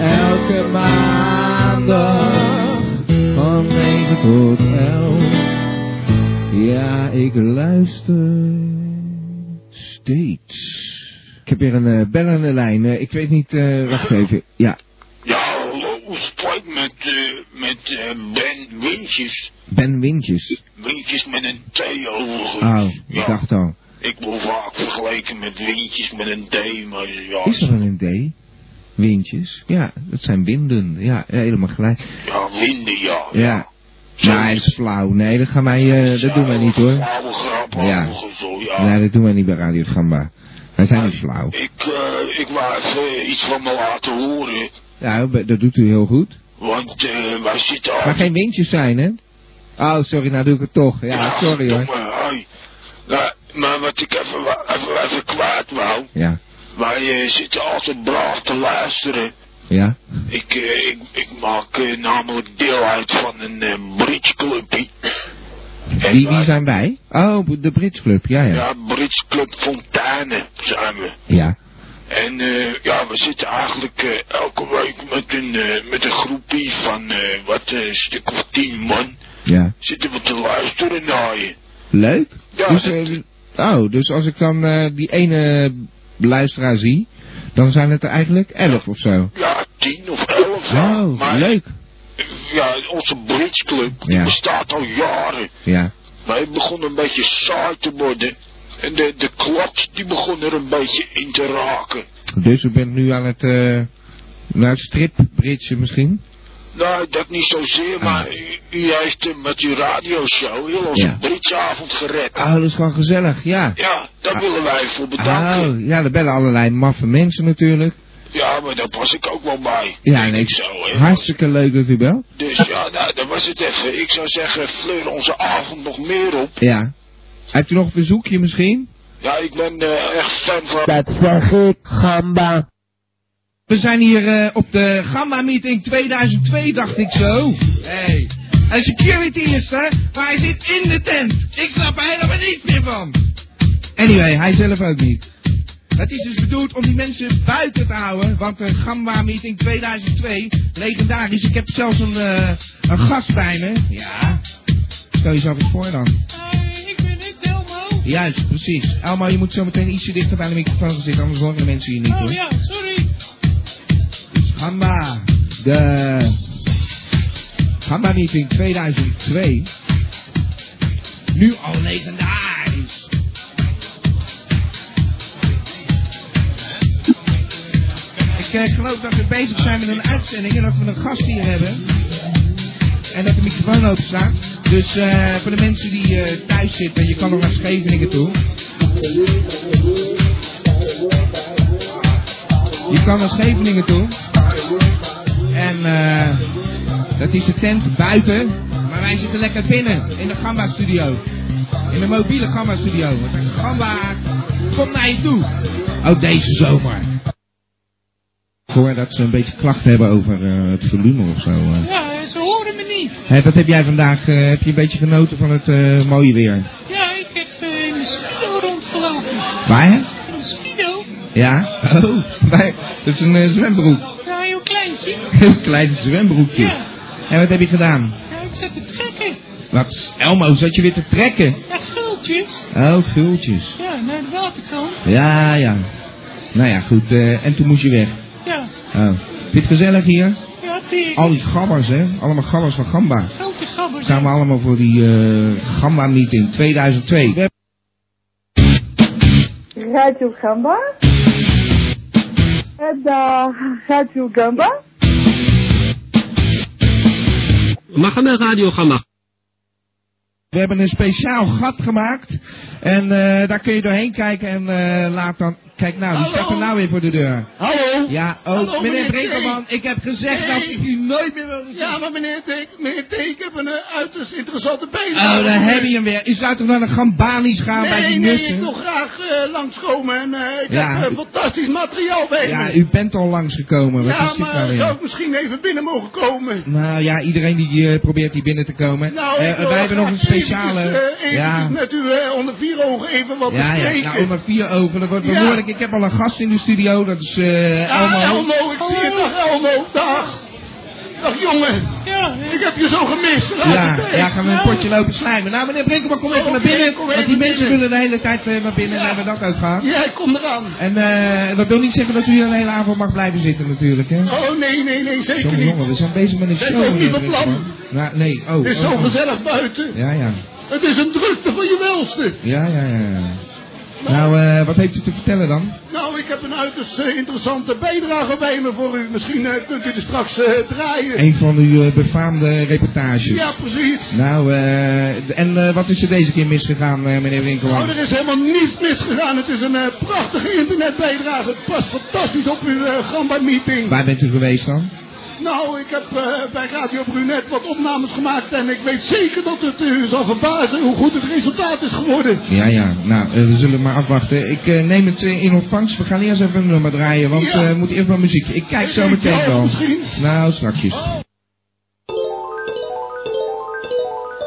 S10: Elke maandag van 9 tot 11. Ja, ik luister steeds. Ik heb hier een eh, bel aan de lijn. Eh, ik weet niet, eh, wacht even. Ja,
S22: Ja, hallo, spreek met, eh, met eh, Ben Windjes.
S10: Ben Windjes.
S22: Windjes met een T overigens.
S10: Oh, ik
S22: Ja.
S10: dacht al.
S22: Ik word vaak vergeleken met Windjes met een D, maar ja,
S10: Is er wel een D? Windjes? Ja, dat zijn winden. Ja, helemaal gelijk.
S22: ja winden ja.
S10: Ja. Maar hij is flauw. Nee, dat gaan wij, eh, dat doen wij niet hoor.
S22: Oude grap,
S10: Ja.
S22: overigens, hoor, ja.
S10: Nee, dat doen wij niet bij Radio Gamba. Wij zijn niet flauw.
S22: Ik, eh, ik wou even eh, iets van me laten horen,
S10: Ja, dat doet u heel goed.
S22: want eh, wij zitten
S10: Maar geen windjes zijn, hè? Oh, sorry, nou doe ik het toch. Ja, sorry hoor.
S22: Domme, hoi. eh, Nou, Maar wat ik even, wa- even, even kwaad wou.
S2: Ja.
S22: Wij eh, zitten altijd braaf te luisteren.
S2: Ja?
S22: Ik, eh, ik, ik maak eh, namelijk deel uit van een eh bridge clubje.
S2: Wie, wie zijn wij? Oh, de Brits Club, ja, ja.
S22: Ja, bridge club Fontaine zijn we.
S2: Ja.
S22: En eh, ja, we zitten eigenlijk eh, elke week met een, eh, met een groepie van eh, wat eh, een stuk of tien man.
S2: Ja.
S22: Zitten we te luisteren naar je.
S2: Leuk.
S22: Ja,
S2: dus,
S22: dat-
S2: eh, oh, dus als ik dan eh, die ene luisteraar zie, dan zijn het er eigenlijk elf of zo.
S22: Ja, tien of elf. ja.
S2: Oh, leuk.
S22: Ja, onze bridge club die
S2: Ja.
S22: bestaat al jaren.
S2: Ja.
S22: Wij begonnen een beetje saai te worden. En de, de klot die begon er een beetje in te raken.
S2: Dus u bent nu aan het, eh, naar het strip britsen misschien?
S22: Nou, dat niet
S2: Ah.
S22: zozeer, maar u, u heeft eh, met uw radioshow heel onze
S2: Ja.
S22: bridgeavond gered.
S2: Oh, dat is gewoon gezellig, ja.
S22: Ja,
S2: Ah.
S22: daar willen wij voor bedanken.
S2: Oh, ja, er bellen allerlei maffe mensen natuurlijk.
S22: Ja, maar daar was ik ook wel bij.
S2: Ja,
S22: denk
S2: nee,
S22: ik zo, hè.
S2: hartstikke leuk dat u belt.
S22: Dus ja, nou, dat was het even. Ik zou zeggen, fleur onze avond nog meer op.
S2: Ja. Hebt u nog een verzoekje misschien?
S22: Ja, ik ben eh, echt fan van...
S2: zeg ik, gamba. We zijn hier eh, op de Gamma Meeting 2002, dacht ik zo.
S10: Hey. En security is er, maar hij zit in de tent. Ik snap er helemaal niets meer van.
S2: Anyway, hij zelf ook niet.
S10: Het is dus bedoeld om die mensen buiten te houden, want de Gamba Meeting 2002, legendarisch. Ik heb zelfs een, eh, een gast bij me. Ja.
S2: Stel jezelf eens voor dan.
S10: Ik ben niet Elmo. Juist, precies. Elmo, je moet zo meteen ietsje dichter bij de microfoon gaan zitten, anders horen de mensen je niet hoor.
S21: Oh, sorry.
S10: Gamba, de Gamba Meeting 2002. Nu al legendarisch. Ik eh, geloof dat we bezig zijn met een uitzending en dat we een gast hier hebben. En dat de microfoon open staat. Dus eh, voor de mensen die eh, thuis zitten, je kan nog naar Scheveningen toe. Je kan naar Scheveningen toe. En eh, dat is de tent buiten. Maar wij zitten lekker binnen in de Gamba studio. In de mobiele Gamba studio. Want de Gamba komt naar je toe.
S2: Ook Oh, deze zomer. Ik hoor dat ze een beetje klachten hebben over eh, het volume of zo. eh.
S21: Ja, ze horen me niet.
S2: Hé, wat heb jij vandaag? eh, heb je een beetje genoten van het eh, mooie weer?
S21: Ja, ik heb eh, in de spido rondgelopen.
S2: Waar? hè?
S21: In de spido?
S2: Ja? Oh, wij- dat is een eh, zwembroek.
S21: Ja, heel kleintje.
S2: Een klein zwembroekje. En wat heb je gedaan?
S21: Ja, ik zat te trekken.
S2: Wat? Elmo, zat je weer te trekken?
S21: Ja, gultjes.
S2: Oh, gultjes.
S21: Ja, naar de waterkant.
S2: Ja, ja. Nou ja, goed. eh, en toen moest je weg.
S21: Ja,
S2: Oh. Vind je het gezellig hier?
S21: ja, die
S2: Al die gabbers, hè? Allemaal gabbers van Gamba.
S21: grote gabbers.
S2: Zijn we allemaal voor die eh, Gamba-meeting 2002. We hebben-
S29: Radio Gamba. En uh, Radio Gamba.
S10: Magame Radio Gamba. We hebben een speciaal gat gemaakt. En eh, daar kun je doorheen kijken en eh, laat dan... Kijk nou, die staat er nou weer voor de deur.
S25: Hallo?
S10: Ja, oh,
S25: Hallo,
S10: meneer
S25: meneer
S10: Brekelman,
S25: T.
S10: ik heb gezegd
S25: Nee.
S10: dat ik u nooit meer wil zien.
S25: Ja, maar meneer Teek, meneer Teek, ik heb een eh, uiterst interessante bezigheid.
S10: Oh, daar heb je hem weer. U zou toch naar de Gambanis gaan
S25: nee,
S10: bij die
S25: nee,
S10: nussen?
S25: ik wil graag eh, langskomen en eh, ik
S2: Ja.
S25: heb eh, fantastisch materiaal bij
S2: Ja,
S25: me.
S2: u bent al langsgekomen. Wat
S25: Ja,
S2: is dit nou
S25: maar
S2: weer?
S25: zou ik misschien even binnen mogen komen?
S2: Nou ja, iedereen die eh, probeert hier binnen te komen.
S25: Nou,
S2: Eh,
S25: ik wil
S2: wij hebben nog een
S25: graag
S2: speciale.
S25: eventjes, eh,
S2: ja.
S25: eventjes met u eh, onder vier ogen even wat
S2: Ja, ja,
S25: bespreken.
S2: nou, om maar vier ogen, dat wordt
S25: Ja.
S2: behoorlijk. Ik heb al een gast in de studio, dat is eh
S25: Ah,
S2: Elmo.
S25: Elmo, ik zie het. Dag Elmo, dag. Dag jongen. ik heb je zo gemist. Laat
S10: Ja,
S25: het eens.
S10: ja, gaan we een potje lopen slijmen. Nou, meneer Brinkelman, kom even
S25: Oké,
S10: naar binnen.
S25: kom
S10: Want die
S25: even
S10: mensen
S25: binnen.
S10: willen de hele tijd eh, naar binnen en hebben dat ook gehad.
S25: Ja, ik kom eraan.
S10: En eh, dat wil niet zeggen dat u hier een hele avond mag blijven zitten natuurlijk, hè?
S25: Oh, nee, nee, nee, zeker
S10: Jongen,
S25: niet.
S10: jongen, we zijn bezig met een
S25: Dat is
S10: show.
S25: ook niet
S10: meneer
S25: mijn plan.
S10: Brinkelman. Nou, nee, oh.
S25: Het is
S10: oh,
S25: zo
S10: oh.
S25: gezellig buiten.
S2: Ja, ja.
S25: Het is een drukte van je welste.
S2: Ja, ja, ja. ja. Nou, eh, wat heeft u te vertellen dan?
S25: Nou, ik heb een uiterst eh, interessante bijdrage bij me voor u. Misschien eh, kunt u er straks eh, draaien.
S2: Een van uw eh, befaamde reportages.
S25: Ja, precies.
S2: Nou, eh, d- en eh, wat is er deze keer misgegaan, eh, meneer
S25: Nou,
S2: Winkelman?
S25: er is helemaal niets misgegaan. Het is een eh, prachtige internetbijdrage. Het past fantastisch op uw eh, Gamba-meeting.
S2: Waar bent u geweest dan?
S25: Nou, ik heb eh, bij Radio Brunet wat opnames gemaakt en ik weet zeker dat het u zal verbazen hoe goed het resultaat is geworden.
S30: Ja, ja. Nou, eh, we zullen maar afwachten. Ik eh, neem het eh, in ontvangst. We gaan eerst even een nummer draaien, want eh, we moeten eerst maar muziek. Ik kijk zo meteen wel. Nou, strakjes.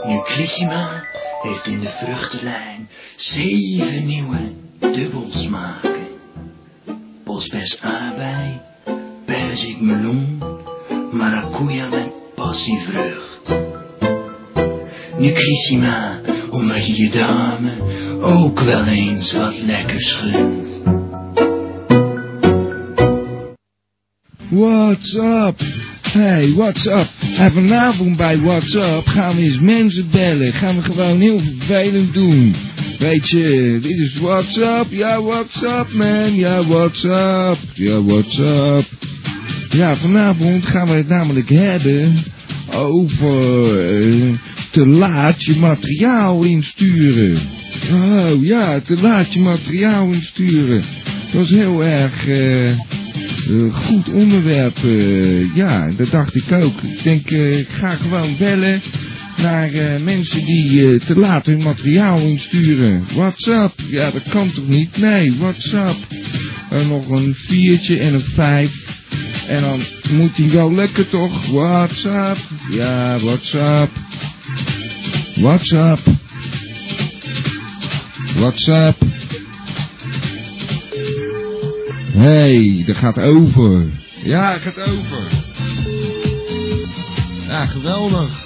S8: Nutrissima heeft in de vruchtenlijn zeven nieuwe dubbels maken. Bosbes aardbei, perzik meloen, maracuja met passievrucht. Nutrissima, omdat je je dame ook wel eens wat lekkers gunt.
S2: What's up? Hey, what's up? En vanavond bij What's Up gaan we eens mensen bellen. Gaan we gewoon heel vervelend doen. Weet je, dit is What's Up. Ja, what's up man. Ja, what's up. Ja, what's up. Ja, vanavond gaan we het namelijk hebben over eh, te laat je materiaal insturen. Oh ja, te laat je materiaal insturen. Dat was heel erg... eh, eh, goed onderwerp. eh, ja, dat dacht ik ook. Ik denk, eh, ik ga gewoon bellen naar eh, mensen die eh, te laat hun materiaal insturen. WhatsApp. Ja, dat kan toch niet? Nee, WhatsApp. En nog een viertje en een vijf. En dan moet die wel lekker toch? WhatsApp. Ja, WhatsApp. WhatsApp. WhatsApp. hey, dat gaat over. Ja, het gaat over. Ja, geweldig.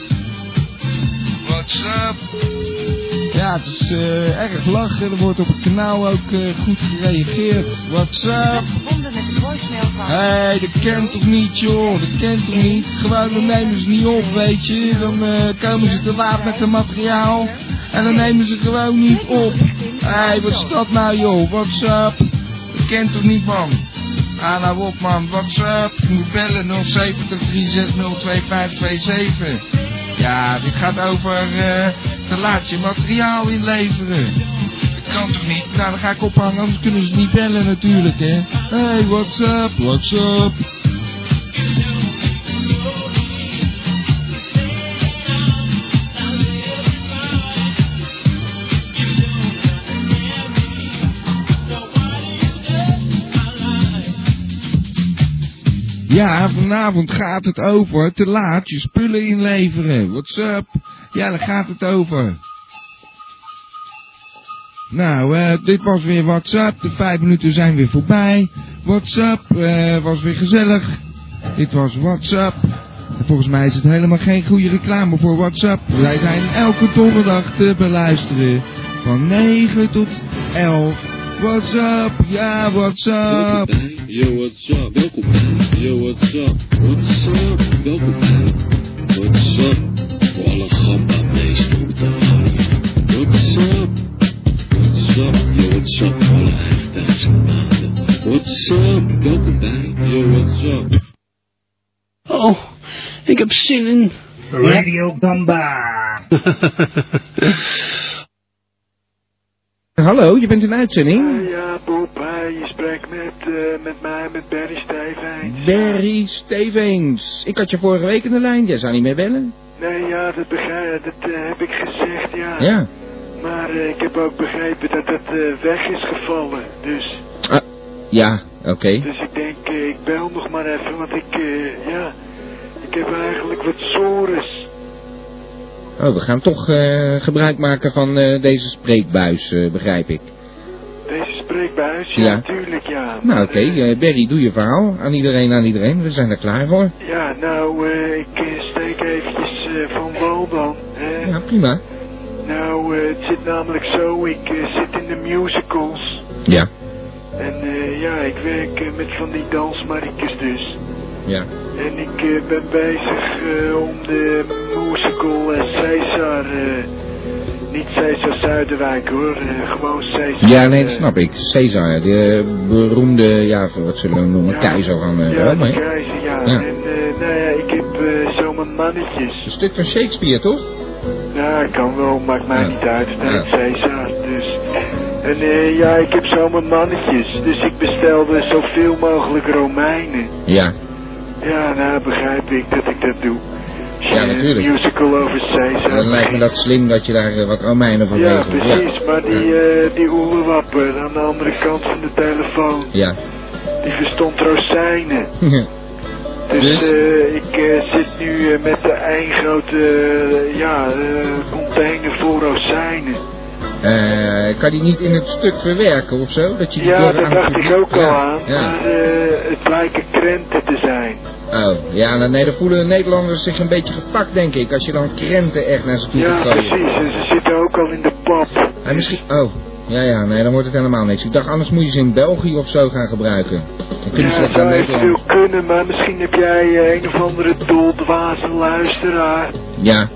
S2: WhatsApp. Ja, het is eh, erg lachen. Er wordt op het kanaal ook eh, goed gereageerd. WhatsApp.
S17: Verbonden met de voicemail van.
S2: Hé, hey, dat kent toch niet, joh? Dat kent toch niet? Gewoon, dan nemen ze niet op, weet je? Dan eh, komen ze te laat met hun materiaal. En dan nemen ze gewoon niet op. Hé, hey, wat is dat nou, joh? WhatsApp. Dat kent toch niet, man? Ah, nou op, man. WhatsApp. Je moet bellen 070 2602 Ja, dit gaat over eh, te laat je materiaal inleveren. Dat kan toch niet? Nou, dan ga ik ophangen, anders kunnen ze niet bellen natuurlijk, hè. Hey, what's up? What's up? Ja, vanavond gaat het over te laat je spullen inleveren. What's up? Ja, daar gaat het over. Nou, eh, dit was weer WhatsApp. De vijf minuten zijn weer voorbij. WhatsApp eh, was weer gezellig. Dit was WhatsApp. En Volgens mij is het helemaal geen goede reclame voor WhatsApp. Wij zijn elke donderdag te beluisteren. Van 9 tot 11. WhatsApp, ja, WhatsApp.
S7: Yo, what's up? Welkom. Yo, what's up? What's up? Welkom. What's up? Voor alle gamba meesten op de radio. What's up? What's up? Yo, what's up? Voor alle echtbijtse maanden. What's up? Welkom bij. Yo, what's up?
S31: Oh, ik heb zin in.
S10: Radio Gamba.
S30: Hallo, je bent in uitzending?
S32: Ja, Bob, hi, je spreekt met, eh, met mij, met Barry Stevens.
S30: Barry Stevens. Ik had je vorige week in de lijn. Jij zou niet meer bellen.
S32: Nee, ja, dat, begrijp, dat eh, heb ik gezegd, ja.
S30: Ja.
S32: Maar eh, ik heb ook begrepen dat dat eh, weg is gevallen, dus...
S30: Ja, oké.
S32: Dus ik denk, eh, ik bel nog maar even, want ik, eh, ja... Ik heb eigenlijk wat sores.
S30: Oh, we gaan toch eh, gebruik maken van eh, deze spreekbuis, eh, begrijp ik.
S32: Deze spreekbuis, ja,
S30: Ja.
S32: natuurlijk, ja.
S30: Nou, oké. eh, Barry, doe je verhaal. Aan iedereen, aan iedereen. We zijn er klaar voor.
S32: Ja, nou, eh, ik eh, steek eventjes eh, van wal dan, hè.
S30: Ja, prima.
S32: Nou, eh, het zit namelijk zo, ik eh, zit in de musicals.
S30: Ja.
S32: En eh, ja, ik werk eh, met van die dansmarkjes dus.
S30: Ja.
S32: En ik eh, ben bezig eh, om de musical eh, Caesar, eh, niet Caesar Zuiderwijk hoor, eh, gewoon Caesar. eh,
S30: Ja, nee, dat snap ik. Caesar, de beroemde, ja, wat zullen we hem noemen, keizer van eh,
S32: ja,
S30: Rome.
S32: die
S30: hè?
S32: keizer, ja.
S30: Ja.
S32: En eh, nou ja, ik heb eh zomaar mannetjes.
S30: Een stuk van Shakespeare, toch?
S32: Ja, kan wel, maakt mij
S30: Ja.
S32: niet uit. Het
S30: Ja.
S32: is Caesar, dus. En eh, ja, ik heb zomaar mannetjes, dus ik bestelde zoveel mogelijk Romeinen.
S30: Ja.
S32: Ja, nou begrijp ik dat ik dat doe. Als je
S2: Ja,
S32: een
S2: natuurlijk.
S32: musical over Caesar.
S2: Dan lijkt me dat slim dat je daar eh, wat Romeinen van
S32: Ja,
S2: regelt.
S32: precies, maar die, eh die oerwapper aan de andere kant van de telefoon,
S2: Ja.
S32: die verstond rozijnen.
S2: ja.
S32: Dus, eh, ik eh, zit nu eh, met de één grote eh, ja, eh, container vol rozijnen.
S2: Eh, kan die niet in het stuk verwerken of zo? Dat je die
S32: Ja,
S2: door
S32: daar
S2: aan-
S32: dacht ik ook al
S2: Ja,
S32: aan,
S2: Ja.
S32: maar eh, het blijken krenten te zijn.
S2: Oh, ja, nou, nee, dan voelen de Nederlanders zich een beetje gepakt, denk ik. Als je dan krenten echt naar ze toe
S32: Ja,
S2: gaat gooien.
S32: precies, en ze zitten ook al in de pap.
S2: En misschien... Oh, ja, ja, nee, dan wordt het helemaal niks. Ik dacht, anders moet je ze in België of zo gaan gebruiken. Dan kunnen
S32: Ja,
S2: ze
S32: zou
S2: dat aan
S32: veel
S2: Nederland.
S32: kunnen, maar misschien heb jij eh, een of andere doldwaze luisteraar
S2: Ja,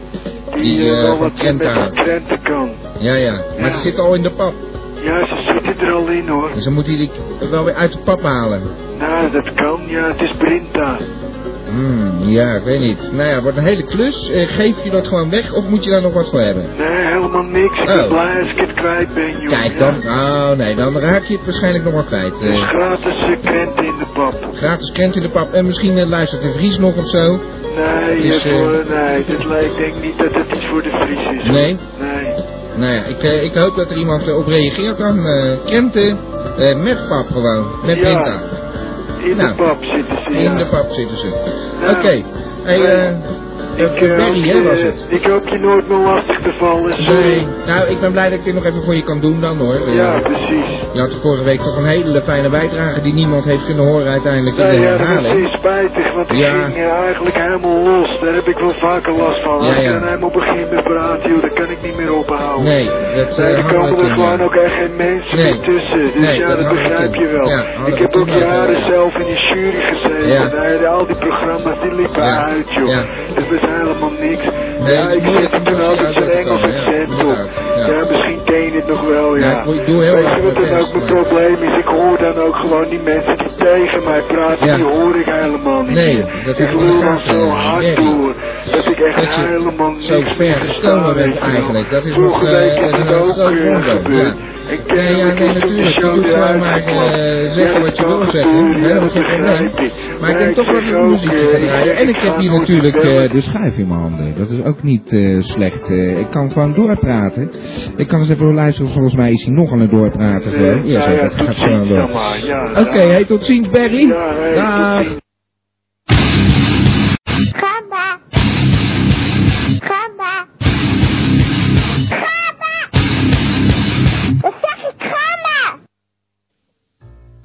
S32: die
S2: Die,
S32: eh,
S2: eh,
S32: wel
S2: van
S32: wat met
S2: Kenta.
S32: die krenten kan.
S2: ja, ja. Maar ze zitten al in de pap.
S32: Ja, ze zitten er al in hoor.
S2: Dus dan moet hij die wel weer uit de pap halen.
S32: Nou, dat kan, ja, het is Brinta.
S2: Hmm, ja, ik weet niet. Nou ja, het wordt een hele klus. Eh, geef je dat gewoon weg of moet je daar nog wat voor hebben?
S32: Nee, helemaal niks. Ik ben
S2: Oh.
S32: blij als ik het kwijt ben, joh.
S2: Kijk dan. Oh, nee, dan raak je het waarschijnlijk nog wel kwijt.
S32: Dus
S2: Eh,
S32: gratis eh, krenten in de pap.
S2: gratis krent in de pap. En misschien eh, luistert de Vries nog of zo.
S32: Nee,
S2: Het is,
S32: eh, voor-
S2: eh,
S32: nee, dit lijkt, denk niet dat het iets voor de Fries is. hoor.
S2: Nee?
S32: Nee.
S2: Nou ja, ik, eh, ik hoop dat er iemand eh, op reageert dan. eh, krenten eh, met pap gewoon. Met
S32: Ja,
S2: Brinta.
S32: In
S2: Nou.
S32: de pap zitten ze, ja.
S2: In de pap zitten ze.
S32: Nou,
S2: Oké. Hey, eh,
S32: Ik, eh,
S2: Barry,
S32: hoop
S2: hè,
S32: je-
S2: was het?
S32: ik hoop je nooit meer lastig te vallen, sorry.
S2: Nee. Nou, ik ben blij dat ik dit nog even voor je kan doen dan hoor. Eh,
S32: Ja, precies.
S2: Je had vorige week toch een hele fijne bijdrage die niemand heeft kunnen horen uiteindelijk in
S32: Nou
S2: de
S32: ja, dat
S2: herhaling.
S32: is spijtig, want ik
S2: Ja.
S32: ging eh, eigenlijk helemaal los. Daar heb ik wel vaker last van. Als
S2: Ja, ja.
S32: ik dan helemaal begin met praten, joh, dat kan ik niet meer ophouden.
S2: Nee, dat
S32: Nee,
S2: eh,
S32: er
S2: hadden we
S32: komen
S2: toen,
S32: er gewoon
S2: ja.
S32: ook echt geen mensen
S2: Nee.
S32: meer tussen. Dus
S2: Nee,
S32: ja,
S2: dat
S32: dat,
S2: hadden we
S32: begrijp
S2: toen.
S32: je wel.
S2: Ja, hadden
S32: ik
S2: we
S32: heb
S2: toen
S32: ook
S2: ook,
S32: jaren
S2: ja.
S32: zelf in die jury gezeten.
S2: Ja.
S32: Daar- al die programma's die liepen
S2: Ja.
S32: uit, joh.
S2: Ja.
S32: Dus dat is helemaal niks.
S2: Nee,
S32: ja,
S2: het
S32: ik
S2: is moeilijk
S32: zit
S2: om
S32: toen
S2: dat
S32: ook met
S2: eruit
S32: zo'n
S2: te
S32: Engels
S2: komen, ja.
S32: accent op.
S2: Inderdaad, ja.
S32: Ja, misschien ken je het nog wel, ja.
S2: Ja, ik- ik doe heel
S32: Weet
S2: erg
S32: je wat
S2: mijn
S32: dan
S2: best,
S32: ook mijn
S2: maar-
S32: probleem is? Ik hoor dan ook gewoon die mensen die tegen mij praten,
S2: Ja.
S32: die hoor ik helemaal niet.
S2: Nee,
S32: meer.
S2: dat
S32: ik
S2: heb ik
S32: lul
S2: in de
S32: dan
S2: gaten,
S32: zo
S2: eh,
S32: hard
S2: Jerry.
S32: door, dat ik echt
S2: Dat je
S32: helemaal niks
S2: zo ver
S32: meer
S2: gekomen
S32: versta,
S2: bent
S32: weet je wel.
S2: eigenlijk. Dat is
S32: Vorige
S2: nog, eh,
S32: week is
S2: een
S32: het
S2: groot
S32: ook eh,
S2: wonder,
S32: gebeurd. En kennelijk
S2: ja, nee,
S32: is toen de
S2: natuurlijk. Je
S32: show
S2: moet gewoon
S32: eruit
S2: maar eh,
S32: geklapt.
S2: zeggen
S32: Ja,
S2: wat je
S32: dat
S2: wil
S32: kan
S2: zeggen.
S32: gebeuren,
S2: Nee,
S32: ja,
S2: dat is geen probleem.
S32: begrijp ik.
S2: Maar ik denk toch wel
S32: zeg
S2: een
S32: ook,
S2: muziekje
S32: eh,
S2: gaan draaien. En ik heb
S32: ga
S2: hier
S32: nooit
S2: natuurlijk
S32: meer
S2: eh,
S32: bellen.
S2: de schuif in mijn handen. Dat is ook niet eh, slecht. Eh, ik kan gewoon doorpraten. Ik kan eens even luisteren. Volgens mij is hij nog aan het
S32: Eh,
S2: doorpraten. gewoon.
S32: nou
S2: zo,
S32: ja,
S2: dat
S32: tot
S2: gaat
S32: ziens
S2: gewoon door.
S32: dan maar, ja,
S2: Oké,
S32: ja.
S2: hey, tot ziens Barry.
S32: Ja, hey, tot
S2: Dag.
S32: ziens.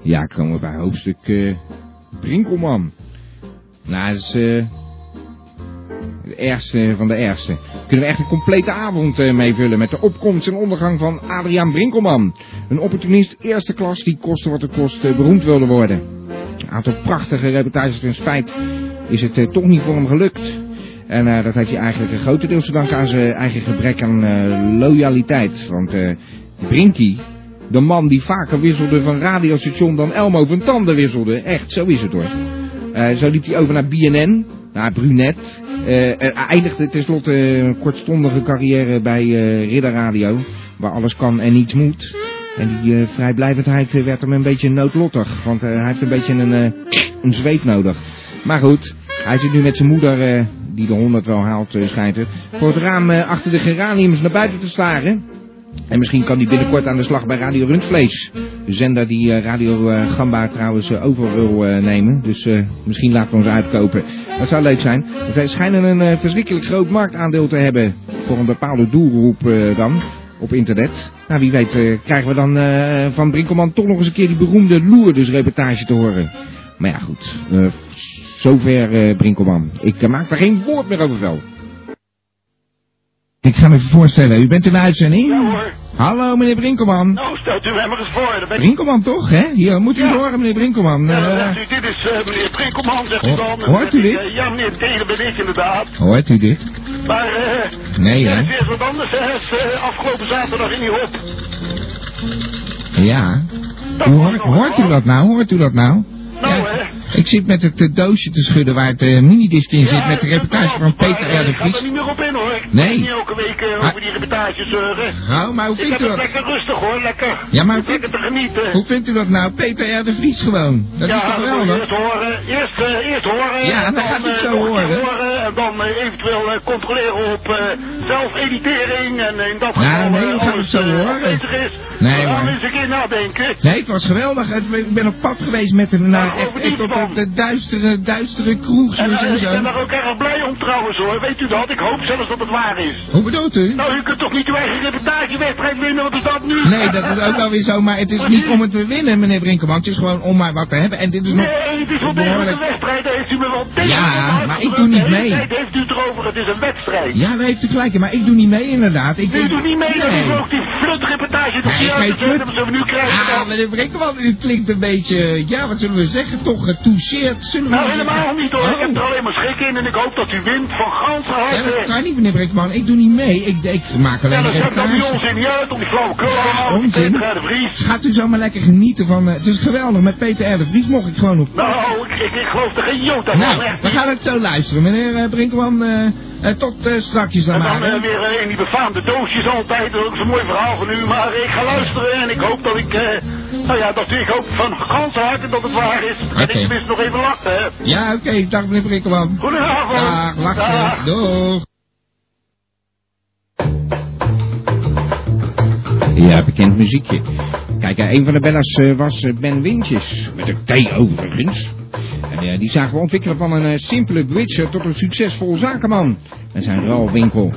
S2: Ja, komen we bij hoofdstuk eh Brinkelman. Nou, dat is eh het ergste van de ergste. Kunnen we echt een complete avond eh, mee vullen met de opkomst en ondergang van Adriaan Brinkelman. Een opportunist eerste klas die koste wat het kost eh, beroemd wilde worden. Een aantal prachtige reportages en spijt is het eh, toch niet voor hem gelukt. En eh, dat heeft hij eigenlijk een grotendeels te danken aan zijn eigen gebrek aan eh, loyaliteit. Want eh Brinkie, de man die vaker wisselde van radiostation dan Elmo van Tanden wisselde. Echt, zo is het hoor. Eh, zo liep hij over naar BNN, naar Brunet. Eh, en eindigde tenslotte een kortstondige carrière bij eh Ridder Radio. Waar alles kan en niets moet. En die eh, vrijblijvendheid eh, werd hem een beetje noodlottig. Want eh, hij heeft een beetje een, eh, een zweep nodig. Maar goed, hij zit nu met zijn moeder, eh, die de 100 wel haalt, eh, schijnt het. Voor het raam eh, achter de geraniums naar buiten te staren. En misschien kan die binnenkort aan de slag bij Radio Rundvlees. De zender die eh, Radio eh, Gamba trouwens eh, over wil eh, nemen. Dus eh, misschien laten we ons uitkopen. Dat zou leuk zijn. Want Wij schijnen een eh, verschrikkelijk groot marktaandeel te hebben. Voor een bepaalde doelgroep eh, dan. Op internet. Nou wie weet eh, krijgen we dan eh, van Brinkelman toch nog eens een keer die beroemde Loerders reportage te horen. Maar ja goed. eh, zover eh, Brinkelman. Ik eh, maak daar geen woord meer over wel. Ik ga me even voorstellen. U bent in de uitzending? Hallo meneer Brinkelman.
S12: Nou, stelt u hem er eens voor. Dan ben ik-
S2: Brinkelman toch, hè? Hier, moet u horen, meneer Brinkelman.
S12: Ja, dan
S2: Eh,
S12: zegt u, dit is eh, meneer Trinkelman, zegt
S2: Ho-
S12: u dan. Dan
S2: hoort u
S12: zegt
S2: dit?
S12: eh, ja, meneer T, dat ben ik inderdaad.
S2: hoort u dit?
S12: Maar eh,
S2: Nee, hè?
S12: ja, het is wat anders. Hè. Het is, eh, afgelopen zaterdag in die hop.
S2: Ja. Hoe hoort, hoort u dat nou? Hoort u dat nou?
S12: Nou, hè,
S2: Ik zit met het eh, doosje te schudden waar het eh, minidisc in zit met de reportage van Peter R.
S25: Maar,
S2: de
S25: Ik ga er
S2: Vries.
S25: niet meer op in hoor. Ik
S2: Nee.
S25: praat niet elke week eh, over die reportages.
S12: eh,
S25: Uh,
S2: Hou Ah. Nou, maar, hoe
S25: ik
S2: vindt
S25: heb
S2: u
S25: het
S2: dat?
S25: lekker rustig hoor, lekker.
S2: Ja, maar
S25: Ik heb lekker te genieten.
S2: Hoe vindt u dat nou? Peter R. de Vries gewoon. Dat
S25: ja,
S2: is toch
S25: dan moet je
S2: geweldig?
S25: Eerst horen, eerst, eh, eerst horen.
S2: Ja,
S25: en
S2: dan gaat u
S25: eh,
S2: het zo
S25: nog een keer
S2: horen.
S25: En dan eh, eventueel eh, controleren op eh zelfeditering en in dat
S2: Ja,
S25: geval
S2: nee,
S25: eh,
S2: we gaan het
S25: alles
S2: zo
S25: eh,
S2: horen.
S25: aanwezig is.
S2: Nee,
S25: Dan gaan we
S2: maar-
S25: eens een keer nadenken.
S2: Nee, het was geweldig. Het- Ik ben op pad geweest met hem naar echt,
S25: over
S2: echt
S25: die
S2: op de, de duistere, duistere kroeg.
S25: En eh,
S2: en
S25: ik ben
S2: zo.
S25: daar ook erg blij om trouwens hoor, weet u dat? Ik hoop zelfs dat het waar is.
S2: Hoe bedoelt u?
S25: Nou, u kunt toch niet uw eigen reportage weggeven winnen, wat is dat nu?
S2: Nee, dat is ook wel weer zo, maar het is niet om het te winnen, meneer Brinkeman. Het is gewoon om maar wat te hebben. En dit is nog
S25: Nee, het is wel degelijk een
S2: behoorlijk...
S25: wedstrijd. Daar heeft u me wel tegen
S2: Ja, maar ik doe niet mee.
S25: Nee, heeft u het erover. Het is een wedstrijd.
S2: Ja, daar heeft u gelijk, in, maar ik doe niet mee inderdaad. Ik
S25: U doet niet mee. Dat
S2: Nee.
S25: is ook die flutreportage. toch
S2: Nee,
S25: die
S2: geen
S25: uitgezet hebben ze nu krijgen.
S2: Ah, meneer Brinkeman, u klinkt een beetje, ja, wat zullen we zeggen, toch getoucheerd. Zullen we
S25: Nou, helemaal niet hoor. Ik
S2: Ah. Oh.
S25: heb er alleen maar schik in en ik hoop dat u wint van ganse
S2: Ja, dat
S25: harte.
S2: kan niet, meneer Brinkman. Ik doe niet mee. Ik, ik maak
S25: Ja,
S2: alleen
S25: dat
S2: een
S25: zegt dan
S2: reportage.
S25: die onzin niet uit om die flauwekul
S2: Ja,
S25: allemaal. Die
S2: onzin.
S25: Peter R. de Vries.
S2: Gaat u zomaar lekker genieten van... eh, het is geweldig. Met Peter R. de Vries mocht ik gewoon op...
S25: Nou, ik, ik, ik geloof er geen jota van.
S2: Nou,
S25: echt
S2: we
S25: niet.
S2: gaan het zo luisteren. Meneer eh, Brinkman, eh, eh, tot eh, strakjes dan
S25: En dan
S2: maar. hè.
S25: eh, weer eh, in die befaamde doosjes altijd. Dat is ook zo'n mooi verhaal van u. Maar ik ga luisteren en ik hoop dat ik... eh, nou ja, dat, ik hoop van ganse harte dat het waar is. En
S2: Oké.
S25: ik mis nog even lachen, hè.
S2: Ja, oké. Dag, meneer Brinkman.
S25: Goedenavond.
S2: Dag, lachen.
S25: Dag.
S2: Doeg. Ja, bekend muziekje. Kijk, eh, een van de bellers eh, was eh, Ben Wintjes. Met een T overigens. En eh, die zagen we ontwikkelen van een eh, simpele bridger tot een succesvol zakenman. En zijn ruilwinkel.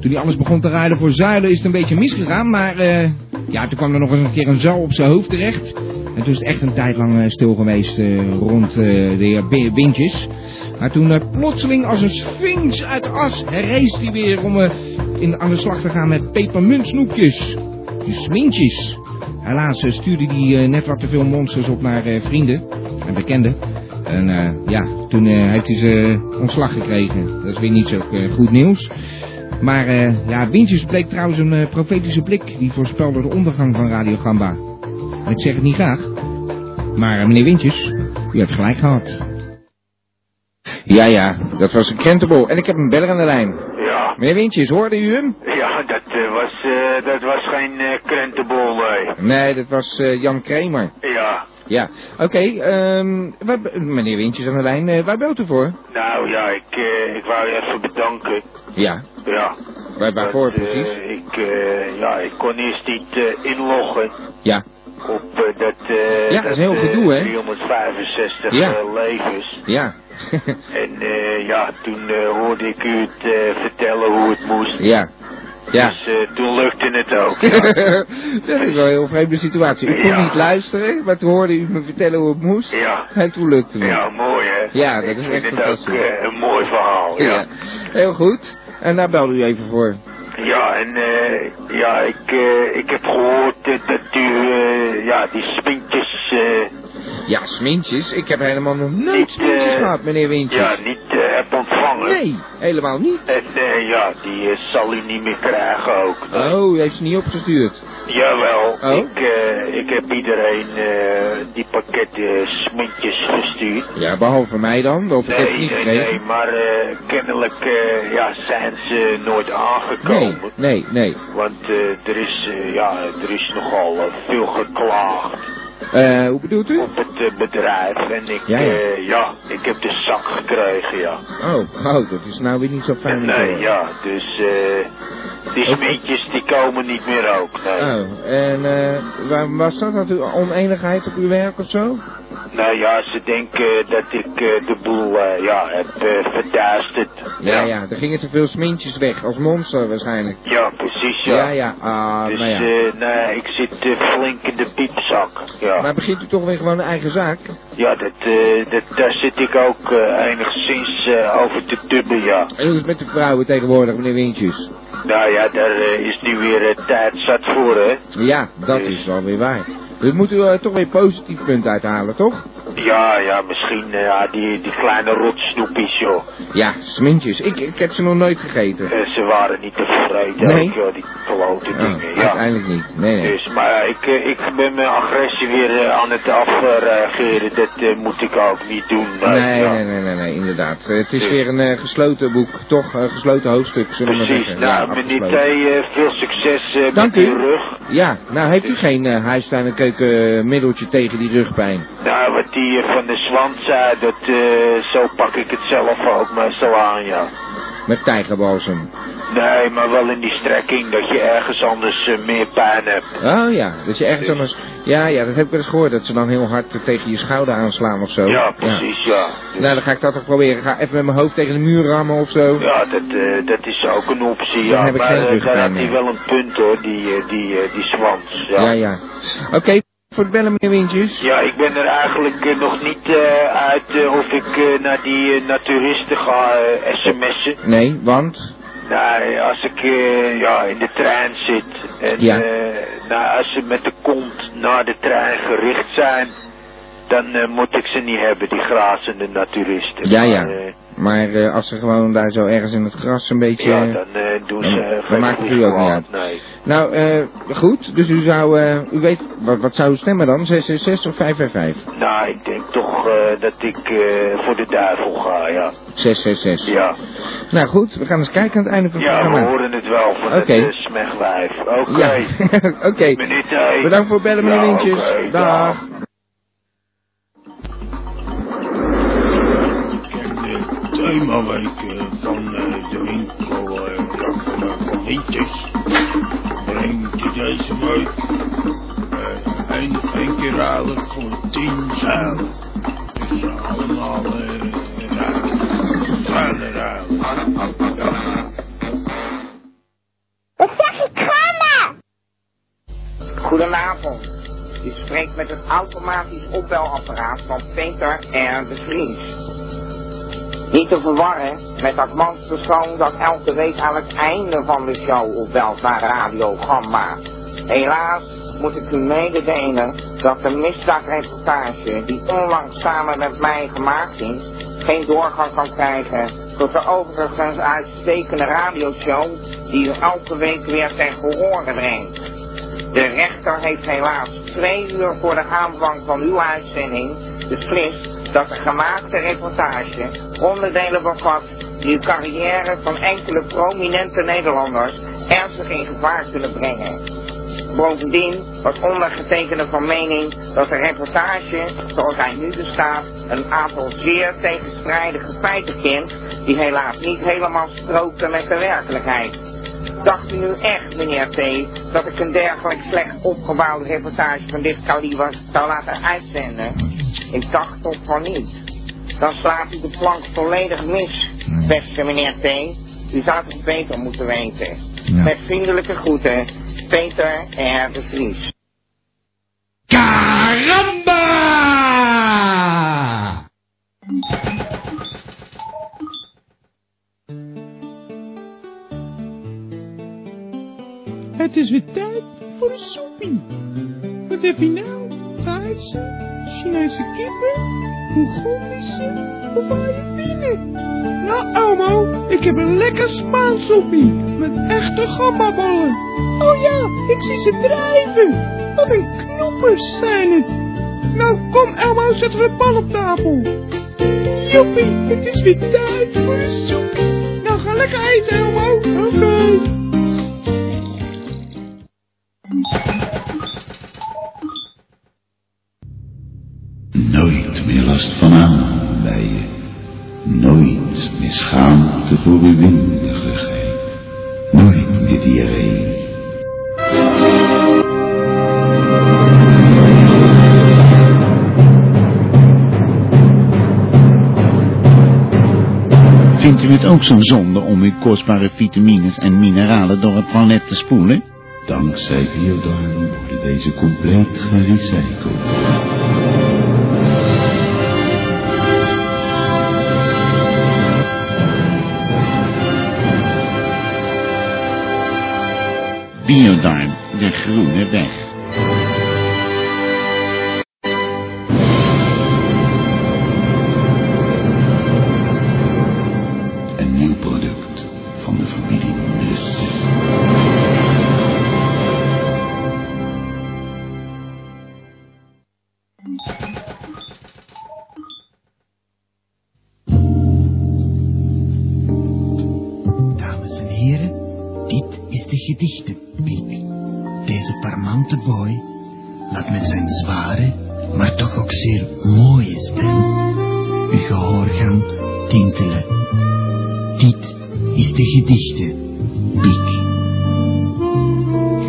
S2: Toen hij alles begon te ruilen voor zuilen is het een beetje misgegaan. Maar eh, ja, toen kwam er nog eens een keer een zuil op zijn hoofd terecht. En toen is het echt een tijd lang eh, stil geweest eh, rond eh, de heer Bi- Wintjes. Maar toen eh, plotseling als een sphinx uit de as herrees hij weer om eh, in, aan de slag te gaan met pepermuntsnoepjes. Die smintjes. Helaas eh, stuurde hij eh, net wat te veel monsters op naar eh, vrienden en bekenden. En eh, ja, toen eh, heeft hij ze ontslag gekregen. Dat is weer niet zo eh, goed nieuws. Maar eh, ja, Wintjes bleek trouwens een eh, profetische blik. Die voorspelde de ondergang van Radio Gamba. En ik zeg het niet graag. Maar eh, meneer Wintjes, u hebt gelijk gehad. Ja, ja, dat was een krentenbol. En ik heb een beller aan de lijn.
S16: Ja.
S2: Meneer Wintjes, hoorde u hem?
S16: Ja, dat eh, was, eh, dat was geen eh, krentenbol, nee.
S2: Nee, dat was eh, Jan Kramer.
S16: Ja,
S2: Ja, oké. ehm, waar be- meneer Wintjes aan de lijn, eh, waar belt u voor?
S16: nou ja, ik, eh, ik wou je even bedanken.
S2: Ja,
S16: Ja.
S2: waar, waarvoor
S16: Dat, eh,
S2: precies?
S16: ik, eh, ja, ik kon eerst niet eh, inloggen
S2: Ja,
S16: op eh, dat, eh,
S2: Ja, dat is heel
S16: eh,
S2: gedoe, hè?
S16: 365
S2: Ja.
S16: eh, levens.
S2: ja,
S16: En eh, ja, toen eh, hoorde ik u het eh, vertellen hoe het moest.
S2: ja, ja.
S16: Dus eh, toen lukte het ook. Ja.
S2: dat is wel een heel vreemde situatie. U kon
S16: Ja.
S2: niet luisteren, maar toen hoorde u me vertellen hoe het moest.
S16: Ja.
S2: En toen lukte het.
S16: Ja, mooi hè.
S2: Hmm. Ja, dat is
S16: ik vind
S2: echt
S16: het ook
S2: fantastisch.
S16: eh, een mooi verhaal. Ja, ja.
S2: Heel goed. En daar belde u even voor.
S16: en eh, ja, ik, eh, ik heb gehoord eh, dat u eh, ja, die spintjes eh,
S2: Ja, smintjes. Ik heb helemaal nog nooit smintjes
S16: eh,
S2: gehad, meneer Wintjes.
S16: ja, niet eh, hebt ontvangen.
S2: Nee, helemaal niet.
S16: En eh, ja, die eh, zal u niet meer krijgen ook.
S2: Oh, u heeft ze niet opgestuurd.
S16: Jawel,
S2: Oh.
S16: ik, eh, ik heb iedereen eh, die pakketten smintjes gestuurd.
S2: Ja, behalve mij dan, of ik heb het niet
S16: nee, nee,
S2: gekregen.
S16: maar eh, kennelijk eh, ja, zijn ze nooit aangekomen.
S2: Nee, nee, nee.
S16: Want eh, er, is, eh, ja, er is nogal eh, veel geklaagd
S2: Eh, hoe bedoelt u?
S16: op het eh, bedrijf. En ik,
S2: Ja,
S16: ja,
S2: ja.
S16: ja, ik heb de zak gekregen, ja.
S2: Oh, oh, dat is nou weer niet zo fijn. om te
S16: Nee,
S2: horen.
S16: ja, dus eh, die smintjes die komen niet meer ook. Nee.
S2: Oh, en eh, waarom was dat? Had u oneenigheid op uw werk of zo?
S16: Nou ja, ze denken dat ik eh, de boel eh, ja, heb eh verduisterd.
S2: Ja, ja, er gingen te veel smintjes weg, als monster waarschijnlijk.
S16: Ja, precies, ja.
S2: Ja, ja, ah,
S16: Dus
S2: nou ja.
S16: eh, nee, ik zit eh, flink in de piepzak. Ja,
S2: Maar begint u toch weer gewoon een eigen zaak?
S16: ja dat, eh, dat, daar zit ik ook eh, enigszins eh, over te tubben, ja.
S2: En hoe is het met de vrouwen tegenwoordig, meneer Wintjes?
S16: Nou ja, daar eh, is nu weer eh, tijd zat voor, hè.
S2: Ja, dat is wel weer waar. Dus moet u eh, toch weer positief punt uithalen, toch?
S16: Ja, ja, misschien eh, ja, die, die kleine rotsnoepjes, joh.
S2: Ja, smintjes. Ik, ik heb ze nog nooit gegeten.
S16: Eh, ze waren niet tevreden,
S2: Nee.
S16: ook, joh, die klote
S2: Oh,
S16: dingen, ja.
S2: uiteindelijk niet. Nee, nee.
S16: Dus, maar eh, ik, eh, ik ben mijn agressie weer eh, aan het afreageren. Dat eh, moet ik ook niet doen. eh,
S2: Nee,
S16: ja.
S2: nee, nee, nee, nee, inderdaad. Eh, Het is
S16: Dus-
S2: weer een eh, gesloten boek, toch? Een gesloten hoofdstuk, zullen we maar
S16: Precies.
S2: zeggen.
S16: nou, meneer
S2: afgesloten.
S16: T, eh, veel succes eh,
S2: Dank
S16: met
S2: u.
S16: uw rug.
S2: Ja, nou heeft u geen eh huistuin- en keukenmiddeltje tegen die rugpijn?
S16: Nou, wat die eh, van de zwant zei, dat, eh, zo pak ik het zelf ook maar zo aan, ja.
S2: Met tijgerbalsem.
S16: Nee, maar wel in die strekking dat je ergens anders eh, meer pijn hebt.
S2: Oh ja, dat je ergens anders... Ja, ja, dat heb ik wel eens gehoord. Dat ze dan heel hard eh, tegen je schouder aanslaan of zo.
S16: Ja, precies, ja.
S2: Nou, dan ga ik dat toch proberen. Ga even met mijn hoofd tegen de muur rammen of zo.
S16: Ja, dat, eh, dat is ook een optie,
S2: Daar
S16: ja.
S2: heb ik
S16: maar
S2: geen
S16: eh,
S2: rugpijn
S16: daar had
S2: meer.
S16: hij wel een punt, hoor, die, eh, die, eh, die zwans. Ja.
S2: ja. ja. Oké, voor het bellen, meneer Windjes.
S16: Ja, ik ben er eigenlijk eh, nog niet eh, uit eh, of ik eh, naar die eh, naturisten ga eh, sms'en.
S2: Nee, want...
S16: Nou, als ik eh, ja, in de trein zit en
S2: Ja.
S16: eh, nou, als ze met de kont naar de trein gericht zijn, dan eh, moet ik ze niet hebben, die grazende naturisten.
S2: Ja,
S16: Maar,
S2: ja.
S16: eh,
S2: Maar eh, als ze gewoon daar zo ergens in het gras een beetje...
S16: ja,
S2: eh,
S16: dan eh, doen
S2: dan-
S16: ze eh,
S2: dan
S16: geen
S2: maakt het
S16: goed
S2: u ook niet
S16: kwaad,
S2: uit.
S16: Nee.
S2: Nou, eh, goed. Dus u zou... eh, u weet... Wat, wat zou u stemmen dan? 666 of 555?
S16: Nou, ik denk toch eh, dat ik eh, voor de duivel ga, ja.
S2: 666.
S16: Ja,
S2: Nou goed, we gaan eens kijken aan het einde van het
S16: ja we
S2: programma.
S16: horen het wel van
S2: Oké.
S16: het eh, smegwijf. Oké.
S2: Ja, oké.
S16: Meneer Thij.
S2: Bedankt voor het bellen, meneer
S16: Ja,
S2: Windjes.
S16: oké,
S2: Dag.
S10: eh, themaweek eh, van eh, de winkel eh, Kappen van Liedjes brengt deze week eh, één één keer eigenlijk voor tien zeilen. Dus allemaal eh, ruilen, zeilen ruilen. Ja.
S17: Goedenavond. U spreekt met het automatisch opbelapparaat van Peter R. de Vries. Niet te verwarren met dat manspersoon dat elke week aan het einde van de show opbelt naar Radio Gamma. Helaas moet ik u mededelen dat de misdaadreportage die onlangs samen met mij gemaakt is, geen doorgang kan krijgen tot de overigens uitstekende radioshow die u elke week weer ten gehore brengt. De rechter heeft helaas twee uur voor de aanvang van uw uitzending beslist dat de gemaakte reportage onderdelen bevat die de carrière van enkele prominente Nederlanders ernstig in gevaar kunnen brengen. Bovendien was ondergetekende van mening dat de reportage, zoals hij nu bestaat, een aantal zeer tegenstrijdige feiten kent die helaas niet helemaal strookten met de werkelijkheid. Dacht u nu echt, meneer T, dat ik een dergelijk slecht opgebouwde reportage van dit kaliber zou laten uitzenden? Ik dacht toch van niet. Dan slaat u de plank volledig mis, beste meneer T. U zou het beter moeten weten. Met vriendelijke groeten, Peter R. de Vries.
S33: Karamba!
S21: Het is weer tijd voor de soepie. Wat heb je nou? Thaise, Chinese kippen, Mongolische of Filipijnen? Nou, Elmo, ik heb een lekker Spaans soepie met echte gambaballen. Oh ja, ik zie ze drijven. Wat een knoppers zijn het. Nou, kom Elmo, zet er een bal op tafel. Joepie, het is weer tijd voor de soepie. Nou, ga lekker eten, Elmo. Oké.
S25: Nooit meer last van aan bij je. Nooit meer schaamte voor uw winderigheid. Nooit meer diarree. Vindt u het ook zo'n zonde om uw kostbare vitamines en mineralen door het toilet te spoelen? Dankzij Biodarm worden deze compleet gerecycled. Biodarm, de groene weg.
S34: gedichten, Piet. Deze parmante boy laat met zijn zware, maar toch ook zeer mooie stem uw gehoorgang tintelen. Dit is de gedichte, Piet.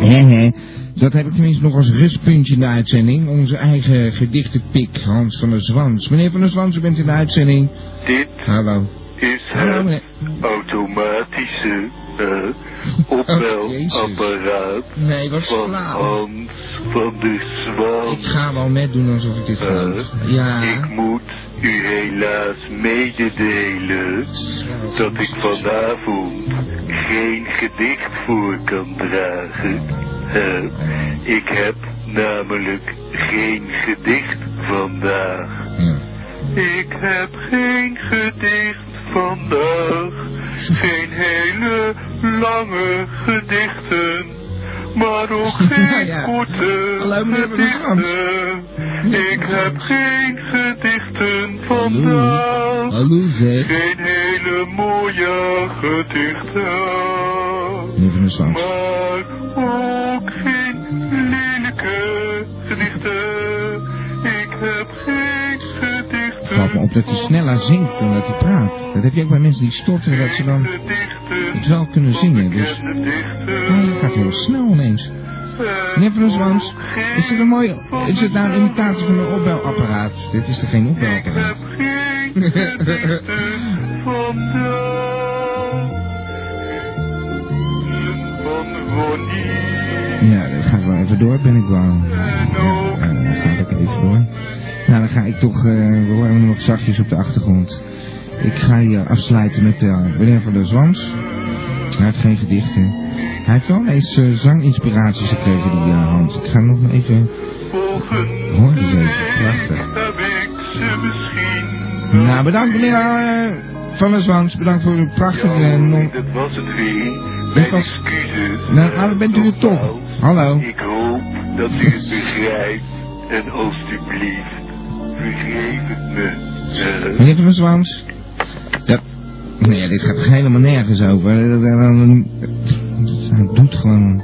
S2: Hè, hè. Dat heb ik tenminste nog als rustpuntje in de uitzending. Onze eigen gedichtenpik, Hans van der Zwans. Meneer van der Zwans, u bent in de uitzending.
S16: Dit
S2: Hallo.
S16: is het automatische eh, opbelapparaat
S2: Oh, Nee, wat
S16: van
S2: flauw.
S16: Hans van de Zwaan.
S2: Ik ga wel net doen alsof ik dit geloof. Ja.
S16: Ik moet u helaas mededelen Dus dat ik vanavond geen gedicht voor kan dragen. Eh, ik heb namelijk geen gedicht vandaag. Ik heb geen gedicht vandaag. Geen hele lange gedichten. Maar ook geen korte gedichten. Ik heb geen gedichten vandaag.
S2: Hallo zeg.
S16: Geen hele mooie gedichten.
S2: Meneer van der Zwans.
S16: Maar ook geen lelijke gedichten. Ik heb geen gedichten.
S2: Het valt me op dat hij sneller zingt dan dat hij praat. Dat heb je ook bij mensen die storten, dat ze dan het wel kunnen zingen. Dus Ja, dat gaat heel snel ineens. Meneer van der Zwans, is dit een mooie, is dit nou een imitatie van een opbelapparaat? Dit is er geen opbelapparaat. Oh. Ja, dat gaat wel even door, ben ik wel. Ja, eh, dat gaat ook even door. Nou, dan ga ik toch, eh, we horen hem nog zachtjes op de achtergrond. Ik ga hier afsluiten met eh, meneer van der Zwans. Hij heeft geen gedichten. Hij heeft wel eens eh, zanginspiraties gekregen, die eh, Hans. Ik ga hem nog maar even... Hoor eens even, prachtig. Nou, bedankt meneer eh, van der Zwans. Bedankt voor uw prachtige eh, non...
S16: Dat was het weer.
S2: Dit was... Nou, nou, bent u er toch? Hallo.
S16: Ik hoop dat u het begrijpt. En alstublieft, vergeef het me. Eh,
S2: Meneer van der Zwans? Ja. Nee, dit gaat toch helemaal nergens over. Eh, Hij doet gewoon...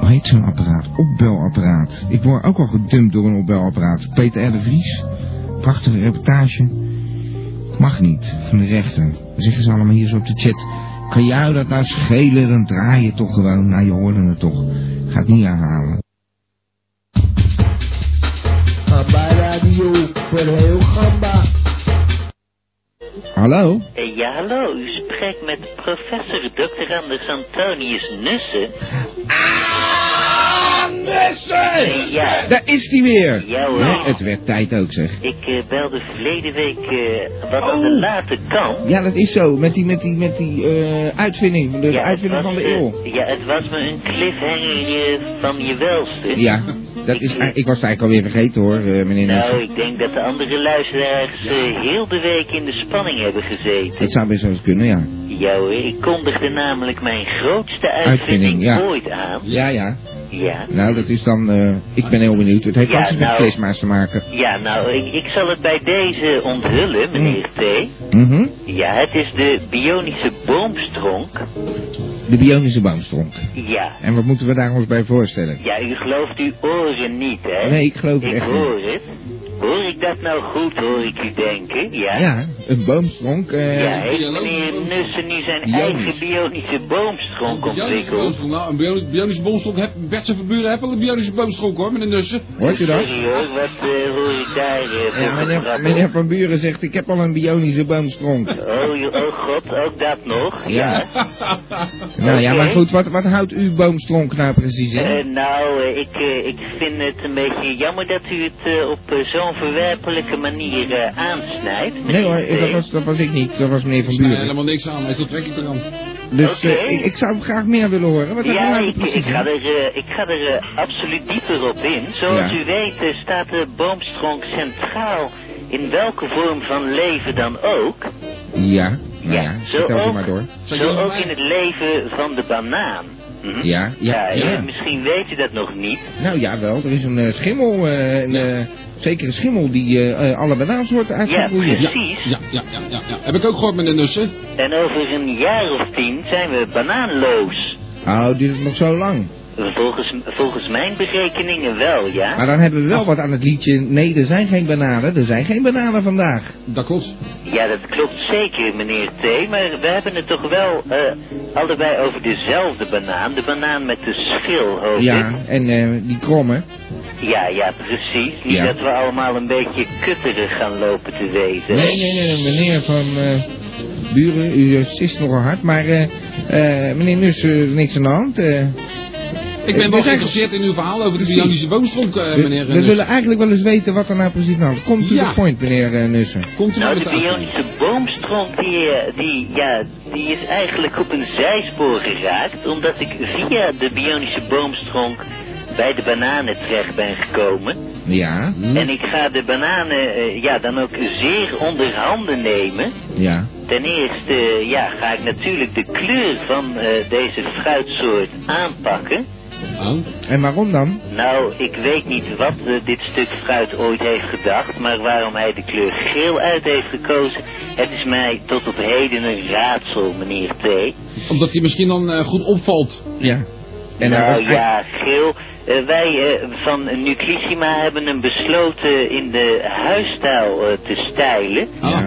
S2: Hoe heet zo'n apparaat? Opbelapparaat. Ik word ook al gedumpt door een opbelapparaat. Peter R. de Vries. Prachtige reportage. Mag niet, van de rechter. Dan zeggen ze allemaal hier zo op de chat. Kan jou dat nou schelen? Dan draai je toch gewoon. Nou, je hoorde het toch. Ga het niet herhalen.
S1: Gamba Radio, voor heel Gamba.
S2: Hallo?
S18: Eh, Ja, hallo. U spreekt met professor Dr. Anders Antonius Nussen. Ah,
S2: Nussen!
S18: ja.
S2: Daar is die weer.
S18: Ja, hoor.
S2: Nee, het werd tijd ook, zeg.
S18: Ik eh, belde verleden week eh, wat aan
S2: Oh.
S18: de late kant.
S2: Ja, dat is zo. Met die, met die, met die eh, uitvinding. De
S18: het
S2: uitvinding
S18: was,
S2: van de
S18: eh,
S2: eeuw.
S18: ja, het was me een cliffhanger eh, van je welste.
S2: Ja, dat is, ik was het eigenlijk alweer vergeten hoor, eh, meneer
S18: Nou,
S2: Nussen.
S18: ik denk dat de andere luisteraars eh, heel de week in de spanning hebben gezeten.
S2: Dat zou best wel eens kunnen, ja.
S18: Ja hoor, ik kondigde namelijk mijn grootste uitvinding,
S2: Uitvinding, ja.
S18: ooit aan.
S2: Ja, ja.
S18: Ja.
S2: Nou, dat is dan, eh, ik ben heel benieuwd. Het heeft
S18: Ja,
S2: alles met
S18: nou.
S2: klisma's te maken.
S18: Ja, nou, ik, ik zal het bij deze onthullen,
S2: Hmm.
S18: meneer T.
S2: Mhm.
S18: Ja, het is de bionische boomstronk.
S2: De bionische boomstronk.
S18: Ja.
S2: En wat moeten we daar ons bij voorstellen?
S18: Ja, u gelooft uw oren niet, hè?
S2: Nee, ik geloof het echt niet.
S18: Ik hoor het. Hoor ik dat nou goed, hoor ik u denken? Ja.
S2: Ja, een boomstronk. eh,
S18: ja, heeft meneer Nussen nu zijn
S25: Bionisch.
S18: eigen bionische boomstronk
S25: Bionische
S18: ontwikkeld?
S25: boomstronk. Nou, een bio- bionische boomstronk heb Bert zijn verburen hebben al een bionische boomstronk hoor, meneer Nussen.
S2: Hoort u dat?
S18: Sorry hoor, wat eh, hoor ik daar eh, voor
S2: ja, meneer,
S18: gebrabbel?
S2: meneer Van Buren zegt, ik heb al een bionische boomstronk.
S18: Oh, joh, oh god, ook dat nog?
S2: Ja. Nou ja, maar
S18: Oké.
S2: goed, wat, wat houdt uw boomstronk nou precies in?
S18: Eh, nou, eh, ik, eh, ik vind het een beetje jammer dat u het eh, op eh, zo'n verwerpelijke manier eh, aansnijdt. Eh,
S2: Nee hoor, dat was, dat was ik niet. Dat was meneer Van Buren.
S25: helemaal niks aan, hij is ontwikkeling eraan.
S2: Dus eh,
S18: Oké.
S2: ik, ik zou graag meer willen horen. Wat heb je
S18: Ja,
S2: nou
S18: ik,
S2: precies
S18: ik ga
S2: gedaan?
S18: er, eh, ik ga er eh, absoluut dieper op in. Zoals
S2: Ja.
S18: u weet eh, staat de boomstronk centraal in welke vorm van leven dan ook.
S2: Ja, nou ja,
S18: zo
S2: vertel u
S18: ook- Hm?
S2: maar door.
S18: Zo ook in het leven van de banaan.
S2: Ja, ja,
S18: eh,
S2: ja.
S18: Misschien weet je dat nog niet.
S2: Nou jawel, er is een eh, schimmel, eh, een eh, zekere schimmel die eh, eh, alle banaansoorten uit
S18: Ja,
S2: gaat broeien.
S18: precies.
S2: Ja, ja, ja, ja, Heb ik ook gehoord met de nussen.
S18: En over een jaar of tien zijn we banaanloos.
S2: Oh, duurt het nog zo lang.
S18: Volgens, volgens mijn berekeningen wel, ja.
S2: Maar dan hebben we wel wat aan het liedje. Nee, er zijn geen bananen. Er zijn geen bananen vandaag.
S25: Dat klopt.
S18: Ja, dat klopt zeker, meneer T. Maar we hebben het toch wel eh, allebei over dezelfde banaan. De banaan met de schil, hoop ik.
S2: Ja, en eh, die kromme.
S18: Ja, ja, precies. Niet
S2: Ja.
S18: dat we allemaal een beetje kutterig gaan lopen te wezen.
S2: Nee, nee, nee, meneer van eh, Buren, u sist nogal hard. Maar eh, eh, meneer Nus, eh, niks aan de hand. eh.
S25: Ik
S2: Eh,
S25: ben wel
S2: we zijn-
S25: geïnteresseerd in uw verhaal over de
S2: Precies.
S25: biologische boomstronk, eh,
S2: we-
S25: meneer
S2: We,
S25: Nussen.
S2: willen eigenlijk wel eens weten wat er nou precies aan de hand is. Komt u
S25: Ja.
S2: de point, meneer eh, Nussen?
S25: Komt
S18: Nou, de bionische boomstronk, die, eh, die, ja, die is eigenlijk op een zijspoor geraakt, omdat ik via de bionische boomstronk bij de bananen terecht ben gekomen.
S2: Ja.
S18: Hm? En ik ga de bananen eh, ja, dan ook zeer onder handen nemen.
S2: Ja.
S18: Ten eerste eh, ja, ga ik natuurlijk de kleur van eh, deze fruitsoort aanpakken.
S2: En waarom dan?
S18: Nou, ik weet niet wat eh, dit stuk fruit ooit heeft gedacht, maar waarom hij de kleur geel uit heeft gekozen, het is mij tot op heden een raadsel, meneer T.
S25: Omdat die misschien dan eh, goed opvalt.
S2: Ja.
S18: nou ja, geel. Eh, wij eh, van Nuclissima hebben hem besloten in de huisstijl eh, te stijlen.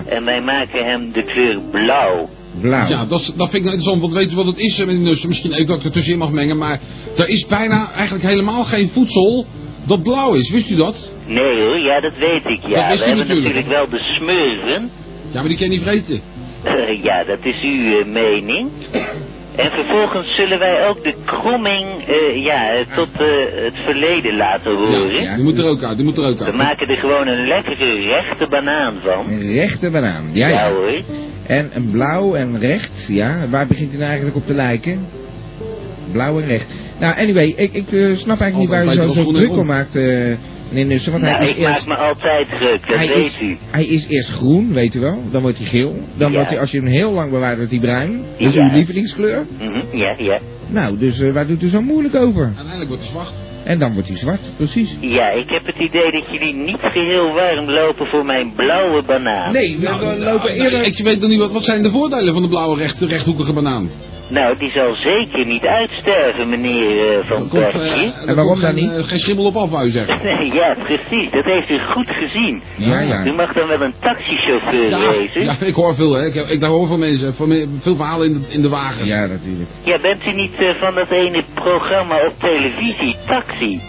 S18: En wij maken hem de kleur blauw.
S2: Blauw.
S25: Ja, dat, is- dat vind ik nou interessant, want weten we wat het is, eh, meneer Nussen? Misschien even dat ik er tussenin mag mengen, maar er is bijna eigenlijk helemaal geen voedsel dat blauw is. Wist u dat?
S18: Nee hoor, ja dat weet ik. Ja,
S25: Dat wist
S18: we
S25: u
S18: hebben
S25: natuurlijk.
S18: natuurlijk wel de smeuren.
S25: Ja, maar die kan je niet vreten.
S18: Eh, ja, dat is uw eh, mening. En vervolgens zullen wij ook de kromming eh, ja, eh, tot eh, het verleden laten horen.
S25: Die moet er ook uit, die moet er ook
S18: We
S25: uit.
S18: maken er gewoon een lekkere rechte banaan van.
S2: Een rechte banaan. Ja, ja.
S18: hoor.
S2: En een blauw en recht, ja. Waar begint hij nou eigenlijk op te lijken? Blauw en recht. Nou, anyway, ik, ik eh, snap
S25: Oh,
S2: eigenlijk niet waar u
S18: Altijd
S2: zo,
S18: beter
S2: zo
S18: als
S2: druk
S18: groen.
S2: om maakt, eh, meneer Nussen. Want
S18: nou,
S2: hij is
S18: ik maak
S2: eerst...
S18: me altijd druk, dat
S2: hij,
S18: weet
S2: is,
S18: u.
S2: hij is eerst groen, weet u wel. Dan wordt hij geel. Dan
S18: Ja.
S2: wordt hij, als je hem heel lang bewaart, wordt hij bruin. Dat is
S18: Ja.
S2: uw lievelingskleur.
S18: Mhm, ja, ja.
S2: Nou, dus eh, waar doet u zo moeilijk over?
S25: Uiteindelijk wordt hij zwart.
S2: En dan wordt hij zwart, precies.
S18: Ja, ik heb het idee dat jullie niet geheel warm lopen voor mijn blauwe banaan.
S2: Nee, we
S25: lopen eerder... Nou, Ik weet nog niet, wat, wat zijn de voordelen van de blauwe recht, rechthoekige banaan?
S18: Nou, die zal zeker niet uitsterven, meneer eh, Van
S25: Komt, eh,
S18: Persie.
S25: daar komt geen, eh, geen schimmel op af, wou je zeggen.
S18: Nee, ja, precies. Dat heeft u goed gezien.
S25: Ja, ja.
S18: U mag dan wel een taxichauffeur
S25: Ja,
S18: wezen.
S25: ja, ik hoor veel, hè. Ik, heb- ik daar hoor veel mensen, van me- veel verhalen in de, in de wagen.
S2: Ja, natuurlijk.
S18: Ja, bent u niet eh, van dat ene programma op televisie, Taxi?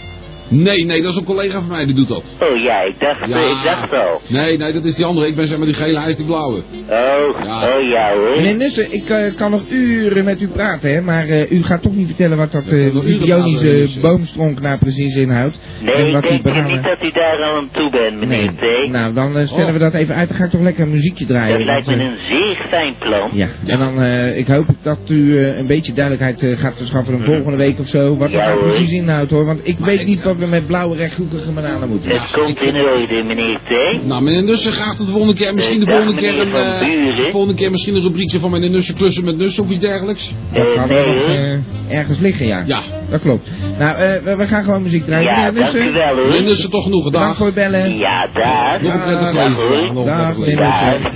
S25: Nee, nee, dat is een collega van mij die doet dat.
S18: Oh ja, ik dacht,
S25: Ja.
S18: eh, ik dacht al.
S25: Nee, nee, dat is die andere. Ik ben zeg maar die gele, hij is die blauwe.
S18: Oh,
S25: Ja.
S18: oh ja hoor.
S2: Meneer Nussen, ik eh, kan nog uren met u praten, hè, maar eh, u gaat toch niet vertellen wat dat eh,
S25: nog
S2: die
S25: uren praten, meneer
S2: bionische
S25: Nussen.
S2: boomstronk nou precies inhoudt.
S18: Nee,
S2: wat
S18: ik denk
S2: bananen-
S18: niet dat u daar al aan toe bent, meneer T. Oh.
S2: Nou, dan eh, stellen we dat even uit. Dan ga ik toch lekker een muziekje draaien.
S18: Dat lijkt me
S2: want, eh,
S18: een zeer fijn plan.
S2: Ja, en dan, eh, ik hoop dat u eh, een beetje duidelijkheid eh, gaat verschaffen een volgende week of zo. Wat
S18: Ja,
S2: dat nou
S18: hoor.
S2: precies inhoudt hoor, want ik weet niet wat we met blauwe rechthoekige bananen moeten.
S18: Het komt in orde, meneer T.
S25: Nou, meneer Nussen gaat het de volgende keer misschien de
S18: Eh, dag,
S25: volgende keer een,
S18: meneer Van
S25: eh, de volgende keer misschien een rubriekje van meneer Nussen klussen met Nussen of iets dergelijks.
S2: Dat gaat nog, eh, ergens liggen, ja. Ja. Dat klopt. Nou, eh, we, we gaan gewoon muziek draaien.
S25: Ja,
S2: Meneer Nussen.
S25: dank u wel, hoor. Meneer Nussen, toch genoeg, dag.
S2: Dank voor het bellen.
S18: Ja, daar.
S25: Nog een prettig leven. Nog een prettig leven.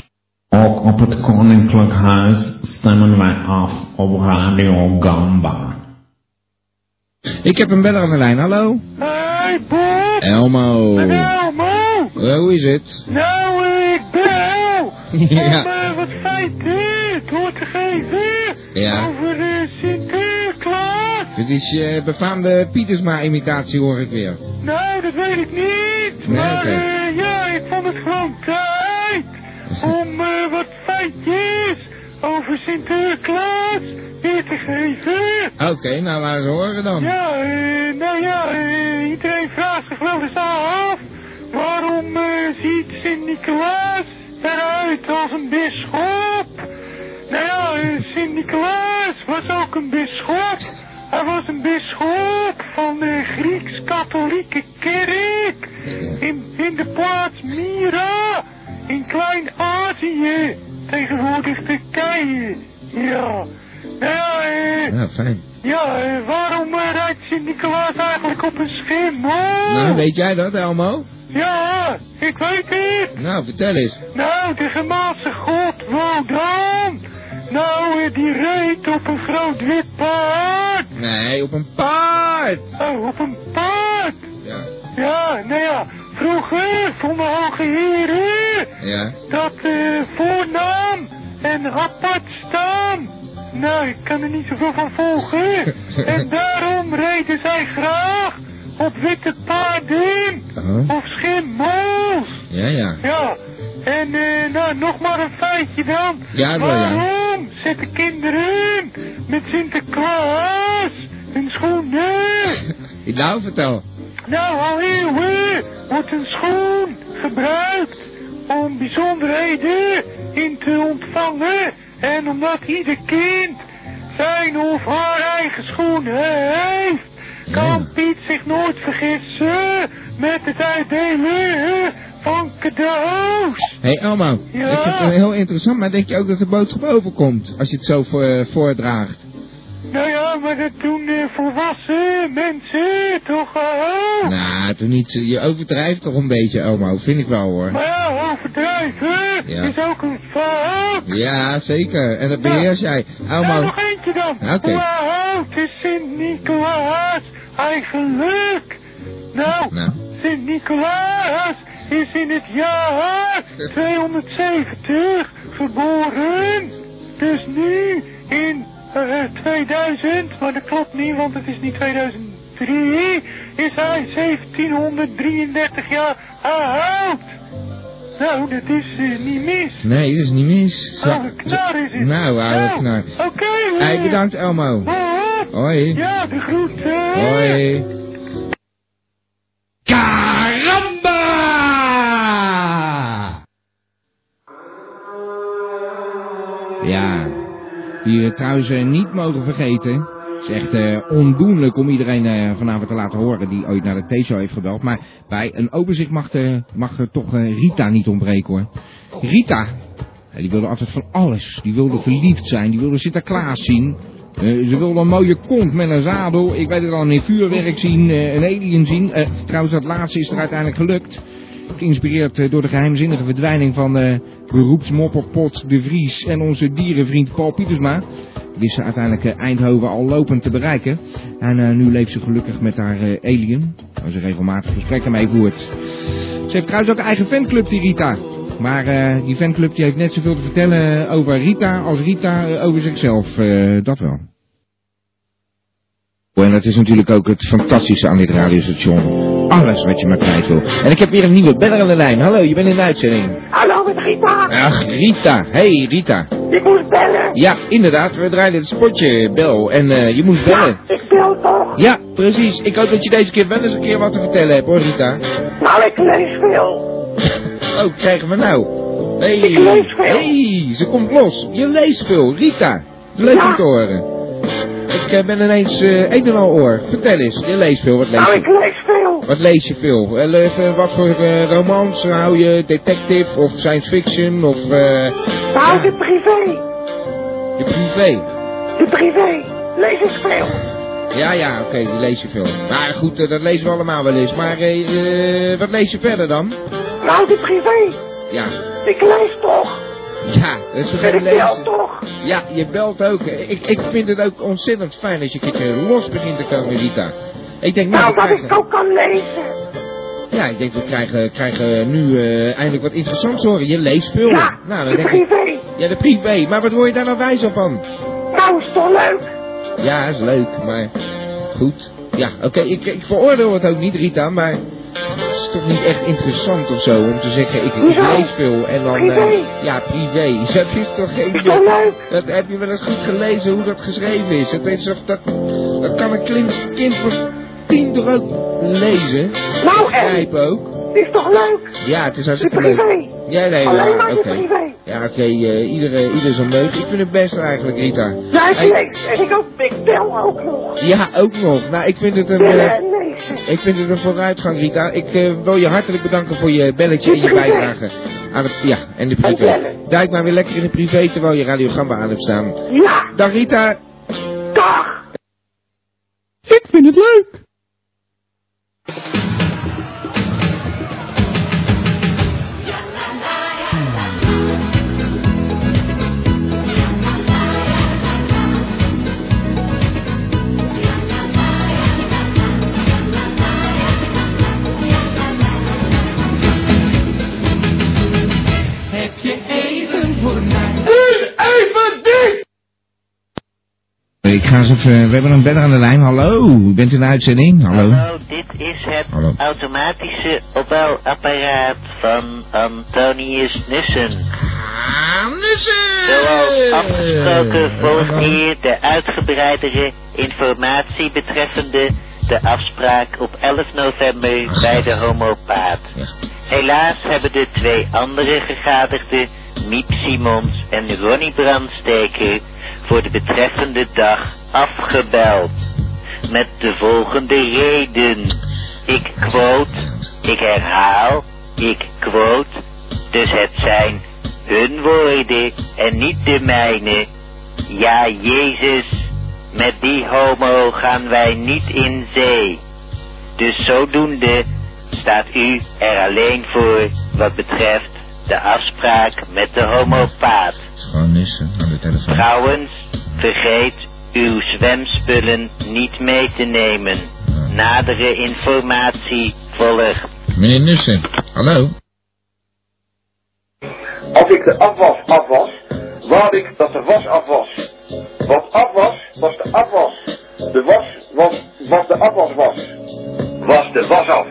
S9: Ook op het Koninklijk Huis stemmen wij af op Radio Gamba.
S2: Ik heb een beller aan de lijn, hallo.
S21: Hey Bob!
S2: Elmo.
S21: Elmo!
S2: Eh, Hoe is het?
S21: Nou, eh, ik ben El!
S2: Ja.
S21: Om, eh, wat fijn dit door te geven!
S2: Ja.
S21: Over de Sinterklaas!
S2: Dit is je befaamde Pietersma-imitatie hoor ik weer.
S21: Nou, dat weet ik niet!
S2: Nee,
S21: maar
S2: oké.
S21: eh, ja, ik vond het gewoon tijd om eh, wat feitjes over Sinterklaas weer te geven!
S2: Oké, nou laten we horen dan.
S21: Ja, eh, nou ja, eh, iedereen vraagt zich wel eens af waarom eh, ziet Sint-Nicolaas eruit als een bisschop? Nou ja, eh, Sint-Nicolaas was ook een bisschop. Hij was een bisschop van de Grieks-katholieke kerk in, in de plaats Myra in Klein-Azië, tegenwoordig Turkije. Ja, nou ja, eh,
S2: Ja, fijn.
S21: Ja, eh, waarom eh, rijdt Sint-Nicolaas eigenlijk op een schim, hoor?
S22: Nou, weet jij dat, Elmo?
S21: Ja, ik weet het.
S22: Nou, vertel eens.
S21: Nou, de Germaanse god Wodan. Nou, eh, die reed op een groot wit paard.
S22: Nee, op een paard.
S21: Oh, op een paard.
S22: Ja.
S21: Ja, nou ja, vroeger vonden hoge heren
S22: Ja.
S21: dat eh, voornaam en apart staan. Nou, ik kan er niet zoveel van volgen. en daarom reden zij graag op witte paarden
S22: Oh.
S21: of schimmels.
S22: Ja, ja.
S21: Ja, en eh, nou, nog maar een feitje dan.
S22: Ja, wel, ja.
S21: Waarom zetten kinderen met Sinterklaas hun schoenen?
S22: Nou, vertel.
S21: nou, al eeuwen wordt een schoen gebruikt om bijzonderheden in te ontvangen. En omdat ieder kind zijn of haar eigen schoen heeft, kan Piet zich nooit vergissen met het uitdelen van cadeaus.
S22: Hé, hey, Elmo.
S21: Ja?
S22: Ik vind het wel heel interessant, maar denk je ook dat de boodschap overkomt? Als je het zo voor- eh, voordraagt.
S21: Nou ja, maar dat doen eh, volwassen mensen toch eh, ook.
S22: Nou, toch niet. zo- Je overdrijft toch een beetje, Elmo. Vind ik wel, hoor.
S21: Maar ja, overdrijven
S22: Ja.
S21: is ook een fout.
S22: Ja, zeker. En dat beheers jij.
S21: Nou,
S22: Elmo.
S21: nog eentje dan.
S22: Oké.
S21: Hoe oud is Sint-Nicolaas eigenlijk? Nou,
S22: Nou.
S21: Sint-Nicolaas is in het jaar 270 geboren. Dus nu in eh, eh, 2000, maar dat klopt niet, want het is niet 2003, is hij 1733 jaar oud. Nou, dat is eh, niet mis.
S22: Nee, dat is niet mis. Zo-
S21: Oude knar is het.
S22: Nou, oude
S21: Nou,
S22: knar.
S21: Oké, hoor.
S22: Hé, bedankt, Elmo. Hoi.
S21: Ah, Ja, de eh. groeten.
S22: Hoi.
S2: Karamba!
S22: Ja.
S2: Die we trouwens eh, niet mogen vergeten. Het is echt eh, ondoenlijk om iedereen eh, vanavond te laten horen die ooit naar de T-show heeft gebeld. Maar bij een overzicht mag, de, mag er toch eh, Rita niet ontbreken hoor. Rita, eh, die wilde altijd van alles. Die wilde verliefd zijn, die wilde Sinterklaas zien. Eh, ze wilde een mooie kont met een zadel. Ik weet het al, een vuurwerk zien, eh, een alien zien. Eh, trouwens, dat laatste is er uiteindelijk gelukt. Geïnspireerd eh, door de geheimzinnige verdwijning van eh beroepsmopperpot De Vries en onze dierenvriend Paul Pietersma. Wist ze uiteindelijk eh, Eindhoven al lopend te bereiken. En eh, nu leeft ze gelukkig met haar eh, alien. Waar ze regelmatig gesprekken mee voert. Ze heeft trouwens ook een eigen fanclub, die Rita. Maar eh, die fanclub die heeft net zoveel te vertellen eh, over Rita als Rita eh, over zichzelf. Eh, dat wel. En dat is natuurlijk ook het fantastische aan dit radiostation. Alles wat je maar kwijt wil. En ik heb weer een nieuwe beller aan de lijn. Hallo, je bent in de uitzending.
S35: Hallo, met Rita.
S2: Ach, Rita. Hey, Rita.
S35: Ik moest bellen.
S2: Ja, inderdaad. We draaien het spotje, Bel. En eh, je moest bellen.
S35: Ik wil toch.
S2: Ja, precies. Ik hoop dat je deze keer wel eens een keer wat te vertellen hebt, hoor, Rita.
S35: Nou, ik lees veel.
S2: Oh, krijgen we nou. Hey.
S35: Ik lees veel.
S2: Hey, ze komt los. Je leest veel, Rita. Leuk om te horen. Ik eh, ben ineens eh een en al oor. Vertel eens, je leest veel. Wat lees
S35: Nou,
S2: je?
S35: ik lees veel.
S2: Wat lees je veel? Eh, le- eh, wat voor eh, romans hou je? Detective of science fiction of eh,
S35: Nou, de privé.
S2: je privé?
S35: De privé. Lees ik veel.
S2: Ja, ja, oké, die lees je veel. Maar goed, eh, dat lezen we allemaal wel eens. Maar eh, eh, wat lees je verder dan?
S35: Nou, de privé.
S2: Ja,
S35: Ik lees toch.
S2: ja, dat is toch
S35: En
S2: geen
S35: ik bel
S2: lezen.
S35: toch.
S2: Ja, je belt ook. Ik, ik vind het ook ontzettend fijn als je een keertje los begint te komen, Rita. Ik denk, nou,
S35: Nou,
S2: we
S35: dat
S2: krijgen,
S35: ik ook kan lezen.
S2: ja, ik denk, we krijgen, krijgen nu eh, eindelijk wat interessants horen. Je leest veel.
S35: Ja,
S2: nou,
S35: de
S2: dan denk ik,
S35: privé.
S2: ja, de privé. Maar wat word je daar nou wijs op van?
S35: Nou, is toch leuk.
S2: Ja, is leuk, maar goed. Ja, oké, ik, ik veroordeel het ook niet, Rita, maar het is toch niet echt interessant of zo om te zeggen, ik, ik
S35: Hoezo?
S2: lees veel en dan... eh,
S35: Privé.
S2: ja, privé. Dat is toch geen...
S35: Is toch leuk?
S2: Dat heb je wel eens goed gelezen hoe dat geschreven is. Het is of dat, dat kan een klim- kind van tien toch ook lezen?
S35: Nou, en?
S2: Begrijpen ook.
S35: Is toch leuk?
S2: Ja, het is
S35: De
S2: hartstikke leuk.
S35: privé.
S2: Ja, nee,
S35: Alleen
S2: maar
S35: maar
S2: oké.
S35: de privé.
S2: Ja, oké, eh, ieder, ieder zijn leuk. Ik vind het best eigenlijk, Rita.
S35: Ja, ik
S2: Hey,
S35: lees. En ik ook. Ik bel ook nog.
S2: ja, ook nog. Nou, ik vind het een,
S35: Bellen
S2: eh,
S35: en lezen.
S2: ik vind het een vooruitgang, Rita. Ik eh, wil je hartelijk bedanken voor je belletje en je bijdrage. Aan de, ja, en de privé.
S35: bellen.
S2: Duik maar weer lekker in de privé terwijl je radiogramma aan hebt staan.
S35: Ja.
S2: Dag Rita.
S35: Dag.
S27: vind het leuk.
S11: Heb je even voor mij?
S2: Even dit! Ik ga eens even... We hebben een bedder aan de lijn. Hallo, bent u in de uitzending? Hallo.
S18: dit is het
S2: Hallo.
S18: automatische opbouwapparaat van Antonius Nussen.
S2: Ah, dus, eh,
S18: Zoals afgesproken volgt hier de uitgebreidere informatie betreffende de afspraak op 11 november bij de homopaat. Helaas hebben de twee andere gegadigden, Miep Simons en Ronnie Brandsteker, voor de betreffende dag afgebeld. Met de volgende reden. Ik quote, ik herhaal, ik quote, dus het zijn hun woorden en niet de mijne. Ja, Jezus, met die homo gaan wij niet in zee. Dus zodoende staat u er alleen voor wat betreft de afspraak met de homopaat.
S2: Gewoon Nussen aan de telefoon.
S18: Trouwens, vergeet uw zwemspullen niet mee te nemen. Nadere informatie volgt.
S2: Meneer Nussen, hallo.
S36: Als ik de afwas afwas, wou ik dat de was afwas. Wat afwas, was de afwas. De was, was, was de afwas was. Was de was af.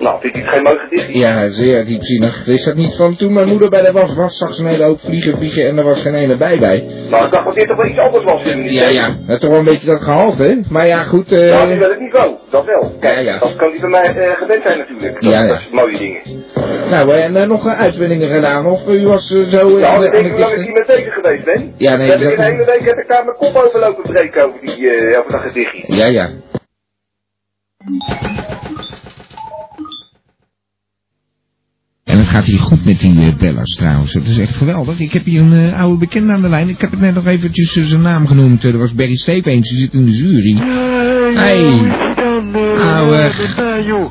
S36: Nou, dit is geen leugen, dit
S2: Ja, zeer diepzinnig. Is dat niet van toen mijn moeder bij de was was, zag ze een hele hoop vliegen vliegen en er was geen ene bij bij?
S36: Nou, ik dacht dat dit toch wel iets anders was. Wim.
S2: Ja, ja. Dat is toch wel een beetje dat gehalte, hè? Maar ja, goed, eh...
S36: Nou, nu wel het niveau, dat wel. Kijk, dat kan die bij mij eh, gewend zijn natuurlijk. Dat,
S2: Ja, ja.
S36: dat is mooie dingen.
S2: Nou, en eh, nog eh, uitwinningen gedaan, of u was eh, zo...
S36: nou,
S2: eh, aan
S36: ik
S2: de-
S36: denk hoe lang ik hiermee bezig geweest ben.
S2: Ja, nee,
S36: Dan heb ik
S2: dat-
S36: een hele week heb ik daar mijn kop over lopen breken over, die, eh over dat gedichtje.
S2: Ja, ja. En het gaat hier goed met die eh, bellers trouwens. Dat is echt geweldig. Ik heb hier een eh, oude bekende aan de lijn. Ik heb het net nog eventjes eh, zijn naam genoemd. Eh, dat was Barry Stepeens. Die zit in de jury. Hey. Ouwe.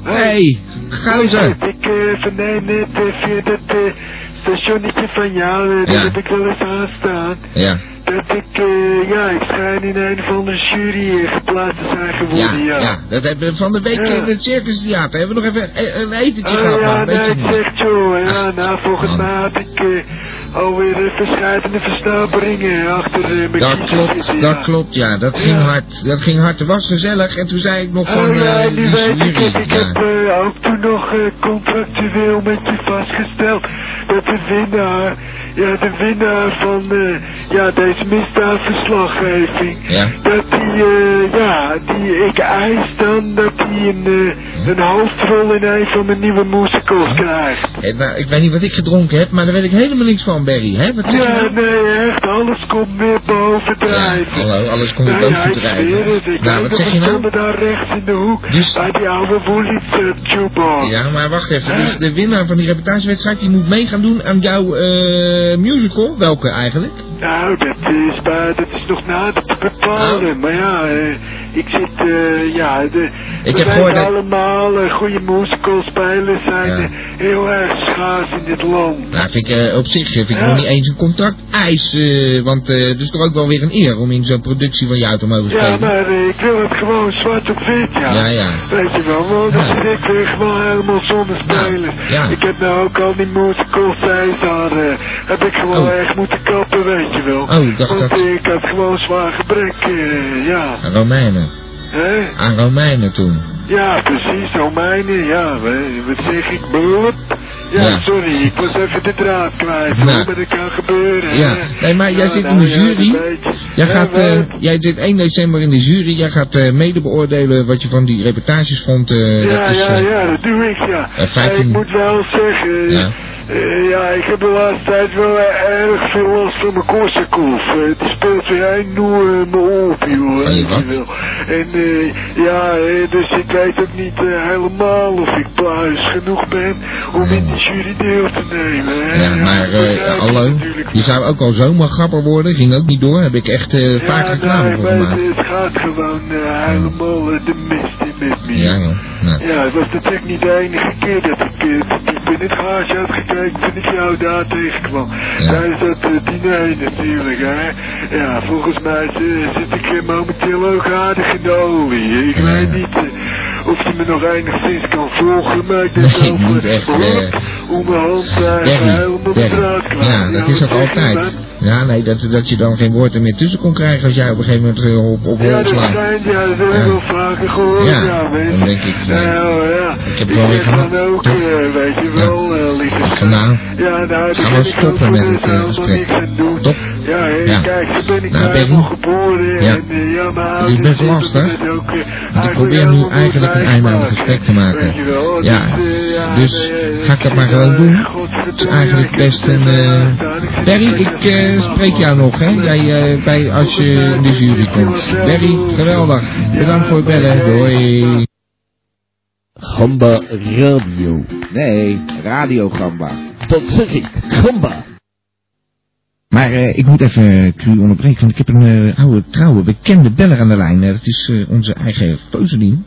S2: Hey. Gozer.
S32: Ik eh, verneem net eh, via dat eh, stationnetje van jou, eh, dat heb ik wel eens aanstaan.
S2: Ja.
S32: Dat ik, eh, ja, ik schijn in een of andere jury eh, geplaatst te zijn
S2: Ja,
S32: geworden, ja.
S2: ja, dat hebben we van de week in het Circus Theater. Hebben we nog even eh, een etentje gehad.
S32: Oh ja,
S2: maar
S32: nee,
S2: weet je
S32: het
S2: niet.
S32: zegt zo. Ja, nou, volgens mij had ik eh, alweer eh, verscheidene versnaperingen achter eh, mijn
S2: Dat
S32: kiezen
S2: klopt,
S32: zitten,
S2: dat
S32: ja.
S2: klopt, ja. Dat ging hard. Dat ging hard. Het was gezellig. En toen zei ik nog van...
S32: Oh ja,
S2: eh,
S32: nu
S2: die
S32: weet ik
S2: jury,
S32: het. Ik
S2: ja.
S32: heb eh, ook toen nog eh, contractueel met je vastgesteld dat de winnaar, ja, de winnaar van eh, ja, deze misdaadverslaggeving,
S2: Ja.
S32: dat die, eh, ja, die, ik eis dan dat hij een, eh, een hoofdrol in een van mijn nieuwe musicals krijgt.
S2: Hé, nou, ik weet niet wat ik gedronken heb, maar daar weet ik helemaal niks van, Barry. Hè? Wat zeg je
S32: Ja,
S2: nou?
S32: nee, echt, alles komt weer bovendrijven.
S2: Hallo, alles komt weer
S32: Nou ja,
S2: boven
S32: ik
S2: te
S32: zweer het.
S2: drijven.
S32: Ik
S2: Nou,
S32: kijk
S2: wat
S32: of
S2: zeg je
S32: ik
S2: nou?
S32: me daar rechts in de hoek.
S2: Dus-
S32: Bij die oude woelies
S35: eh,
S32: uh, tube
S2: Ja, maar wacht even. Dus de winnaar van die reputatiewedstrijd die moet mee gaan doen aan jouw eh, musical. Welke eigenlijk?
S32: Nou, dat is, bij, dat is nog nader te bepalen.
S2: Oh.
S32: Maar ja, eh, ik zit, eh, ja, de,
S2: heb
S32: we
S2: gehoord dat-
S32: allemaal eh, goede musicalspelers zijn
S2: Ja.
S32: eh, heel erg schaars in dit land.
S2: Nou, vind ik eh, op zich eh, vind ik nog niet eens een contract eis. eh, want eh, het is toch ook wel weer een eer om in zo'n productie van jou te mogen
S32: Ja,
S2: spelen.
S32: maar eh, ik wil het gewoon zwart op wit, ja.
S2: Ja, ja.
S32: Weet je wel, want dan zit ik weer gewoon helemaal zonder spelen.
S2: ja.
S32: Ik heb nou ook al die musicals zijn daar, eh, heb ik gewoon echt moeten kappen, weet je wel.
S2: Oh, ik dacht
S32: Want
S2: dat-
S32: eh, ik had gewoon zwaar gebrek, eh, ja.
S2: Aan Romeinen.
S32: Hè?
S2: Aan Romeinen toen.
S32: Ja, precies, Romeinen, ja, we- wat zeg ik, bloed? Ja,
S2: Ja.
S32: sorry, ik was even de draad kwijt,
S2: Nou.
S32: maar dat kan gebeuren.
S2: Ja,
S32: hè.
S2: nee, maar jij
S32: Ja,
S2: zit in
S32: nou
S2: de
S32: ja, dat
S2: jury.
S32: weet je.
S2: Jij,
S32: Ja,
S2: gaat, eh,
S32: weet-
S2: jij zit 1 december in de jury. Jij gaat eh, mede beoordelen wat je van die reportages vond. eh,
S32: ja,
S2: dat
S32: ja,
S2: is, eh,
S32: ja, dat doe ik, ja.
S2: eh, 15
S32: Ik moet wel zeggen,
S2: Ja.
S32: ja. ja, ik heb de laatste tijd wel eh, erg veel last van mijn Korsakoff. Eh, die speelt weer eh, enorm op, joh.
S2: Van je
S32: weet
S2: wat?
S32: wel. En eh, ja, eh, dus ik weet ook niet eh, helemaal of ik pluis genoeg ben om in de jury deel te nemen. hè.
S2: Ja, maar eh,
S32: begrijp je
S2: hallo.
S32: niks.
S2: Je zou ook al zomaar grapper worden, ging ook niet door. Heb ik echt eh, vaak reclame
S32: nee, eh,
S2: voor
S32: maar het,
S2: gemaakt.
S32: het gaat gewoon eh, helemaal eh, de mist in met me.
S2: Ja, joh. Nou.
S32: Ja, het was natuurlijk niet de enige keer dat ik, eh, dat ik binnen het garage had gekeken toen ik jou daar tegenkwam. Tijdens dat eh, diner natuurlijk, hè. Ja, volgens mij eh, zit ik eh, momenteel ook aardig in de olie. Ik weet niet eh, of je me nog enigszins kan volgen, maar ik denk wel
S2: Niet echt. eh,
S32: om mijn hand daar
S2: Berry,
S32: geheel op de
S2: Berry.
S32: straat kwijt.
S2: Ja, dat is ook altijd. Ja, nee, dat, dat je dan geen woord er meer tussen kon krijgen als jij op een gegeven moment eh, op, op
S32: Ja,
S2: hol
S32: dat
S2: slaat.
S32: schijnt, ja, dat heb ik
S2: Ja.
S32: wel vaker gehoord,
S2: Ja,
S32: ja, weet je.
S2: dan denk ik, eh, nee.
S32: Nou, ja,
S2: Ik heb
S32: ik
S2: het wel weer
S32: zeg
S2: gehad.
S32: dan ook, eh, weet je wel, eh, lieve schat.
S2: Nou,
S32: Ja, nou,
S2: gaan we stoppen met het eh, gesprek. Top.
S32: Ja, hé,
S2: Ja.
S32: kijk, daar ben ik
S2: Nou,
S32: nou,
S2: Berry.
S32: geboren
S2: Ja.
S32: en eh, ja, mijn
S2: Het is
S32: ouders
S2: best
S32: zitten
S2: lastig.
S32: met ook, eh,
S2: Ik
S32: eigenlijk
S2: probeer nu
S32: helemaal
S2: eigenlijk een
S32: nooit
S2: einde aan het
S32: wijs
S2: gesprek te maken.
S32: Weet je wel, dus,
S2: Ja,
S32: eh, ja,
S2: dus
S32: nee,
S2: ga ik dat maar gewoon doen. Het is eigenlijk best een... eh Berry, ik eh, spreek jou nog, hè? Jij, eh, bij, als je in de jury komt. Berry, geweldig. Bedankt voor het bellen. Doei.
S37: Gamba Radio. Nee, Radio Gamba. Dat zeg ik, Gamba. Maar eh, ik moet even Q onderbreken, want ik heb een eh, oude trouwe bekende beller aan de lijn. Eh, dat is eh, onze eigen Foselien.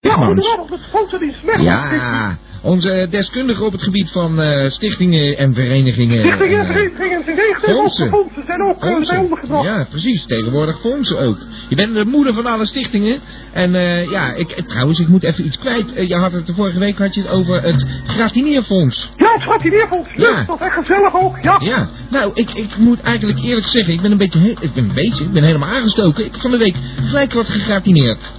S27: Ja,
S37: Mans.
S27: goedemorgen, dat foto die slecht.
S2: Ja, eh, onze deskundige op het gebied van eh, stichtingen en verenigingen.
S27: Stichtingen,
S2: En, eh,
S27: verenigingen, ze zijn
S2: Fondsen.
S27: fondsen. fondsen zijn ook eh, zijn ondergebracht.
S2: Ja, precies. Tegenwoordig fondsen ook. Je bent de moeder van alle stichtingen. En eh, ja, ik, eh, trouwens, ik moet even iets kwijt. Eh, je had het de vorige week had je het over het gratineerfonds.
S27: Ja, het gaat hier weer volgens
S2: Ja.
S27: ja. dat echt gezellig ook, ja.
S2: Ja, nou, ik, ik moet eigenlijk eerlijk zeggen, ik ben een beetje, he- ik ben een beetje, ik ben helemaal aangestoken. Ik heb van de week gelijk wat gegratineerd.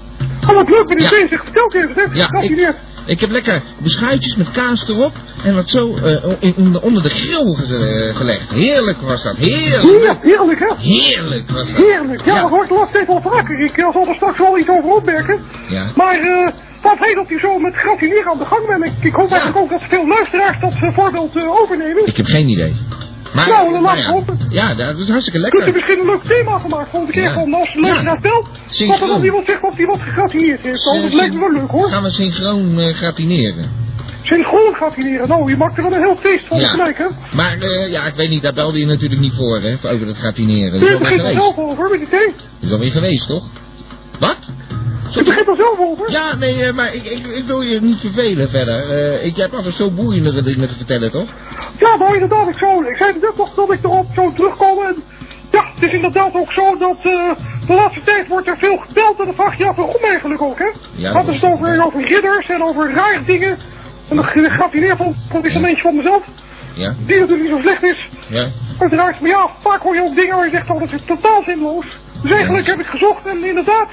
S27: Oh, wat leuk, meneer
S2: Ja.
S27: Bezig, vertel het even, zeg,
S2: Ja, ik, ik heb lekker beschuitjes met kaas erop en wat zo eh, in- in- onder de grill ge- eh, gelegd. Heerlijk was dat, heerlijk.
S27: Heerlijk, heerlijk, hè?
S2: Heerlijk was dat.
S27: Heerlijk, ja, dat hoort de laatste tijd wel vaker. Ik eh, zal er straks wel iets over opmerken.
S2: Ja.
S27: Maar eh, wat heet dat u zo met gratineren aan de gang bent? Ik, ik hoop eigenlijk ook dat veel luisteraars dat eh, voorbeeld eh, overnemen.
S2: Ik heb geen idee. Maar, eh,
S27: nou, dan
S2: maar
S27: laat
S2: ja.
S27: ik hopen.
S2: Ja, dat is hartstikke
S27: Kunt u
S2: lekker.
S27: misschien een leuk thema gemaakt volgende keer
S2: Ja.
S27: van als luisteraar belt?
S2: Synchroon.
S27: Dat er dan iemand zegt of die wat gegratineerd heeft. Oh, dat
S2: Syn-
S27: lijkt me wel leuk hoor.
S2: Gaan we synchroon eh, gratineren.
S27: Synchroon gratineren. Nou, je maakt er wel een heel feest van
S2: Ja.
S27: gelijk hè.
S2: Maar eh, ja, ik weet niet, daar belde je natuurlijk niet voor, hè, voor over dat gratineren. Dat is
S27: U
S2: alweer
S27: begint er
S2: geweest.
S27: zelf over met die thee.
S2: Dat is alweer geweest, toch? Wat?
S27: U begint er zelf over.
S2: Ja, nee, eh, maar ik, ik, ik wil je niet vervelen verder. Eh, ik, jij hebt altijd zo boeiende dingen te vertellen, toch?
S27: Ja, nou inderdaad, ik, zou, ik zei het net nog dat ik erop zou terugkomen. En ja, het is inderdaad ook zo dat eh, de laatste tijd wordt er veel gebeld. En dan vraag je je af waarom eigenlijk ook, hè?
S2: Ja,
S27: Hadden
S2: dat
S27: ze het over, over ridders en over raar dingen. En dan gaat hij neer van, dat is een eentje van mezelf.
S2: Ja,
S27: Die natuurlijk niet zo slecht is,
S2: ja.
S27: uiteraard. Maar ja, vaak hoor je ook dingen waar je zegt, oh, dat is totaal zinloos. Dus eigenlijk heb ik gezocht en inderdaad,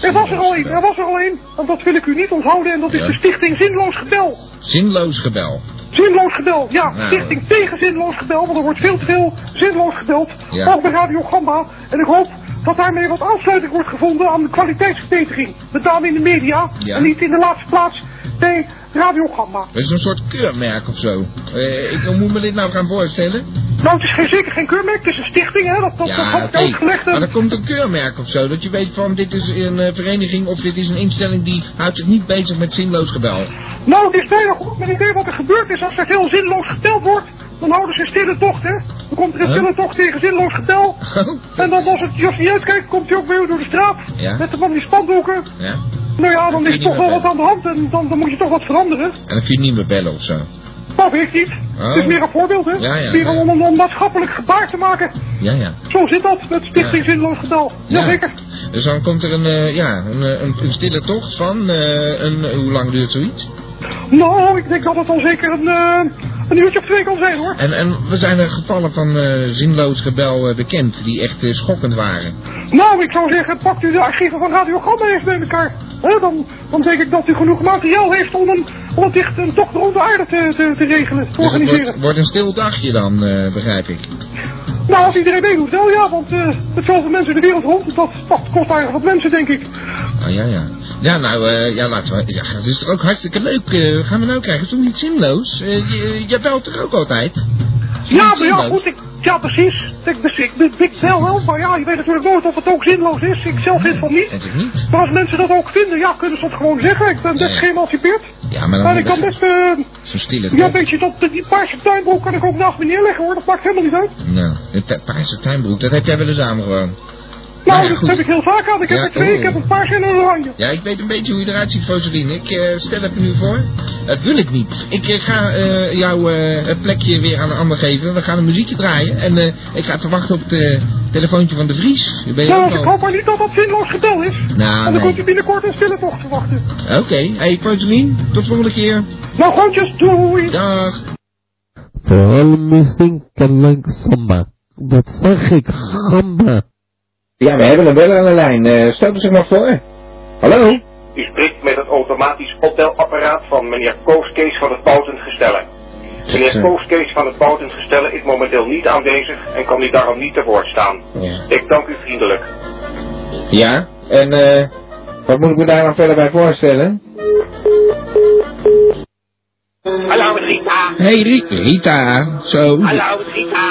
S27: er was er al één. Er was er al één. En dat wil ik u niet onthouden. En dat is
S2: Ja.
S27: de stichting Zinloos Gebel.
S2: Zinloos gebel.
S27: Zinloos gebeld, ja.
S2: Nou,
S27: Stichting tegen zinloos gebeld, want er wordt veel te veel zinloos gebeld.
S2: Ja.
S27: Ook bij Radio Gamba. En ik hoop dat daarmee wat aansluiting wordt gevonden aan de kwaliteitsverbetering. Met name in de media
S2: Ja.
S27: en niet in de laatste plaats bij Radio Gamba.
S2: Dat is een soort keurmerk of zo. Eh, ik, hoe moet me dit nou gaan voorstellen?
S27: Nou, het is geen, zeker geen keurmerk, het is een stichting, hè. Dat, dat, dat had
S2: Ja,
S27: ik
S2: oké.
S27: uitgelegd.
S2: Maar er komt een keurmerk of zo. Dat je weet van dit is een eh, vereniging of dit is een instelling die houdt zich niet bezig met zinloos gebel.
S27: Nou, het is bijna goed met het idee wat er gebeurd is. Als er veel zinloos geteld wordt, dan houden ze een stille tocht, hè. Dan komt er een
S2: Huh?
S27: stille tocht tegen zinloos getel. En dan als het, als je niet uitkijkt, komt hij ook weer door de straat.
S2: Ja.
S27: Met de van die spandoeken.
S2: Ja?
S27: Nou ja, dan
S2: kun
S27: is
S2: je
S27: er toch wel
S2: niet meer
S27: wat aan de hand en dan, dan moet je toch wat veranderen.
S2: En dan kun je niet meer bellen of zo.
S27: Dat weet ik niet.
S2: Oh.
S27: Het is meer een voorbeeld, hè?
S2: Ja, ja,
S27: meer
S2: ja, ja.
S27: om een om maatschappelijk gebaar te maken.
S2: Ja, ja.
S27: Zo zit dat met Stichting
S2: Ja.
S27: Zinloos Getal.
S2: Ja.
S27: Jazeker.
S2: Dus dan komt er een, eh, ja, een, eh, een, een stille tocht van, eh, een, hoe lang duurt zoiets?
S27: Nou, ik denk dat het al zeker een, eh, een uurtje of twee kan zijn, hoor.
S2: En, en we zijn er gevallen van eh, zinloos gebel eh, bekend, die echt eh, schokkend waren.
S27: Nou, ik zou zeggen, pakt u de archieven van Radio Gamma eens bij elkaar. Hè, dan, dan denk ik dat u genoeg materiaal heeft om een, om het echt een tocht rond de aarde te, te, te regelen, te
S2: Dus het
S27: organiseren.
S2: wordt, wordt een stil dagje dan, eh, begrijp ik.
S27: Nou, als iedereen meedoet, wel ja, want eh met zoveel mensen de wereld rond, dat, dat kost eigenlijk wat mensen, denk ik.
S2: Ah ja, ja. Ja, nou, eh, ja, laten we. Ja, het is toch ook hartstikke leuk. eh, wat gaan we nou krijgen? Toen niet zinloos. Eh, je, je belt toch ook altijd?
S27: Ja, maar ja, goed, ik, ja precies. Ik, dus ik, ik, ik bel wel, maar ja, je weet natuurlijk nooit of het ook zinloos is. Ik zelf vind van niet. Maar als mensen dat ook vinden, ja, kunnen ze dat gewoon zeggen. Ik ben best
S2: Ja.
S27: geëmancipeerd.
S2: Ja, maar dan
S27: en
S2: moet
S27: ik
S2: je
S27: kan
S2: dat-
S27: best... eh,
S2: Zo stil het
S27: ja,
S2: op.
S27: een beetje dat, die paarse tuinbroek kan ik ook naast me neerleggen hoor. Dat maakt helemaal niet uit.
S2: Nou, de tu- paarse tuinbroek, dat heb jij wel eens aan gewoon.
S27: Nou,
S2: ja,
S27: dat
S2: goed.
S27: heb ik heel vaak aan. Ik heb
S2: Ja,
S27: er twee,
S2: oh.
S27: ik heb een paarse en een oranje.
S2: Ja, ik weet een beetje hoe je eruit ziet, Rosalien. Ik eh, stel het me nu voor. Dat wil ik niet. Ik eh, ga eh, jouw eh, het plekje weer aan een ander geven. We gaan een muziekje draaien. En eh, ik ga te wachten op het eh, telefoontje van de Vries. Ben je
S27: Nou,
S2: ook
S27: ik
S2: al-
S27: hoop maar niet dat dat zinloos getal is.
S2: Nou,
S27: en dan
S2: nee.
S27: komt u binnenkort een stille tocht te wachten.
S2: Oké. Hey, Rosalien, tot volgende keer.
S27: Nou, groetjes. Doei.
S2: Dag.
S7: Vooral muziek en lang samba. Dat zeg ik, gamba.
S2: Ja, we hebben hem wel aan de lijn. Eh, stel er zich maar voor. Hallo?
S12: U spreekt met het automatisch optelapparaat van meneer Kooskees van het Boutend Gestellen. Meneer Kooskees van het Boutend Gestellen is momenteel niet aanwezig en kan u daarom niet te woord staan. Ik dank u vriendelijk.
S2: Ja, en eh, wat moet ik me daar dan verder bij voorstellen?
S1: Hallo Rita.
S2: Hey Ri- Rita, zo.
S1: Hallo Rita.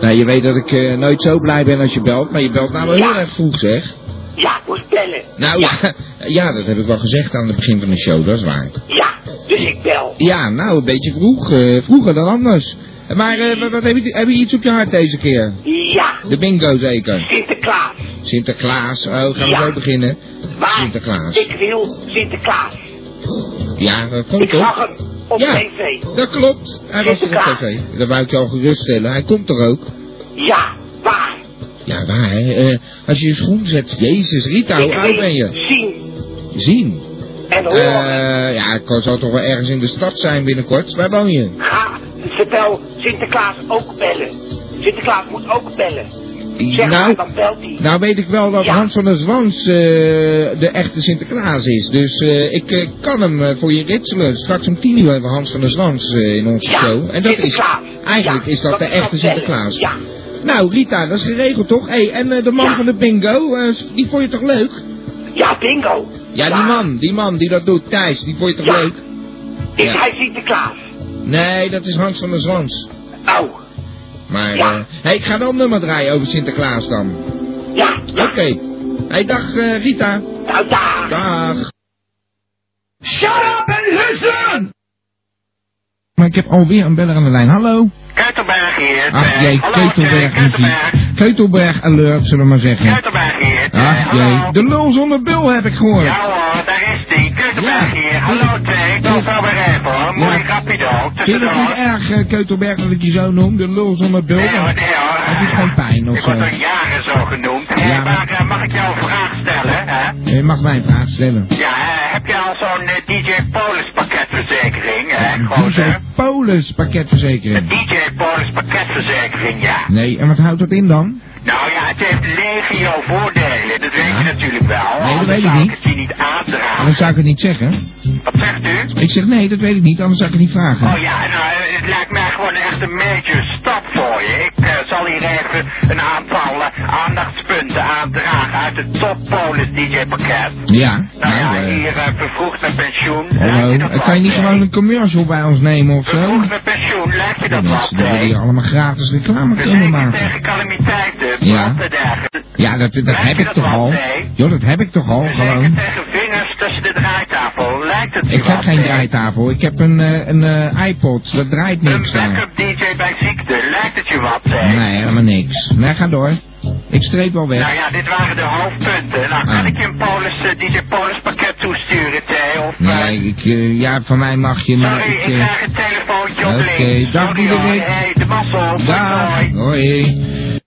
S2: Nou, je weet dat ik eh, nooit zo blij ben als je belt, maar je belt nou wel heel
S1: Ja.
S2: erg vroeg, zeg.
S1: Ja, ik moest bellen.
S2: Nou ja. ja, dat heb ik wel gezegd aan het begin van de show, dat is waar.
S1: Ja, dus ik bel.
S2: Ja, nou, een beetje vroeg, eh, vroeger dan anders. Maar eh, wat, wat heb, je, heb je iets op je hart deze keer?
S1: Ja,
S2: De bingo zeker.
S1: Sinterklaas.
S2: Sinterklaas, oh, gaan we
S1: Ja.
S2: zo beginnen?
S1: Waar?
S2: Sinterklaas.
S1: Ik wil Sinterklaas.
S2: Ja, dat
S1: Ik
S2: komt
S1: zag
S2: toch?
S1: hem op
S2: Ja,
S1: tv.
S2: Dat klopt. Hij was er op
S1: Sinterklaas.
S2: tv. Dat wou ik je al geruststellen. Hij komt er ook.
S1: Ja, waar?
S2: Ja, waar, hè? Eh, als je je schoen zet, jezus, Rita, hoe
S1: Ik
S2: oud
S1: wil
S2: ben je?
S1: Zien
S2: Zien.
S1: en
S2: Eh,
S1: horen.
S2: ja, ik zal toch wel ergens in de stad zijn binnenkort. Waar woon je?
S1: Ga, vertel Sinterklaas ook bellen. Sinterklaas moet ook bellen. Zeg
S2: Nou,
S1: maar, dan belt hij.
S2: Nou weet ik wel dat Hans van der Zwans eh, de echte Sinterklaas is. Dus eh, ik eh, kan hem eh, voor je ritselen. Straks om tien uur hebben we Hans van der Zwans eh, in onze
S1: Ja,
S2: show. En dat is,
S1: Sinterklaas.
S2: eigenlijk
S1: Ja,
S2: is dat,
S1: dat
S2: de
S1: ik ga
S2: echte
S1: bellen.
S2: Sinterklaas.
S1: Ja.
S2: Nou Rita, dat is geregeld toch? Hey, en eh, de man van de bingo, eh, die vond je toch leuk?
S1: Ja, bingo.
S2: Ja, die man, die man die dat doet, Thijs, die vond je toch leuk?
S1: Is
S2: Ja.
S1: hij Sinterklaas?
S2: Nee, dat is Hans van der Zwans.
S1: Oh.
S2: Maar, eh, hey, ik ga wel een nummer draaien over Sinterklaas dan.
S1: Ja.
S2: Oké. Hey, dag eh, Rita.
S1: Nou, dag.
S2: Dag.
S1: Shut up and listen!
S2: Maar ik heb alweer een beller aan de lijn. Hallo?
S16: Kuitenberg hier. eh,
S2: Ach jee, Keutelberg muziek. Keutelberg alert, zullen we maar zeggen.
S16: Kuitenberg hier. eh,
S2: Ach jee, de lul zonder bul heb ik
S16: Ja
S2: gehoord.
S16: hoor, daar is die. Kuitenberg hier. Hallo twee. Ik wil het wel begrijpen hoor. Mooi grapje dan.
S2: Vind je het niet
S16: Tussendoor.
S2: erg, eh, Keutelberg, dat ik je zo noem? De lul zonder bul?
S16: Nee hoor,
S2: Dan
S16: nee hoor.
S2: Heb je gewoon pijn of
S16: Ik
S2: zo?
S16: word al jaren zo genoemd. Hé,
S2: Ja.
S16: maar eh, mag ik jou een vraag stellen? Hè?
S2: Je mag mij een vraag stellen.
S16: Ja, eh, heb je al zo'n eh, DJ Polis pakketverzekering? Hè,
S2: DJ
S16: gozer?
S2: Polis
S16: De
S2: pakketverzekering.
S16: DJ Polis pakketverzekering, ja.
S2: Nee, en wat houdt dat in dan?
S16: Nou ja, het heeft legio voordelen. Dat weet je natuurlijk wel.
S2: Nee, dat
S16: Anders
S2: weet ik
S16: zou
S2: niet.
S16: ik het je niet aandragen.
S2: Dan zou ik het niet zeggen.
S16: Wat zegt u?
S2: Ik zeg nee, dat weet ik niet, anders zou ik het niet vragen.
S16: Oh ja, nou, eh, het lijkt mij gewoon echt een major dus stap voor je. Ik eh, zal hier even een aantal eh, aandachtspunten aandragen uit het Top Polis DJ pakket.
S2: Ja,
S16: Nou ja,
S2: nou, eh,
S16: hier eh, vervroegd met pensioen. Lijkt
S2: Hallo,
S16: je dat
S2: kan je niet
S16: wat, eh?
S2: gewoon een commercial bij ons nemen of zo?
S16: Vervroegd met pensioen, lijkt je dat wat?
S2: Mensen die willen hier allemaal gratis reclame kunnen
S16: Verzekerd
S2: maken.
S16: tegen calamiteiten,
S2: Ja.
S16: brand en dergelijke.
S2: Ja, dat, dat heb ik toch al. Joh, dat heb ik toch al, gewoon.
S16: Verzekerd tegen vingers tussen de draaitafel, lijkt het je
S2: Ik heb
S16: wat,
S2: geen
S16: eh?
S2: draaitafel, ik heb een, eh, een eh, iPod, dat draait niks daar.
S16: Backup DJ bij ziekte, lijkt het je wat, zeg?
S2: Nee, helemaal niks. Nee, ga door. Ik streep wel
S16: Nou
S2: weg.
S16: ja, dit waren de hoofdpunten. Nou, kan
S2: Ah.
S16: ik je een Polis, eh, DJ Polis pakket toesturen, Thé? Of, eh,
S2: Nee, ik, eh, ja, van mij mag je, maar
S16: sorry,
S2: ik...
S16: ik,
S2: eh,
S16: krijg een telefoontje op
S2: Oké,
S16: links.
S2: dag,
S16: Sorry hoor.
S2: Diederik.
S16: Hey, de mazzel.
S2: Dag.
S16: Hoi.
S2: Hoi.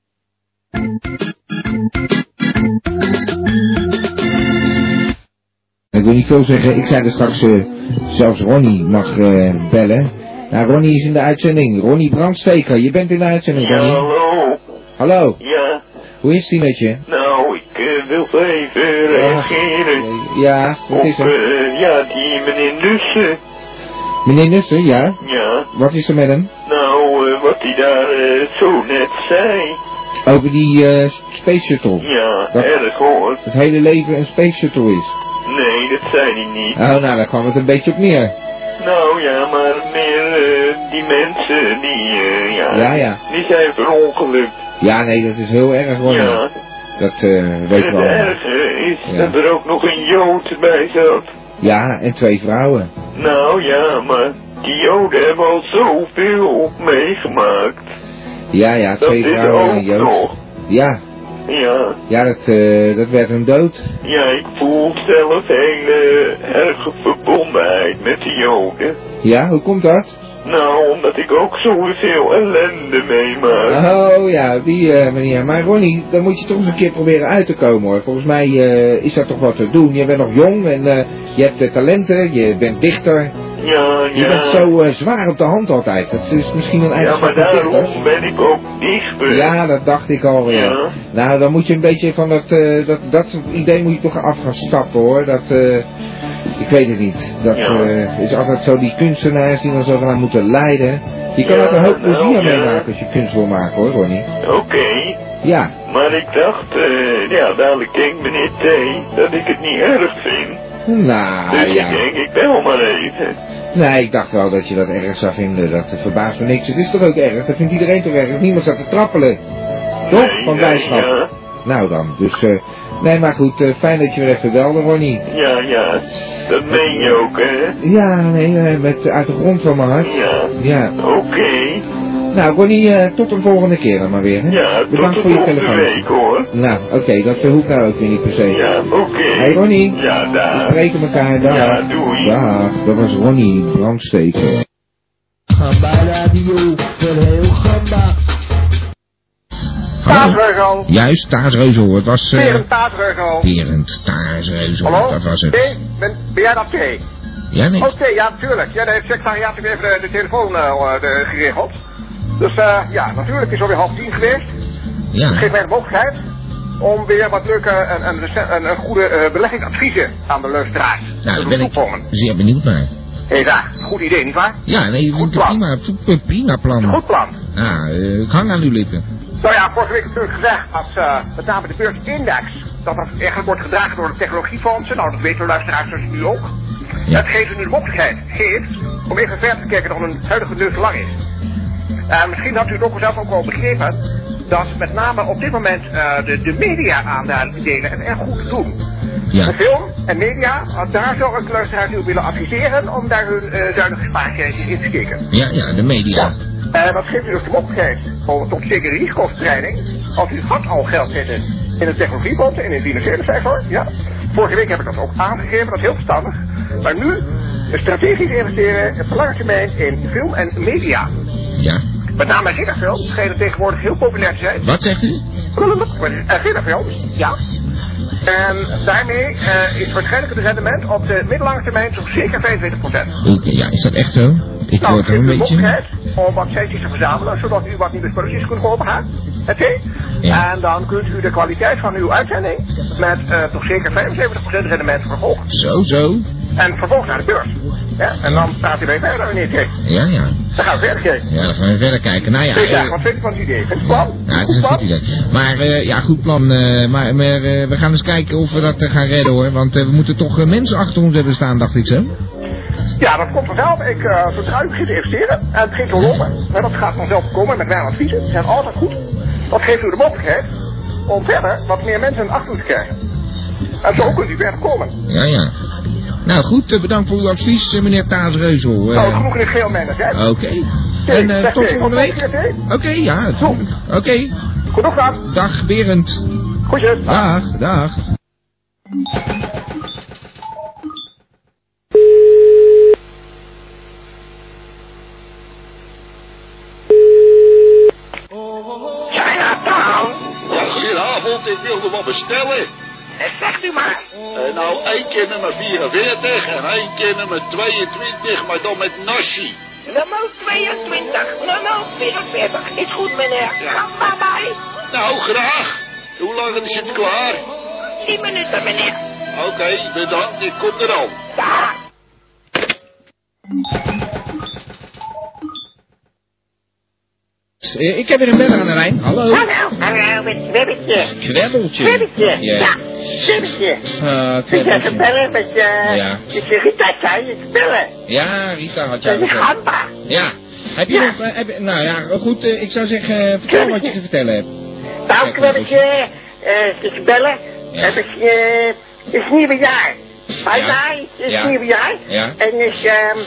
S2: Ik wil niet veel zeggen, ik zei er straks, eh, zelfs Ronnie mag eh, bellen. Nou, Ronnie is in de uitzending. Ronnie Brandsteker, je bent in de uitzending, Ronnie.
S10: Hallo.
S2: Hallo,
S10: Ja,
S2: hoe is die met je?
S10: nou, ik eh, wil even reageren
S2: Ja, wat
S10: op
S2: is er?
S10: eh, ja, die meneer Nussen.
S2: Meneer Nussen, ja?
S10: Ja,
S2: Wat is er met hem?
S10: nou, eh, wat hij daar eh, zo net zei.
S2: Over die eh, Space Shuttle.
S10: Ja,
S2: Dat-
S10: erg hoor.
S2: Het hele leven een Space Shuttle is.
S10: Nee, dat zei hij niet.
S2: Oh, nou, daar kwam het een beetje op neer.
S10: nou ja, maar meneer, eh, die mensen die, eh, ja,
S2: Ja, ja.
S10: die zijn verongelukt.
S2: Ja, nee, dat is heel erg hoor.
S10: Ja.
S2: Dat eh weet
S10: het
S2: wel.
S10: ergste Eh, is
S2: Ja.
S10: dat er ook nog een Jood bij zat.
S2: Ja, en twee vrouwen.
S10: Nou ja, maar die Joden hebben al zoveel meegemaakt.
S2: Ja, ja,
S10: Dat
S2: twee
S10: is
S2: vrouwen en
S10: ook
S2: een jood.
S10: nog.
S2: Ja,
S10: Ja,
S2: ja dat, eh, dat werd een dood.
S10: ja, ik voel zelf heel eh, erge verbondenheid met de Joden.
S2: Ja, hoe komt dat?
S10: Nou, omdat ik ook zoveel ellende meemaak.
S2: Oh ja, die eh manier. Maar Ronnie, dan moet je toch eens een keer proberen uit te komen hoor. Volgens mij eh, is dat toch wat te doen. Je bent nog jong en eh, je hebt de talenten, je bent dichter.
S10: Ja,
S2: Je
S10: ja.
S2: bent zo eh, zwaar op de hand altijd. Dat is misschien een
S10: ja,
S2: eigenschap
S10: maar
S2: van dichters.
S10: daarom ben ik ook dichter.
S2: Ja, dat dacht ik al. Ja.
S10: Oh Ja.
S2: Nou, dan moet je een beetje van dat, eh, dat, dat soort idee moet je toch af gaan stappen hoor. Dat, eh, ik weet het niet. Dat
S10: Ja.
S2: eh, is altijd zo die kunstenaars die dan zogenaamd moeten leiden. Je kan
S10: Ja,
S2: ook een hoop
S10: nou,
S2: plezier
S10: ja.
S2: meemaken als je kunst wil maken hoor, Ronnie.
S10: Oké,
S2: Ja,
S10: maar ik dacht, eh, ja, dadelijk denkt meneer T. dat ik het niet erg vind.
S2: nou
S10: dus
S2: ja.
S10: ik denk, ik bel maar even.
S2: Nee, ik dacht wel dat je dat erg zou vinden. Dat verbaast me niks. Het is toch ook erg? Dat vindt iedereen toch erg? Niemand staat te trappelen. Toch?
S10: Nee, nee,
S2: van blijdschap.
S10: ja.
S2: Nou dan, dus... eh, nee, maar goed, eh, fijn dat je weer even belde, Ronnie.
S10: Ja, ja, dat meen je ook, hè?
S2: Ja, nee, eh, met, uit de grond van mijn hart.
S10: Ja.
S2: Ja.
S10: Oké,
S2: Nou, Ronnie, eh, tot een volgende keer dan maar weer. Hè?
S10: ja,
S2: Bedankt
S10: tot
S2: voor
S10: de
S2: je
S10: volgende
S2: telefoon.
S10: week, hoor.
S2: Nou, oké, dat verhoeft nou ook weer niet per se.
S10: Ja, oké.
S2: Hey Ronnie.
S10: Ja,
S2: We
S10: daar.
S2: spreken elkaar, dag.
S10: Ja, doei.
S2: Dag, dat was Ronnie, brandsteken.
S1: Gamba Radio, voor heel Gamba.
S12: Taasreugo.
S2: Juist, Taasreuzel, het was... eh,
S12: Berend Taasreugo.
S2: Berend Taasreuzel,
S12: Hallo?
S2: eh, dat was
S12: T?
S2: het.
S12: Ben, ben jij dat T?
S2: Ja, nee.
S12: Oh, T, ja, natuurlijk. Ja, de secretariaat heeft even de, de telefoon eh, de- geregeld. Dus eh, ja, natuurlijk is alweer half tien geweest.
S2: Ja.
S12: Geef mij de mogelijkheid om weer wat leuke en, en, rece- en, en goede eh, beleggingsadviezen aan de luisteraars
S2: Nou,
S12: te
S2: daar ben
S12: doen
S2: ik
S12: toekomen.
S2: zeer benieuwd naar.
S12: Hé, daar. Goed idee, nietwaar?
S2: Ja, nee,
S12: Goed
S2: prima,
S12: plan.
S2: prima, p- prima plan.
S12: Goed plan.
S2: Ja, eh, ik hang aan uw lippen.
S12: Nou ja, vorige week natuurlijk gezegd dat eh, met name de beursindex, dat dat eigenlijk wordt gedragen door de technologiefondsen. Nou, dat weten de luisteraars dus nu ook. Dat geeft nu de mogelijkheid, geeft, om even verder te kijken dan hun huidige neus lang is. En misschien had u het ook zelf ook al begrepen, dat met name op dit moment eh, de, de media aandelen en erg goed doen. De film en media, eh, daar zou ik luisteraars u willen adviseren om daar hun eh, zuinige spaargeld in te steken.
S2: Ja, ja, de media.
S12: Eh, dat geeft u dus de mogelijkheid voor tot zekere risicoverspreiding. Als u had al geld zitten in het technologiebond en in de financiële sector, ja. Vorige week heb ik dat ook aangegeven, dat is heel verstandig. Maar nu eh, strategisch investeren op lange termijn in film en media.
S2: Ja.
S12: Met name ridderfilms schijnen tegenwoordig heel populair te zijn.
S2: Wat zegt u?
S12: Eh, Ridderfilms, ja. En daarmee eh, is waarschijnlijk het rendement op de middellange termijn zo'n circa 25%.
S2: Ik- ja, is dat echt zo? Ik
S12: Nou,
S2: word er een
S12: geeft u
S2: beetje...
S12: mogelijkheid om wat centjes te verzamelen, zodat u wat nieuwe spulletjes kunt kopen, hè? Oké? En dan kunt u de kwaliteit van uw uitzending met eh, toch zeker 75% rendement verhogen.
S2: Zo, zo.
S12: En vervolgens naar de beurs. Ja, en dan staat u weer verder, meneer Kik.
S2: Ja, ja.
S12: Dan gaan we verder kijken.
S2: Ja, dan gaan we verder kijken. Nou ja,
S12: Dus
S2: eh,
S12: wat vindt u van het idee? Vindt u het plan?
S2: nou, het is een goed idee. Maar eh, ja, goed plan. eh, maar maar, eh, we gaan eens kijken of we dat eh, gaan redden hoor. Want eh, we moeten toch eh, mensen achter ons hebben staan, dacht ik zo.
S12: Ja, dat komt vanzelf. Ik, eh zodra u begint te investeren, en het begint te lopen, maar dat gaat vanzelf komen met mijn adviezen, die zijn altijd goed. Dat geeft u de mogelijkheid om verder wat meer mensen achter u te krijgen. En zo kunt u verder komen.
S2: Ja, ja. Nou goed, eh, bedankt voor uw advies, eh, meneer Taasreuzel. eh.
S12: Nou, genoeg in het geel, mijne.
S2: Oké. En eh, tot volgende week. Oké, ja. natuurlijk. Oké.
S12: Genoeg dan.
S2: Dag Berend.
S12: Goedjes.
S2: Dag, dag.
S12: Ja, ja, dan.
S8: Ja, goedenavond, ik wilde wat bestellen.
S12: Zegt u maar.
S8: Eh, nou, één keer nummer 44 en één keer nummer 22, maar dan met nasi.
S35: Nummer 22, nummer 44. Is goed, meneer. Ga maar bij.
S8: Nou, graag. Hoe lang is het klaar?
S35: 10 minuten, meneer.
S8: Oké, bedankt, ik kom er al.
S2: Eh, Ik heb weer een beller aan de lijn. Hallo.
S35: Hallo, hallo, met
S12: Kwebbetje.
S2: Kwebbeltje.
S12: Kwebbetje.
S2: Ja.
S12: Ja, kwebbetje.
S2: Ah,
S12: Ik zeg
S2: kwebbeltje.
S12: gebellen met je...
S2: Ja.
S12: Ik zeg, Rita, kan je spellen?
S2: Ja, Rita had jij
S12: Dat is
S2: gezegd.
S12: gamba.
S2: Ja. Heb je
S12: Ja.
S2: nog... eh, heb je- nou ja, goed, eh, ik zou zeggen, eh, vertel wat je te vertellen hebt.
S12: Nou, kwebbetje, eh, ik bellen.
S2: Ja.
S12: Heb ik, eh, het is nieuwjaar. Bye
S2: Ja.
S12: bye, het is
S2: Ja.
S12: nieuwjaar.
S2: Ja.
S12: En dus, ehm,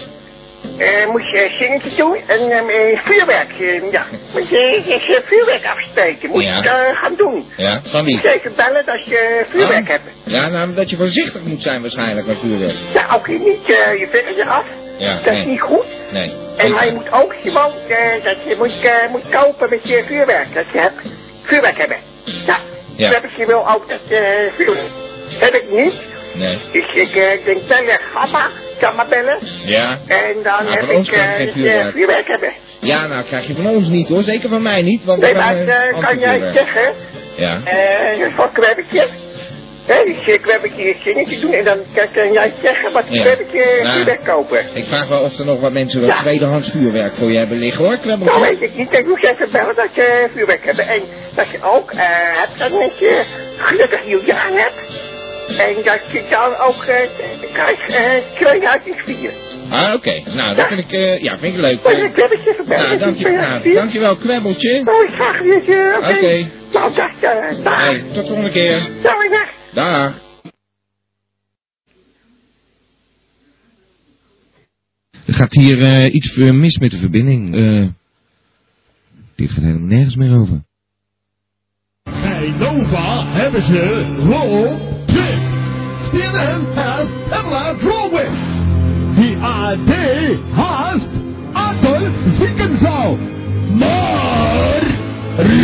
S12: eh, moet je zingetje doen en ehm, eh, vuurwerk, eh, ja. Moet je eh, eh, vuurwerk afsteken, moet
S2: Ja.
S12: je het, eh, gaan doen.
S2: Ja, van wie?
S12: Zeker bellen als je vuurwerk
S2: Ah.
S12: hebt.
S2: Ja, nou, dat je voorzichtig moet zijn waarschijnlijk als vuurwerk.
S12: Ja, ook niet eh, je vingers eraf.
S2: Ja,
S12: dat
S2: nee.
S12: is niet goed.
S2: Nee.
S12: En maar je moet ook gewoon eh, dat je moet, eh, moet kopen met je vuurwerk. Dat je hebt vuurwerk hebben. Ja.
S2: Ja.
S12: Dan heb ik je wel ook dat eh, vuurwerk. Heb ik niet.
S2: Nee.
S12: Dus ik eh, denk bellen, gamma, kan maar bellen.
S2: Ja.
S12: En dan
S2: Nou,
S12: heb
S2: van ons
S12: ik
S2: kan je
S12: eh,
S2: geen
S12: dat
S2: vuurwerk.
S12: je vuurwerk hebben.
S2: Ja, nou krijg je van ons niet hoor. Zeker van mij niet. Want
S12: Nee,
S2: we
S12: maar
S2: zijn,
S12: eh,
S2: eh,
S12: kan jij
S2: anti-vuurwerk. Ja.
S12: zeggen, eh, van kwebbetje. Hé, dus eh, kwebbetje je zingetje doen en dan kan, kan jij zeggen wat
S2: Ja.
S12: kwebbetje
S2: Nou,
S12: vuurwerk kopen.
S2: Ik vraag wel of er nog wat mensen wel
S12: Ja.
S2: tweedehands vuurwerk voor je hebben liggen hoor. Kwebbeltje.
S12: Nou weet ik niet, ik moest even bellen dat je vuurwerk hebt. En dat je ook eh, hebt dat met je gelukkig nieuwjaar hebt. En dat je dan ook eh, krijgt eh, 2004.
S2: Ah, oké. Nou, dat vind ik, eh, ja, vind ik leuk.
S12: Maar ik heb het je gebeld.
S2: Nou,
S12: dat
S2: dank
S12: je
S2: je, nou,
S12: 2004.
S2: dankjewel, kwebbeltje.
S12: Nou, ik graag weer. eh, Oké.
S2: Oké.
S12: Nou, dag. eh, dag.
S2: Hey, tot de volgende keer.
S12: Nou, ik weg.
S2: Dag. Er gaat hier eh, iets eh, mis met de verbinding. Eh dit gaat helemaal nergens meer over.
S10: Bij Nova hebben ze Roll Trip. CNN has Emma Drolwig. The AD has Adel Ziekenzauw. Maar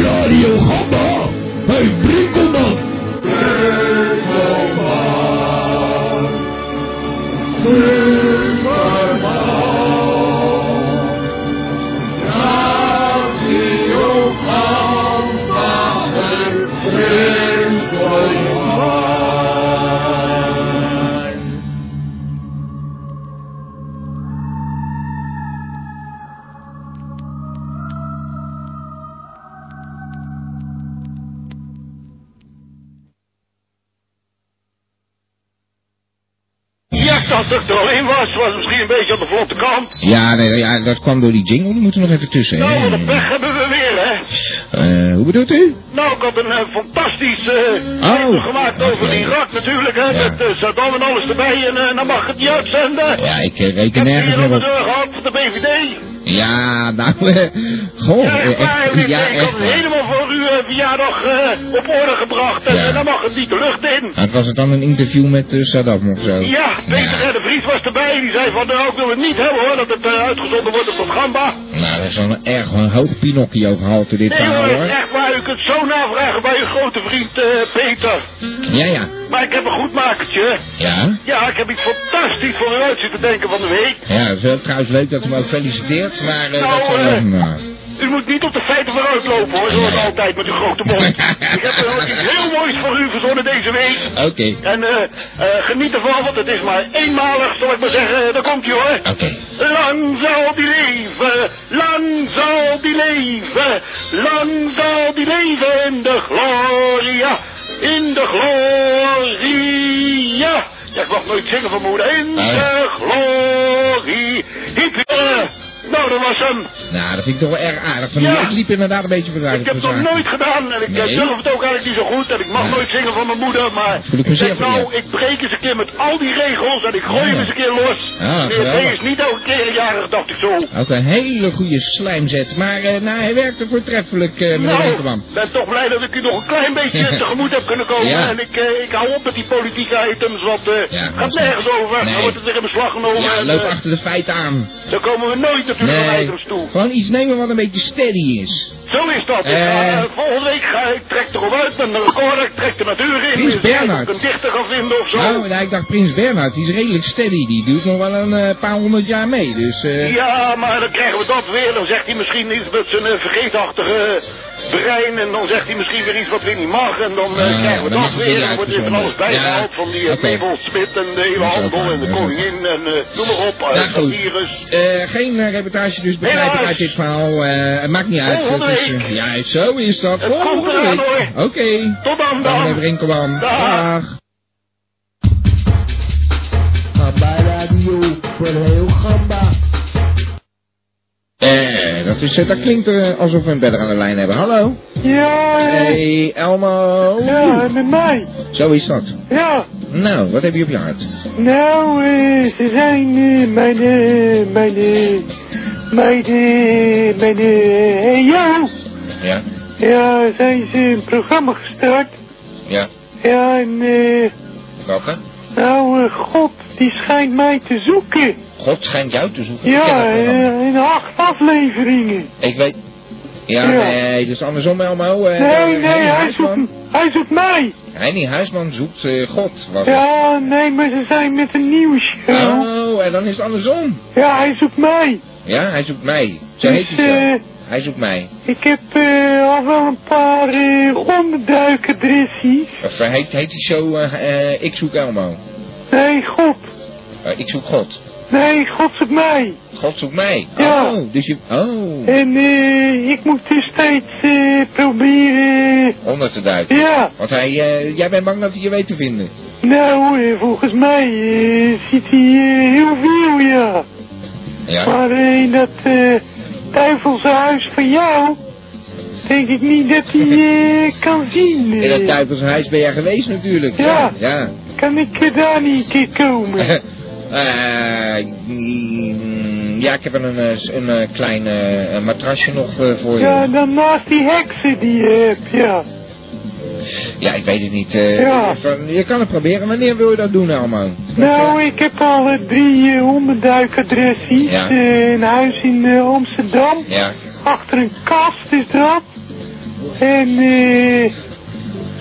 S10: Radio Gamba bij Brinkelman. Brinkelman. Superman. Radio Gamba en Brinkelman.
S25: Ja, ik dacht dat ik er alleen was. Was misschien een beetje aan de vlotte kant.
S2: Ja, nee, ja, dat kwam door die jingle. Die moeten we nog even tussen.
S25: Nou, wat
S2: hè.
S25: een pech hebben we weer, hè.
S2: Eh, hoe bedoelt u?
S25: Nou, ik had een eh, fantastisch eh
S2: Oh.
S25: item gemaakt over Irak natuurlijk, hè. Met eh, Saddam en alles erbij. En eh, dan mag het niet uitzenden.
S2: Ja, ik eh, reken nergens
S25: Hier
S2: meer
S25: op
S2: op.
S25: de gehad van de BVD.
S2: Ja, nou, eh, goh.
S25: Ja,
S2: eh,
S25: echt waar.
S2: echt-
S25: Ik,
S2: ja,
S25: ik had
S2: echt
S25: het
S2: waar.
S25: helemaal voor uw eh, verjaardag eh, op orde gebracht. En eh, dan mag het niet de lucht in.
S2: Het was het dan een interview met eh, Saddam of zo?
S25: Ja, Peter en de Vries was erbij. Die zei van, nou, ik wil het niet hebben hoor, dat het eh, uitgezonden wordt op dat gamba.
S2: Nou, dat is wel een erg een hoog Pinocchio gehalte dit
S25: Nee
S2: verhaal
S25: hoor,
S2: hoor.
S25: echt waar. U kunt zo navragen bij uw grote vriend eh, Peter.
S2: Ja, ja.
S25: Maar ik heb een goed makertje.
S2: Ja?
S25: Ja, ik heb iets fantastisch voor u uit zitten denken van de week.
S2: Ja, het is wel trouwens leuk dat u me ook feliciteert, maar eh,
S25: Nou,
S2: dat zal
S25: eh,
S2: wel- nou.
S25: U moet niet op de feiten vooruit lopen hoor, zoals altijd met uw grote mond. ik heb er ook iets heel moois voor u verzonnen deze week.
S2: Oké,
S25: En eh, eh, geniet ervan, want het is maar eenmalig, zal ik maar zeggen. Eh, Daar komt ie hoor. Lang zal die leven, lang zal die leven, lang zal die leven in de gloria, in de gloria. Ja, ik mag nooit zingen van mijn moeder. In de glorie. Hiep, eh, Nou, dat was hem.
S2: nou, dat vind ik toch wel erg aardig van u.
S25: Ja.
S2: Ik liep inderdaad een beetje bedreigd
S25: Ik heb
S2: op
S25: het
S2: de
S25: nog
S2: zaak.
S25: nooit gedaan en ik eh,
S2: Nee.
S25: durf het ook eigenlijk niet zo goed en ik mag nooit zingen van mijn moeder, maar
S2: voel ik me zeer
S25: zeg nou,
S2: vereerd.
S25: ik breek eens een keer met al die regels en ik gooi
S2: Ja.
S25: hem eens een keer los.
S2: Ja,
S25: nee,
S2: geweldig.
S25: nee, is niet elke keer een jarige, dacht ik zo.
S2: Ook een hele goede slijmzet, maar eh, nou, hij werkte voortreffelijk, eh, meneer
S25: Nou,
S2: Winkelman.
S25: ik ben toch blij dat ik u nog een klein beetje tegemoet heb kunnen komen.
S2: Ja.
S25: En ik, eh, ik hou op met die politieke items, want eh
S2: dat
S25: gaat
S2: is
S25: nergens
S2: niet.
S25: over.
S2: Nee.
S25: Dan wordt het weer in beslag genomen.
S2: Ja,
S25: en,
S2: loop
S25: eh,
S2: achter de feiten aan.
S25: dan komen we nooit natuurlijk aan
S2: Nee,
S25: items toe.
S2: gewoon iets nemen wat een beetje steady is.
S25: Zo is dat. Ik ga,
S2: Eh.
S25: eh, volgende week ga ik trek erop uit met een recorder, ik trek de natuur in.
S2: Prins
S25: Eens kijken of
S2: Bernhard.
S25: ik Een dichter gaan vinden of zo.
S2: Nou, nou, ik dacht Prins Bernhard, die is redelijk steady. Die duurt nog wel een eh, paar honderd jaar mee, dus... eh,
S25: Ja, maar dan krijgen we dat weer. Dan zegt hij misschien iets met zijn eh, vergeetachtige eh, brein. En dan zegt hij misschien weer iets wat weer niet mag. En dan eh,
S2: Ah,
S25: krijgen we dat
S2: dan mag het weer
S25: weer. En dan wordt weer van alles
S2: uitgezonden.
S25: bijgehaald.
S2: Ja,
S25: Van die uh,
S2: oké.
S25: Smit en de hele
S2: Dat is ook
S25: handel.
S2: waar,
S25: En de
S2: dat is
S25: koningin en eh, noem maar op. eh,
S2: goed.
S25: virus.
S2: Eh, geen eh, reportage dus begrijp ik
S25: Helaas.
S2: uit dit verhaal. Eh, het maakt niet uit.
S25: Volgende
S2: Het is, eh, ja, zo is dat.
S25: Het komt
S2: volgende
S8: eraan,
S2: week.
S8: hoor.
S2: Oké.
S8: Tot dan,
S2: Dag, meneer
S8: dan.
S2: Brinkelman. Dag.
S1: Gamba Radio voor heel Gamba.
S2: Eh, dat, is, eh, dat klinkt eh, alsof we een bedder aan de lijn hebben. Hallo.
S21: Ja.
S2: Hey, Elmo.
S21: Ja, met mij.
S2: Zo is dat.
S21: Ja.
S2: Nou, wat heb je op je hart?
S21: Nou, eh, ze zijn eh, mijn, eh, mijn, eh, mijn, eh, mijn, eh, hey, jou.
S2: Ja.
S21: Ja, zijn ze een programma gestart.
S2: Ja.
S21: Ja, en, eh,
S2: Welke?
S21: nou, eh, God, die schijnt mij te zoeken.
S2: God schijnt jou te zoeken. Ik ken
S21: Ja,
S2: dat programma.
S21: eh, in acht afleveringen.
S2: Ik weet... Ja,
S21: Ja.
S2: nee, dus andersom Elmo. eh,
S21: Nee, nee,
S2: Henny
S21: hij zoekt,
S2: Huisman.
S21: hij zoekt mij.
S2: Henny Huisman zoekt eh, God. was het.
S21: Ja, nee, maar ze zijn met een nieuwe show.
S2: Oh, en dan is het andersom.
S21: Ja, hij zoekt mij.
S2: Ja, hij zoekt mij. Zo
S21: Dus,
S2: heet hij zo.
S21: eh,
S2: Hij zoekt mij.
S21: Ik heb eh, al wel een paar eh onderduikadressies.
S2: Of eh, heet, heet die show eh, eh, Ik zoek Elmo?
S21: Nee, God.
S2: Eh, ik zoek God.
S21: Nee, God zoekt mij.
S2: God zoekt mij.
S21: Ja.
S2: Oh, dus je... Oh,
S21: En eh, ik moet dus steeds eh, proberen... eh,
S2: onder te duiken.
S21: Ja.
S2: Want hij, eh, jij bent bang dat hij je weet te vinden.
S21: nou, eh, volgens mij eh, ziet hij eh, heel veel, ja.
S2: Ja.
S21: Maar eh, in dat eh duivelse huis van jou... denk ik niet dat hij eh, kan zien.
S2: In dat
S21: eh.
S2: duivelshuis ben jij geweest natuurlijk.
S21: Ja.
S2: Ja.
S21: Kan ik eh, daar niet een keer komen?
S2: Eh, mm, ja, ik heb een, eh, s- een eh, klein eh, een matrasje nog eh, voor je.
S21: Ja, dan naast die heksen die je hebt, ja.
S2: Ja, ik weet het niet. eh,
S21: Ja.
S2: van- je kan het proberen. Wanneer wil je dat doen, Elmo?
S21: Nou, ik heb al eh, drie eh, onderduikadressies.
S2: Ja.
S21: Eh, een huis in eh, Amsterdam.
S2: Ja.
S21: Achter een kast is dat. En eh.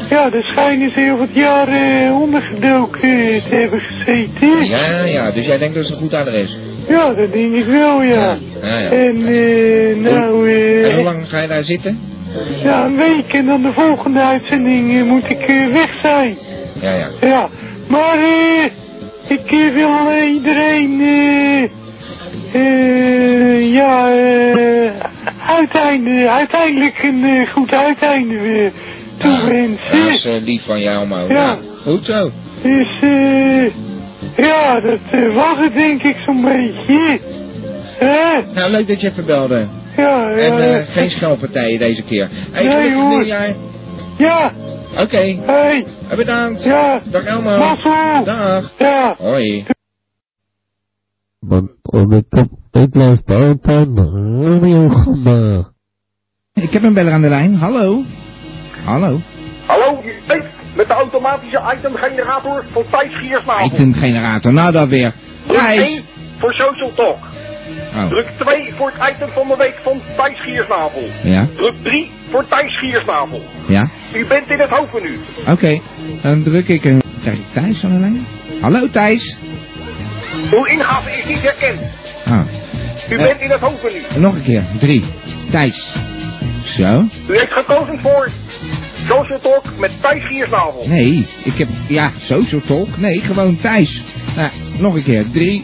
S21: Ja, er schijnen ze heel wat jaar eh, ondergedoken eh, te hebben gezeten.
S2: Ja, ja, dus jij denkt dat het een goed adres.
S21: Ja, dat denk ik wel, ja.
S2: Ja, ja.
S21: En eh, nou, eh.
S2: En hoe lang ga je daar zitten?
S21: Ja, een week en dan de volgende uitzending eh, moet ik eh, weg zijn.
S2: Ja, ja.
S21: Ja, maar eh, ik eh, wil eh, iedereen eh, eh, ja, eh, uiteinde, uiteindelijk een eh, goed uiteinde weer
S2: Ja, dat is
S21: toewensen.
S2: eh, lief van jou, Elmo.
S21: Ja.
S2: Goed zo.
S21: Dus eh, ja, dat eh, was het denk ik zo'n beetje. Hè?
S2: Nou, leuk dat je even belde.
S21: Ja,
S2: En
S21: ja,
S2: eh,
S21: ja.
S2: geen schelpartijen deze keer. Hey,
S21: Nee,
S2: gelukkig
S21: hoor.
S2: nieuwjaar.
S21: Ja.
S2: Oké. Eh,
S21: Hey.
S2: Bedankt.
S21: Ja.
S2: Dag Elmo.
S21: Mazzel.
S2: Dag.
S21: Ja.
S2: Hoi.
S7: Want om ik op, ik luister altijd naar Radio Gamba.
S2: Ik heb een beller aan de lijn. Hallo. Hallo.
S12: Hallo, je bent met de automatische itemgenerator van Thijs Giersnavel.
S2: Itemgenerator. Nou, dat weer.
S12: Druk
S2: Thijs.
S12: 1 voor Social Talk.
S2: Oh.
S12: Druk 2 voor het item van de week van Thijs Giersnavel.
S2: Ja.
S12: Druk 3 voor Thijs Giersnavel.
S2: Ja.
S12: U bent in het hoofdmenu.
S2: Oké. Dan druk ik een... Krijg ik Thijs aan de lijn? Hallo Thijs.
S12: Uw ingave is niet herkend.
S2: Ah.
S12: U
S2: Ja.
S12: bent in het hoofdmenu.
S2: Nog een keer. Drie. Thijs. Zo.
S12: U heeft gekozen voor Social Talk met Thijs Giersnavel.
S2: Nee, ik heb, ja, social talk. Nee, gewoon Thijs. Nou, nog een keer. Drie.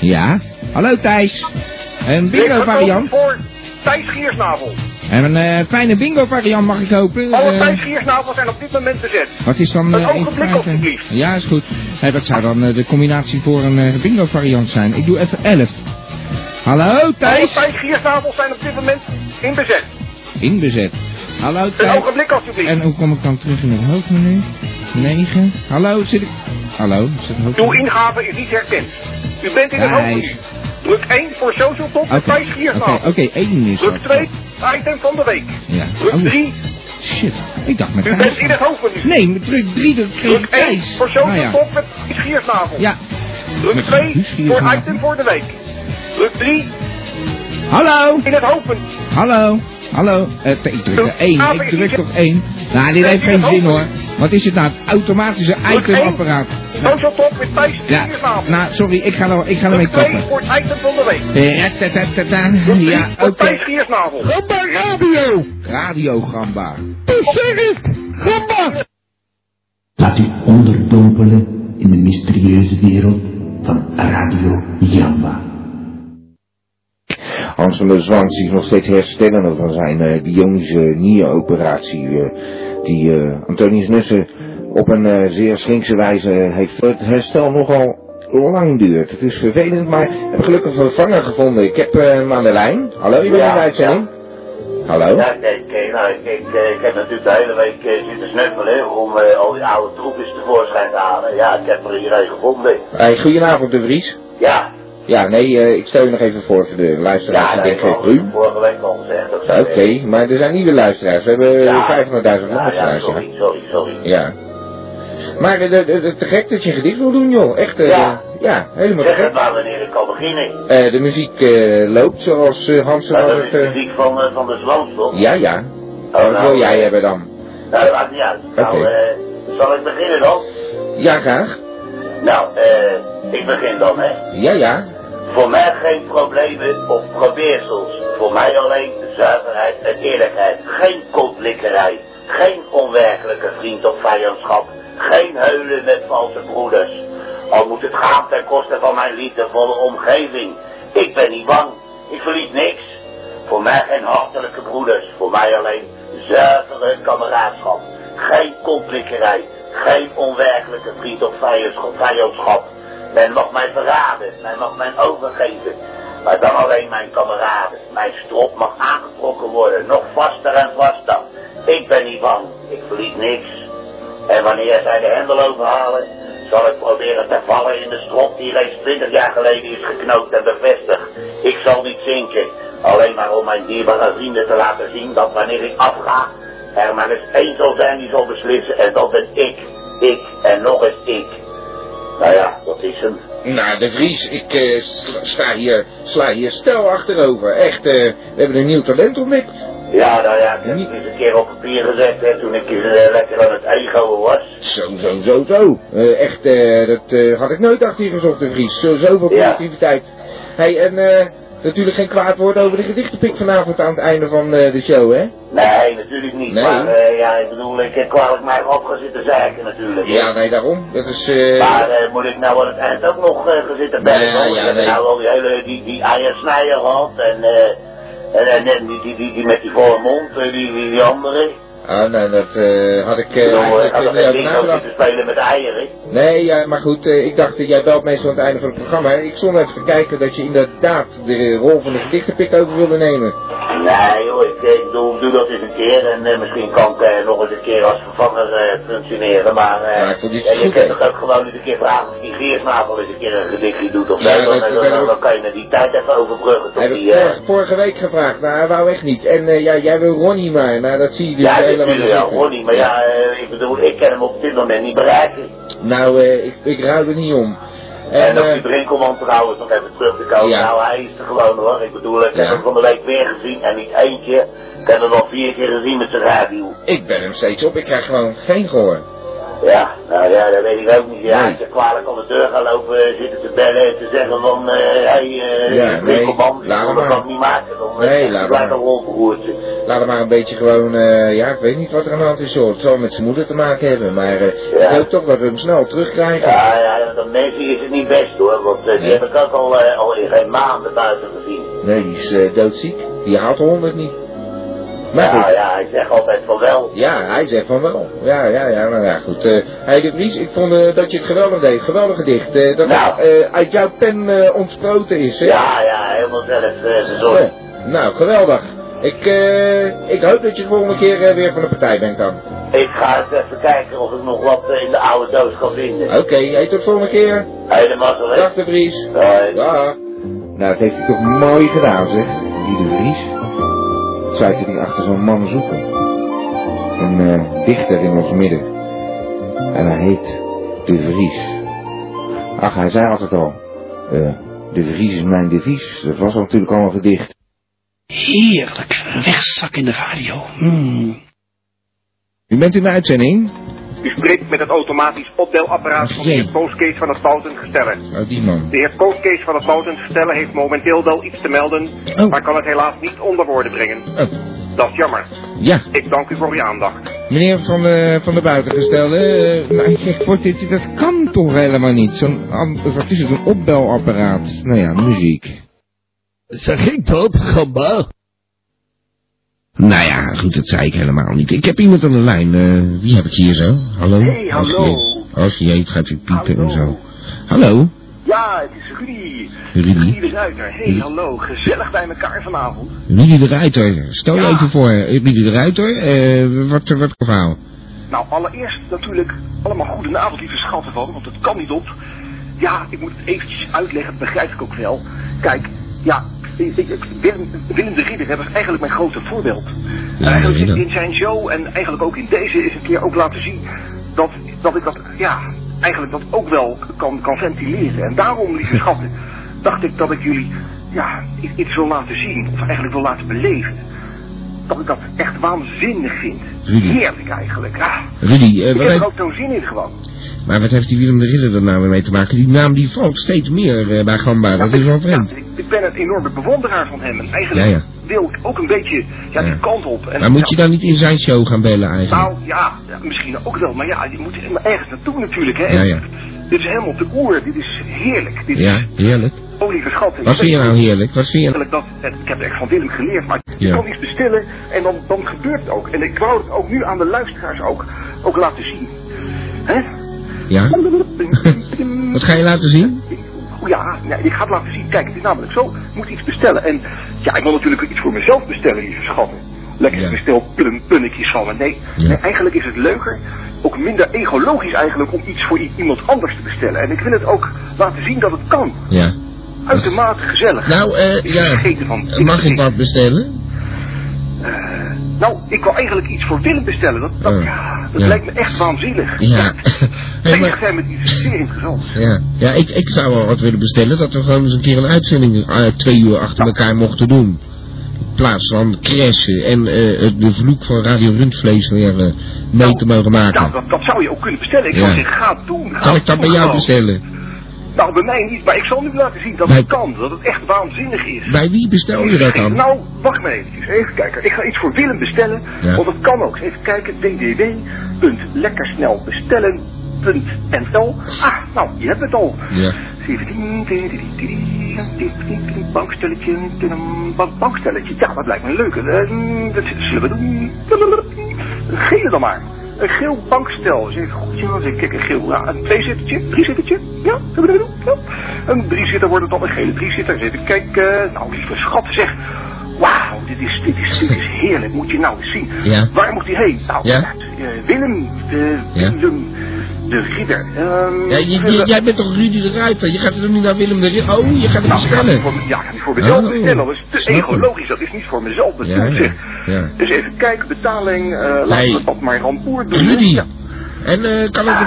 S2: Ja. Hallo Thijs. Een
S12: U heeft
S2: bingo
S12: gekozen
S2: variant.
S12: voor Thijs Giersnavel.
S2: En een eh, fijne bingo variant mag ik hopen.
S12: Alle
S2: Eh,
S12: Thijs Giersnavels zijn op dit moment bezet.
S2: wat is dan...
S12: Een
S2: eh, in
S12: ogenblik,
S2: feite-
S12: alstublieft.
S2: Ja, is goed. Hé, dat zou dan eh, de combinatie voor een eh, bingo variant zijn. Ik doe even 11. Hallo
S12: Alle
S2: Thijs.
S12: Thijs Giersnavels zijn op dit moment in bezet.
S2: Inbezet. Hallo
S12: Een
S2: Thijs.
S12: ogenblik alstublieft.
S2: En hoe kom ik dan terug in het hoofdmenu? 9. Hallo, zit ik... Hallo, zit het hoofdmenu?
S12: Uw ingave is niet herkend. U bent in het
S2: Thijs.
S12: hoofdmenu. Druk 1 voor social top
S2: Oké,
S12: met Thijs
S2: oké,
S12: Giersnavel.
S2: oké, één is
S12: Druk
S2: dat.
S12: 2, item van de week.
S2: Ja.
S12: Druk
S2: Oh,
S12: 3,
S2: Shit, ik dacht met
S12: u
S2: Thijs.
S12: bent in het hoofdmenu.
S2: Nee, met druk 3, dat kreeg ik
S12: Druk 1
S2: Thijs.
S12: voor social
S2: Nou ja.
S12: top met Thijs Giersnavel.
S2: Ja.
S12: Druk
S2: Met
S12: 2
S2: Guus
S12: voor
S2: Giersnavel.
S12: item voor de week. Druk 3,
S2: Hallo,
S12: in het hoofdmenu.
S2: hallo, hallo. Eh, ik druk er 1, ik druk op 1. Nou, dit
S12: Druk
S2: heeft
S12: in
S2: geen
S12: het
S2: zin hoor. Wat is het nou, het automatische
S12: Druk
S2: itemapparaat?
S12: 1, social top met Thijs
S2: Ja,
S12: Giersnavel.
S2: nou sorry, ik ga, er, ik ga ermee Eh,
S12: Druk 2
S2: kappen.
S12: voor het item van de week.
S2: Ratatatatata.
S12: Druk
S2: Ja,
S12: 3
S2: oké.
S12: voor Thijs Giersnavel.
S2: Gamba Radio. Radio Gamba.
S12: Gamba!
S34: Laat u onderdompelen in de mysterieuze wereld van Radio Jamba.
S2: Angela Zwang zich nog steeds herstellende van zijn eh, bionische nieroperatie. eh, die eh Antonius Nussen op een eh, zeer slinkse wijze eh, heeft. Het herstel nogal lang duurt. Het is vervelend, maar ik heb gelukkig een vervanger gevonden. Ik heb eh, hem aan de lijn. Hallo, je bent
S4: Ja,
S2: in de uitzending? Hallo?
S4: Ja, kijk, eh, nou, ik, ik, eh, ik heb natuurlijk de hele week eh, zitten snuffelen om eh, al die oude troepjes tevoorschijn te halen. Ja, ik heb er hier een gevonden.
S2: Hey, goedenavond, De Vries.
S4: Ja,
S2: Ja, nee, eh, ik stel je nog even voor voor de luisteraars.
S4: ja,
S2: die
S4: dat
S2: denken,
S4: heb ik al
S2: "Ru?"
S4: vorige week al gezegd. dat
S2: Ja,
S4: ze-
S2: Oké, maar er zijn nieuwe luisteraars. We hebben
S4: Ja.
S2: 500.000
S4: Ja, ja,
S2: luisteraars.
S4: sorry, sorry, sorry.
S2: Ja. Maar eh, de- de- de- te gek dat je een gedicht wil doen, joh. Echt, eh,
S4: Ja.
S2: ja, helemaal te
S4: Zeg
S2: gek.
S4: het maar wanneer ik kan beginnen.
S2: Eh, de muziek eh, loopt zoals eh Hansen
S4: Nou,
S2: al
S4: dat
S2: het...
S4: is de
S2: eh,
S4: muziek van, eh, van de Zwans, toch?
S2: ja, ja.
S4: nou,
S2: Wat wil jij
S4: eh,
S2: hebben dan?
S4: Nou, dat maakt niet uit. Nou,
S2: Oké.
S4: eh, zal ik beginnen dan?
S2: Ja, graag.
S4: Nou, eh, ik begin dan, hè.
S2: Ja, ja.
S4: Voor mij geen problemen of probeersels. Voor mij alleen zuiverheid en eerlijkheid. Geen kontlikkerij. Geen onwerkelijke vriend of vijandschap. Geen heulen met valse broeders. Al moet het gaan ten koste van mijn liefdevolle omgeving. Ik ben niet bang. Ik verlies niks. Voor mij geen hartelijke broeders. Voor mij alleen zuivere kameraadschap. Geen kontlikkerij. Geen onwerkelijke vriend of vijandschap. vijandschap. Men mag mij verraden, men mag mij overgeven. Maar dan alleen mijn kameraden. Mijn strop mag aangetrokken worden, nog vaster en vaster. Ik ben niet bang, ik verlies niks. En wanneer zij de hendel overhalen, zal ik proberen te vallen in de strop die reeds 20 jaar geleden is geknoopt en bevestigd. Ik zal niet zinken, alleen maar om mijn dierbare vrienden te laten zien dat wanneer ik afga, er maar eens één zal zijn die zal beslissen. En dat ben ik, ik en nog eens ik. Nou ja, dat is hem.
S2: Nou, De Vries, ik eh, sla- sta hier, sla hier stel achterover. Echt, eh, we hebben een nieuw talent ontdekt.
S4: Ja, nou ja, ik heb het eens een keer op papier gezet hè, toen ik hier eh, lekker aan het ego was.
S2: Zo, zo, zo, zo. Eh, echt, eh, dat eh, had ik nooit achter je gezocht, De Vries. Zo, zoveel
S4: Ja.
S2: creativiteit. hey, en eh, natuurlijk geen kwaad woord over de gedichtenpik vanavond aan het einde van eh, de show, hè?
S4: Nee, natuurlijk niet.
S2: Nee.
S4: Maar eh, ja, ik bedoel, ik heb kwalijk mij op gaan zitten zeiken natuurlijk. hè.
S2: Ja, nee, daarom. Dat is... eh,
S4: Maar eh, moet ik nou aan het eind ook nog eh, gaan zitten bellen?
S2: Nee,
S4: hoor? Ik
S2: ja,
S4: heb
S2: nee.
S4: nou al die hele, die, die eiersnijer gehad en, eh, en, en, en die, die, die, die met die volle mond, eh, die, die, die andere.
S2: Ah, nee, dat eh, had ik eh,
S4: ik bedoel, ik
S2: eigenlijk
S4: had
S2: eh,
S4: nog
S2: niet
S4: geen
S2: over
S4: bingo
S2: nagedacht.
S4: zitten spelen met eieren.
S2: Nee, ja, maar goed, eh, ik dacht, eh, jij belt meestal aan het einde van het programma. hè. Ik stond even te kijken dat je inderdaad de eh, rol van de gedichtenpik over wilde nemen.
S4: Nee hoor, ik, eh, doe, doe dat eens een keer en eh, misschien kan ik eh, nog eens een keer als vervanger eh, functioneren, maar eh,
S2: Maar ik vond dit
S4: ja, je
S2: goed,
S4: kunt
S2: hè?
S4: toch ook gewoon eens een keer vragen of die Geersnavel eens een keer een gedichtje doet of
S2: Ja,
S4: zo, dan,
S2: dat-
S4: dan,
S2: dat-
S4: dan- dan kan je met die tijd even overbruggen tot
S2: Heb ik
S4: die... eh,
S2: vorige, vorige week gevraagd, maar hij wou echt niet. En eh, ja, jij wil Ronnie maar, nou dat zie je dus
S4: ja,
S2: helemaal
S4: natuurlijk wel,
S2: zitten.
S4: Ronnie, maar ja, eh, ik bedoel, ik kan hem op dit moment niet bereiken.
S2: Nou, eh, ik, ik ruil er niet om.
S4: En,
S2: En,
S4: ook
S2: eh,
S4: die Brinkelman trouwens, nog even terug te komen.
S2: Ja.
S4: Nou, hij is er gewoon hoor. Ik bedoel, ik
S2: Ja.
S4: heb hem van de week weer gezien en niet eentje. Ik heb hem al vier keer gezien met zijn radio.
S2: ik ben hem steeds op, ik krijg gewoon geen gehoor.
S4: Ja, nou ja, dat weet ik ook niet. Ja,
S2: Nee.
S4: ik heb kwalijk aan de deur gaan lopen eh, zitten te bellen en te zeggen van, hé, hey, eh,
S2: Ja, nee,
S4: Brinkelman, ik
S2: laat
S4: wil
S2: maar.
S4: dat niet maken. Dan
S2: Nee,
S4: nee,
S2: laat
S4: ik
S2: maar.
S4: blijf een rolverroertje.
S2: Laat hem maar een beetje gewoon, eh, ja, ik weet niet wat er aan de hand is hoor. Het zal met zijn moeder te maken hebben, maar eh,
S4: Ja.
S2: ik hoop toch dat we hem snel terugkrijgen.
S4: Ja, ja, dan mensen is het niet best hoor, want eh, die
S2: Nee.
S4: heb ik ook al, eh, al in geen maanden buiten gezien.
S2: Nee, die is eh, doodziek. Die haalt de honderd niet. Maar
S4: ja,
S2: goed.
S4: ja, ik zeg altijd van wel.
S2: Ja, hij zegt van wel. Ja, ja, ja, nou ja, goed. Eh hey, De Vries, ik vond eh, dat je het geweldig deed. Geweldig gedicht. eh, dat
S4: Nou.
S2: het eh, uit jouw pen eh, ontsproten is, hè?
S4: Ja, ja, helemaal zelf eh verzorgd.
S2: Ja. Nou, geweldig. Ik, eh, ik hoop dat je de volgende keer eh, weer van de partij bent dan.
S4: Ik ga eens even kijken of ik nog wat eh, in de oude doos kan vinden.
S2: Oké, hey, tot de volgende keer.
S4: Helemaal zo, hè?
S2: Dag De Vries. Dag. Nou, dat heeft hij toch mooi gedaan, zeg. Die De Vries. Zou ik niet achter zo'n man zoeken? Een eh, dichter in ons midden. En hij heet De Vries. Ach, hij zei altijd al. eh, de Vries is mijn devies. Dat was natuurlijk al een gedicht.
S19: Heerlijk. Een Wegzak in de radio. Hmm.
S2: U bent in de uitzending?
S12: U spreekt met het automatisch opdelapparaat van de heer Kooskees van het Boutend Gestellen.
S2: Oh, die man.
S12: De heer Kooskees van het Boutend Gestellen heeft momenteel wel iets te melden,
S2: Oh.
S12: maar kan het helaas niet onder woorden brengen. Dat is jammer.
S2: Ja,
S12: Ik dank u voor uw aandacht.
S2: Meneer van de, van de buitengestelde, eh, maar ik zeg, wordt dit, dat kan toch helemaal niet? Zo'n, an- wat is het, een opbelapparaat? Nou ja, muziek.
S22: Zeg ik dat, gamba?
S2: Nou ja, goed, dat zei ik helemaal niet. Ik heb iemand aan de lijn. eh, wie heb ik hier zo? Hallo?
S12: Hey, hallo.
S2: Als je, als je eet, gaat u piepen en zo. Hallo?
S12: Ja, het is Rudy.
S2: Rudy?
S12: de Ruiter. Hé, hey, hallo. Gezellig bij elkaar vanavond.
S2: Rudy de Ruiter. Stel je even voor, eh, Rudy de Ruiter. eh, wat, wat voor verhaal?
S12: Nou, allereerst natuurlijk allemaal goedenavond, lieve schatten van, want het kan niet op. Ja, ik moet het eventjes uitleggen, dat begrijp ik ook wel. Kijk, ja, ik- ik- ik- Willem, Willem de Ridder hè, was eigenlijk mijn grote voorbeeld.
S2: Ja,
S12: Hij heeft
S2: Ridder.
S12: in zijn show en eigenlijk ook in deze is een keer ook laten zien dat, dat ik dat, ja, eigenlijk dat ook wel kan, kan ventileren. En daarom, lieve schatten, dacht ik dat ik jullie, ja, i- iets wil laten zien, of eigenlijk wil laten beleven. Dat ik dat echt waanzinnig vind.
S2: Rudy.
S12: Heerlijk eigenlijk. Ah,
S2: Rudy, eh,
S12: ik
S2: wat Ah,
S12: heb
S2: heb-
S12: er ook zo'n zin in gewoon.
S2: maar wat heeft die Willem de Ridder er nou weer mee te maken? Die naam die valt steeds meer eh, bij Gamba. Dat is wel vreemd.
S12: Ik ben een enorme bewonderaar van hem. En eigenlijk
S2: Ja, ja.
S12: wil ik ook een beetje ja, die kant op. En,
S2: Maar moet je
S12: ja,
S2: dan niet in zijn show gaan bellen eigenlijk?
S12: Nou ja, ja, misschien ook wel. Maar ja, je moet er maar ergens naartoe natuurlijk. Hè.
S2: Ja, ja.
S12: Dit is helemaal op de oer. Dit is heerlijk. Dit
S2: Ja, heerlijk.
S12: is oh, lieve schat.
S2: Wat vind je nou heerlijk? Wat vind je...
S12: Eigenlijk dat, en ik heb echt van Willem geleerd, maar je
S2: Ja.
S12: kan iets bestellen en dan, dan gebeurt het ook. En ik wou het ook nu aan de luisteraars ook, ook laten zien. Hè?
S2: Ja? Wat ga je laten zien?
S12: Oh Ja, ja, ik ga het laten zien. Kijk, het is namelijk zo. Ik moet iets bestellen. En ja, ik wil natuurlijk iets voor mezelf bestellen, lieve schatten. Lekker bestel plum, punnetjes van me. Nee, nee, eigenlijk is het leuker. Ook minder egologisch eigenlijk om iets voor i- iemand anders te bestellen. En ik wil het ook laten zien dat het kan.
S2: Ja.
S12: Uitermate gezellig.
S2: Nou, eh,
S12: Ik
S2: ja.
S12: vergeten van.
S2: Eh, Mag ik wat bestellen?
S12: Nou, ik wil eigenlijk iets voor Willem bestellen. Dat, dat,
S2: Oh,
S12: ja, dat
S2: ja.
S12: lijkt me echt waanzinnig.
S2: Ja.
S12: Bezig zijn met iets zeer interessants.
S2: Ja, ja ik, ik zou wel wat willen bestellen dat we gewoon eens een keer een uitzending eh, twee uur achter elkaar mochten doen. In plaats van crashen en eh, het- de vloek van Radio Rundvlees weer eh, mee te mogen
S12: Ja,
S2: maken.
S12: dat, dat zou je ook kunnen bestellen. Ik
S2: Ja.
S12: zou zeggen, ga het doen. ga
S2: Kan
S12: het
S2: ik dat
S12: doen
S2: bij jou
S12: gewoon.
S2: bestellen?
S12: Nou, bij mij niet, maar ik zal nu laten zien dat
S2: Bij-
S12: het kan. Dat het echt waanzinnig is.
S2: Bij wie bestel je dat dan?
S12: Nou, wacht maar eventjes. Even kijken. Ik ga iets voor Willem bestellen.
S2: Ja.
S12: Want dat kan ook. Even kijken. www.lekkersnelbestellen.nl Ah, nou, je hebt het al.
S2: Ja.
S12: 17, tididi, tididi, tididi, tididi, bankstelletje, tidum, bank- bankstelletje. Ja, dat lijkt me een leuke. Eh, Dat zullen we doen. Een gele dan maar. Een geel bankstel. Eens even goed, ja. Eens even kijken, geel. Ja, een tweezittertje, driezittertje. Ja, zullen we dat doen? Ja. Een driezitter wordt het dan, een gele driezitter. Eens even kijken. Nou, lieve schat, zeg. Wauw, dit is, dit, is, dit is heerlijk. Moet je nou eens zien.
S2: Ja.
S12: Waar moet hij heen? Nou,
S2: Ja?
S12: eh, Willem, de,
S2: Ja?
S12: Willem, de ridder. Ehm,
S2: Ja, je- je- jij bent toch Rudy de Ruiter? Je gaat er toch niet naar Willem de Ridder? Oh, je gaat het
S12: Nou, ik ga
S2: bestellen.
S12: niet voor- ja, ik ga niet voor mezelf
S2: Oh,
S12: bestellen. Dat is te
S2: snap ik.
S12: egologisch. Dat is niet voor mezelf
S2: Ja,
S12: bedoeld,
S2: ja,
S12: zeg.
S2: ja.
S12: Dus even kijken, betaling. eh Laten we dat maar rampoer doen.
S2: Rudy.
S12: Ja.
S2: En eh, kan het,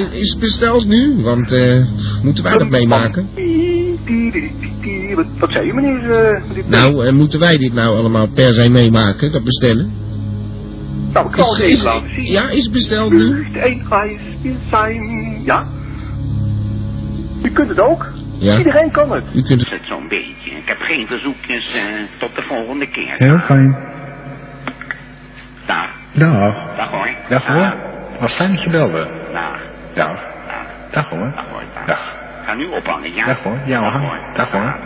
S2: een- is het besteld nu? Want eh, moeten wij dat meemaken?
S12: Die- Wat, wat zei je, meneer? eh, meneer-
S2: Nou, eh, moeten wij dit nou allemaal per se meemaken, dat bestellen?
S12: nou, ik zal het
S2: is- is-
S12: even laten zien.
S2: Ja, is besteld nu.
S12: Eén ijs is zijn. Ja. U kunt het ook.
S2: Ja.
S12: Iedereen kan het.
S2: U kunt
S4: het zo'n beetje. Ik heb geen verzoek, dus eh, tot de volgende keer.
S10: Heel fijn.
S4: Dag.
S10: Dag.
S4: Dag hoor.
S10: Dag hoor. Nou, Was fijn dat je belde.
S21: Nou.
S4: Dag.
S10: Dag. Dag hoor.
S4: Dag hoor. Dag.
S10: Dag.
S4: Ga nu ophangen, ja?
S10: Dag hoor. Ja
S21: Nou,
S10: hoor. Dag hoor.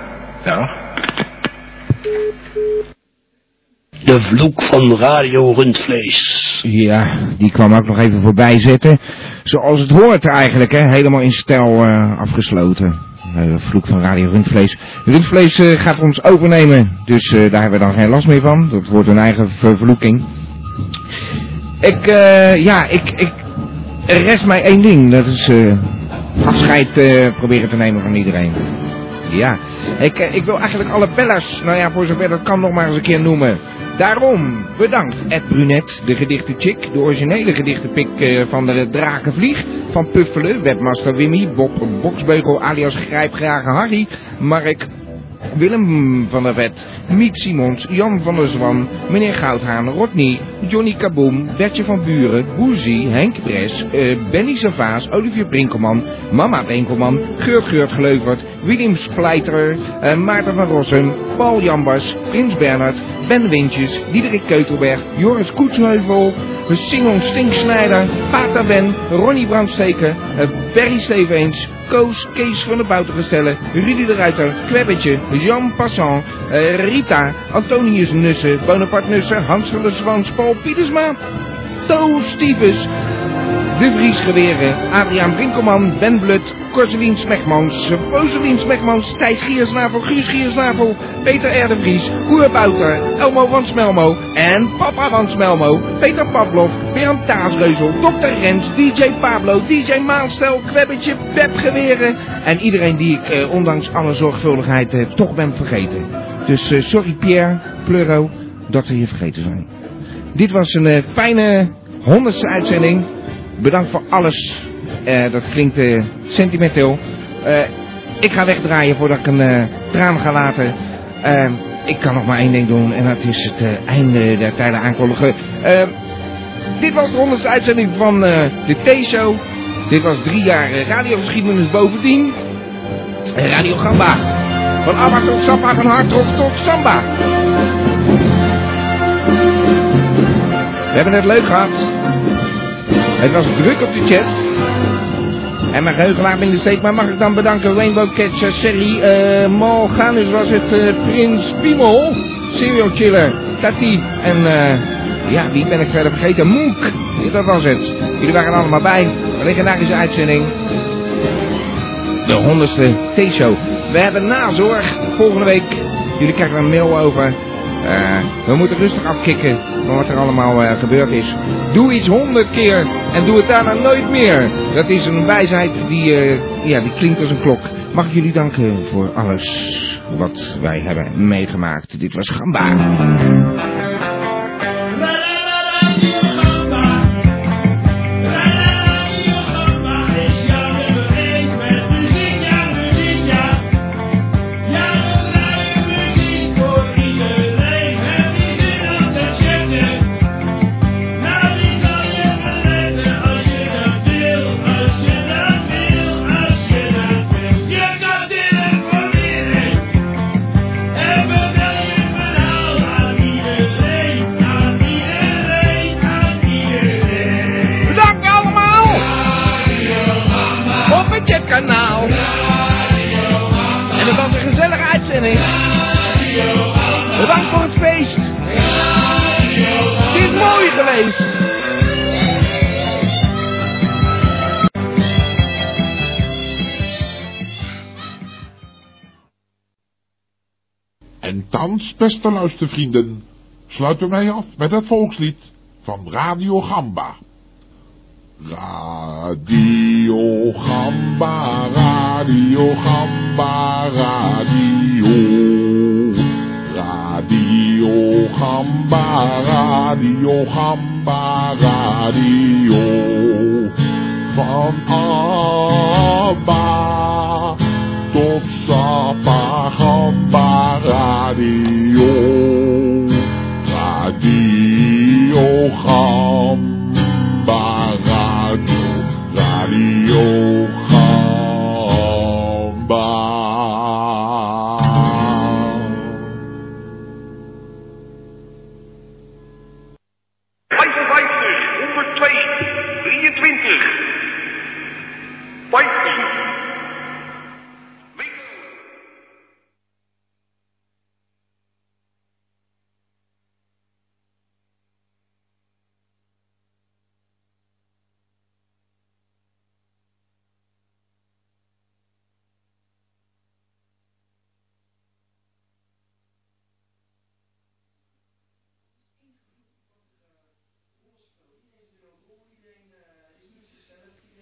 S10: Dag.
S2: De vloek van Radio Rundvlees. Ja, die kwam ook nog even voorbij zitten. Zoals het hoort eigenlijk, hè. Helemaal in stijl eh, afgesloten. Eh, De vloek van Radio Rundvlees. Rundvlees eh, gaat ons overnemen. Dus eh, daar hebben we dan geen last meer van. Dat wordt een eigen vervloeking. Ik, eh, ja, ik, ik... Er rest mij één ding. Dat is eh, afscheid eh, proberen te nemen van iedereen. Ja, ik, eh, ik wil eigenlijk alle bellers, nou ja, voor zover dat kan, nog maar eens een keer noemen. Daarom bedankt Ed Brunet, de gedichte chick, de originele gedichtenpik eh, van de Drakenvlieg, van Puffelen, webmaster Wimmy, Bob Boksbeugel alias Grijpgragen Harry, Mark, Willem van der Vet, Miet Simons, Jan van der Zwan, meneer Goudhaan, Rodney, Johnny Kaboom, Bertje van Buren, Boezie, Henk Bres, eh, Benny Savaas, Olivier Brinkelman, Mama Brinkelman, Geurt Geurt Gleuvert, William Splijter, eh, Maarten van Rossum, Paul Jambers, Prins Bernhard, Ben Wintjes, Diederik Keutelberg, Joris Koetsheuvel, Simon Stinksnijder, Pata Ben, Ronnie Brandsteker, eh, Berry Steveens, Koos, Kees van de Bouwtengestellen, Rudy de Ruiter, Kwebbetje, Jean Passant, eh, Rita, Antonius Nussen, Bonaparte Nussen, Hans van der Zwans, Paul Pietersma, Toos Stevens, De Vries Geweren, Adriaan Brinkelman, Ben Blut, Corselien Smegmans, Roselien Smegmans, Thijs Giersnavel, Guus Giersnavel, Peter R. de Vries, Oer Bouter, Elmo van Smelmo en Papa van Smelmo, Peter Pavlov, Bernd Taasreuzel, Dr. Rens, DJ Pablo, DJ Maalstel, Kwebbetje, Pep Geweren en iedereen die ik eh, ondanks alle zorgvuldigheid eh, toch ben vergeten. Dus eh, sorry Pierre, Pleuro, dat we je vergeten zijn. Dit was een eh, fijne honderdste uitzending. Bedankt voor alles. Eh, dat klinkt eh, sentimenteel. Eh, ik ga wegdraaien voordat ik een eh, traan ga laten. Eh, ik kan nog maar één ding doen en dat is het eh, einde der tijden aankondigen. Eh, dit was de honderdste uitzending van eh, de T-show. Dit was drie jaar eh, radiogeschiedenis bovendien. Eh, Radio Gamba. Van Abba tot Sappa, van Hardrock tot Samba. We hebben het leuk gehad. Het was druk op de chat. En mijn geheugen laat me in de steek, maar mag ik dan bedanken Rainbow Catcher, Sally, eh Mal Ganus was het, eh, Prins Piemel, Serial Chiller, Tati en eh, ja, wie ben ik verder vergeten? Moek, Ja, dat was het. Jullie waren er allemaal bij, een legendarische uitzending. De honderdste T-show. We hebben nazorg volgende week. Jullie krijgen er een mail over. Eh, we moeten rustig afkicken van wat er allemaal eh, gebeurd is. Doe iets honderd keer en doe het daarna nooit meer. Dat is een wijsheid die, eh, ja, die klinkt als een klok. Mag ik jullie danken voor alles wat wij hebben meegemaakt. Dit was Gamba. Bedankt allemaal! Op het chatkanaal. En dat was een gezellige uitzending. Bedankt voor het feest. Het is mooi geweest.
S18: En thans, beste luistervrienden, sluiten wij af met het volkslied van Radio Gamba. Radio Gamba, Radio Gamba, Radio. Radio Gamba, Radio Gamba, Radio. Van Abba